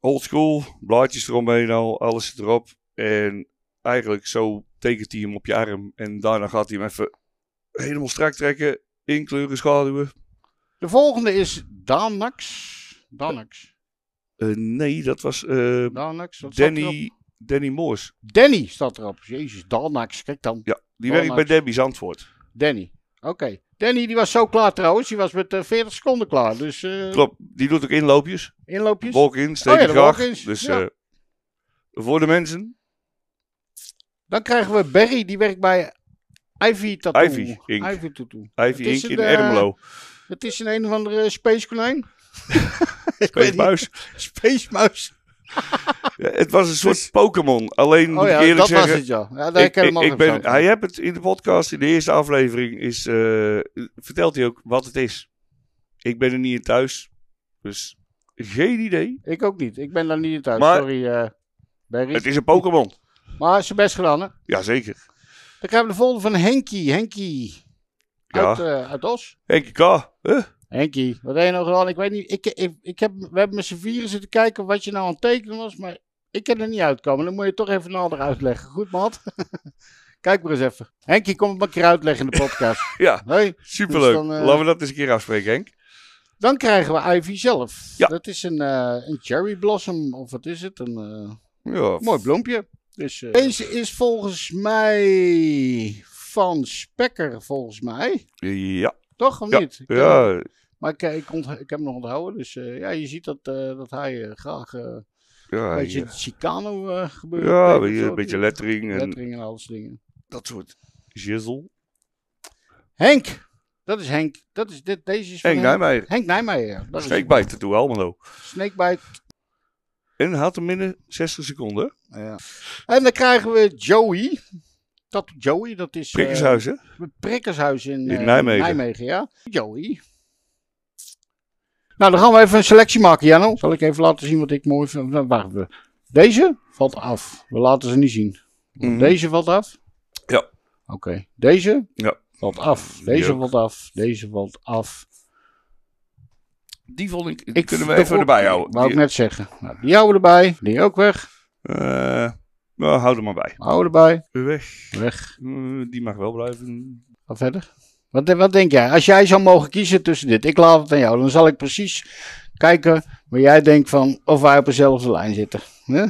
S4: Old school, blaadjes eromheen al, alles zit erop. En eigenlijk zo tekent hij hem op je arm. En daarna gaat hij hem even helemaal strak trekken. Inkleuren, schaduwen.
S6: De volgende is Danax. Danax.
S4: Eh, nee, dat was eh,
S6: Danax. wat staat
S4: Danny,
S6: erop?
S4: Danny Moors.
S6: Danny staat erop. Jezus, Danax. Kijk dan.
S4: Ja, Die werkt bij Debbie's antwoord.
S6: Danny. Oké. Danny die was zo klaar trouwens. Die was met eh, 40 seconden klaar. Dus eh,
S4: Klopt, die doet ook inloopjes.
S6: Inloopjes?
S4: Walk in, steek
S6: Oh ja, de
S4: graag.
S6: walk-ins,
S4: Dus
S6: ja.
S4: eh, voor de mensen,
S6: dan krijgen we Barry. Die werkt bij Ivy Tattoo.
S4: Ivy Inc.
S6: Ivy Tattoo.
S4: Ivy
S6: Het is
S4: Inc. in
S6: een, eh,
S4: Ermelo.
S6: Het is een een of andere space konijn.
S4: Space Muis.
S6: Space Muis.
S4: Ja, het was een soort Pokémon. Alleen
S6: Dus- Oh
S4: moet
S6: ja,
S4: ik eerlijk
S6: dat was
S4: zeggen.
S6: het, ja. Ja, daar
S4: ik,
S6: ken ik
S4: ik,
S6: hem ook
S4: ik
S6: nog
S4: ben,
S6: van.
S4: Hij heeft het in de podcast, in de eerste aflevering, is, eh, vertelt hij ook wat het is. Ik ben er niet in thuis. Dus geen idee.
S6: Ik ook niet. Ik ben daar niet in thuis.
S4: Maar-
S6: Sorry, eh, Barry.
S4: Het is een Pokémon.
S6: Maar zijn best gedaan, hè?
S4: Jazeker.
S6: Dan krijgen we de volgende van Henkie. Henkie.
S4: Ja.
S6: Uit, eh, uit Os.
S4: Henkie K. Huh?
S6: Henkie, wat heb je nou gedaan? Ik weet niet. Ik, ik, ik heb, we hebben met z'n vieren zitten kijken wat je nou aan het tekenen was, maar ik kan er niet uitkomen. Dan moet je toch even nader uitleggen. Goed, maat? Kijk maar eens even. Henkie, kom het maar een keer uitleggen in de podcast.
S4: Ja,
S6: Hoi.
S4: superleuk.
S6: Dus dan, eh,
S4: Laten we dat eens een keer afspreken, Henk.
S6: Dan krijgen we Ivy zelf. Dat is een, eh, een cherry blossom, of wat is het? Een eh,
S4: Ja.
S6: mooi bloempje. Dus, eh, Deze is volgens mij van Spekker, volgens mij.
S4: Ja.
S6: Toch, of
S4: Ja.
S6: niet? Ik,
S4: Ja.
S6: eh, Maar ik, ik, ont- ik heb hem nog onthouden. Dus eh, ja, je ziet dat, eh, dat hij eh, graag eh,
S4: Ja,
S6: een beetje
S4: ja.
S6: Chicano eh gebeurt.
S4: Ja,
S6: Kijk,
S4: weet je,
S6: zo,
S4: een beetje
S6: die-
S4: lettering en-
S6: Lettering en alles dingen.
S4: Dat soort. Jizzle.
S6: Henk! Dat is Henk. Dat is dit, deze is van eh,
S4: Henk Nijmeijer.
S6: Henk Nijmeijer. ja. Dat is hem.
S4: Snakebite Tattoo Almelo.
S6: Snakebite.
S4: En had hem binnen 60 seconden.
S6: Ja. En dan krijgen we Joey. Dat Joey, dat is... eh,
S4: Prikkershuis, hè?
S6: Prikkershuis in,
S4: In
S6: eh,
S4: Nijmegen.
S6: Nijmegen, ja. Joey. Nou, dan gaan we even een selectie maken, Janno. Zal ik even laten zien wat ik mooi vind. Nou, Wacht even. Deze valt af. We laten ze niet zien.
S4: Mhm.
S6: Deze valt af.
S4: Ja. Oké.
S6: Deze
S4: Ja.
S6: valt af. Deze valt af. Deze valt af.
S4: Die vond ik. Die
S6: Ik-
S4: kunnen we
S6: de
S4: even
S6: vo-
S4: erbij houden.
S6: Wou ik
S4: Die-
S6: net zeggen. Nou, die houden we erbij. Die ook weg.
S4: Eh, nou, hou er maar bij.
S6: Hou erbij.
S4: Weg.
S6: Weg.
S4: Eh, die mag wel blijven.
S6: Ga verder. Wat, wat denk jij? Als jij zou mogen kiezen tussen dit, ik laat het aan jou. Dan zal ik precies kijken waar jij denkt van of wij op dezelfde lijn zitten. hè?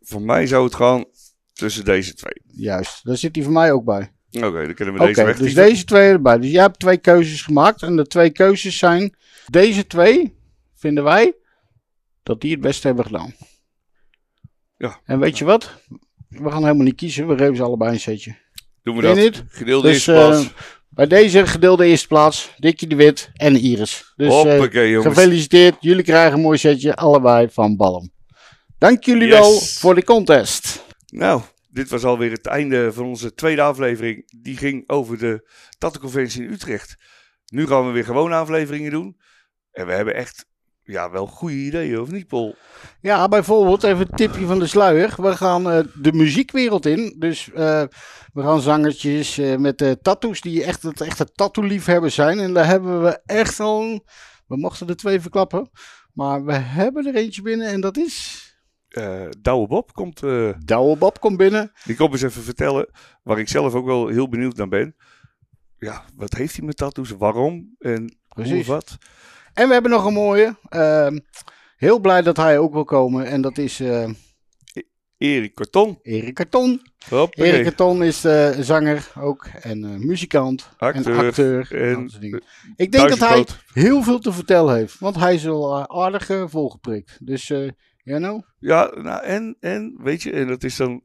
S4: Voor mij zou het gaan tussen deze twee.
S6: Juist. Daar zit die voor mij ook bij.
S4: Oké, dan kunnen we
S6: Oké,
S4: deze weg.
S6: dus deze twee erbij. Dus jij hebt twee keuzes gemaakt. En de twee keuzes zijn, deze twee vinden wij dat die het beste hebben gedaan.
S4: Ja.
S6: En weet je wat? We gaan helemaal niet kiezen. We geven ze allebei een setje.
S4: Doen we
S6: Vind je
S4: dat.
S6: niet?
S4: Gedeelde
S6: Dus,
S4: eerste plaats.
S6: eh, bij deze gedeelde eerste plaats, Dikkie de Wit en Iris. Dus eh,
S4: Hoppakee, jongens.
S6: gefeliciteerd. Jullie krijgen een mooi setje, allebei van Ballum. Dank jullie
S4: Yes.
S6: wel voor de contest.
S4: Nou, dit was alweer het einde van onze tweede aflevering. Die ging over de Tattenconventie in Utrecht. Nu gaan we weer gewone afleveringen doen. En we hebben echt ja, wel goede ideeën, of niet, Paul?
S6: Ja, bijvoorbeeld, even een tipje van de sluier. We gaan eh, de muziekwereld in. Dus eh, we gaan zangertjes eh, met eh tattoos die echt het echte tattoo-liefhebber zijn. En daar hebben we echt al... We mochten er twee verklappen. Maar we hebben er eentje binnen en dat is...
S4: Eh Douwe Bob komt... eh
S6: Douwe Bob komt binnen.
S4: Die komt eens even vertellen, waar ik zelf ook wel heel benieuwd naar ben. Ja, wat heeft hij met tattoos? Waarom? En hoe
S6: Precies.
S4: of wat?
S6: En we hebben nog een mooie. Ehm, heel blij dat hij ook wil komen. En dat is... eh,
S4: Erik Karton.
S6: Erik Karton.
S4: Hoppakee.
S6: Erik Karton is eh, zanger ook. En eh, muzikant.
S4: Acteur.
S6: En acteur. en
S4: En-
S6: dat soort dingen. Ik denk dat hij
S4: Duizendpoot.
S6: heel veel te vertellen heeft. Want hij is al eh, aardig eh, volgeprikt. Dus eh, Ja, nou?
S4: Ja, nou, en, en weet je, en dat is dan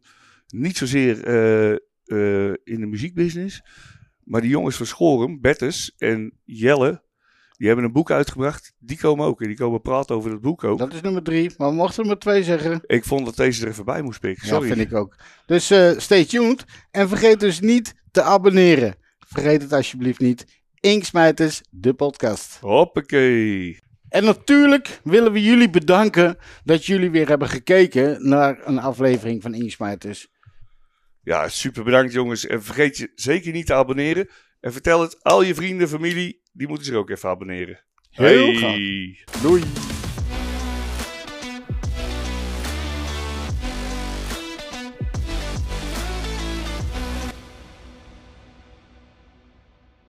S4: niet zozeer eh, eh, in de muziekbusiness. Maar die jongens van Schorum, Bertus en Jelle, die hebben een boek uitgebracht. Die komen ook en die komen praten over dat boek ook.
S6: Dat is nummer drie, maar we mochten er maar twee zeggen.
S4: Ik vond dat deze er even bij moest pikken.
S6: Ja,
S4: Sorry.
S6: vind ik ook. Dus eh, stay tuned. En vergeet dus niet te abonneren. Vergeet het alsjeblieft niet. Inksmijters, de podcast.
S4: Hoppakee.
S6: En natuurlijk willen we jullie bedanken dat jullie weer hebben gekeken naar een aflevering van Inksmijters.
S4: Ja, super bedankt jongens. En vergeet je zeker niet te abonneren. En vertel het al je vrienden, familie, die moeten zich ook even abonneren.
S6: Heel
S4: graag.
S6: Doei.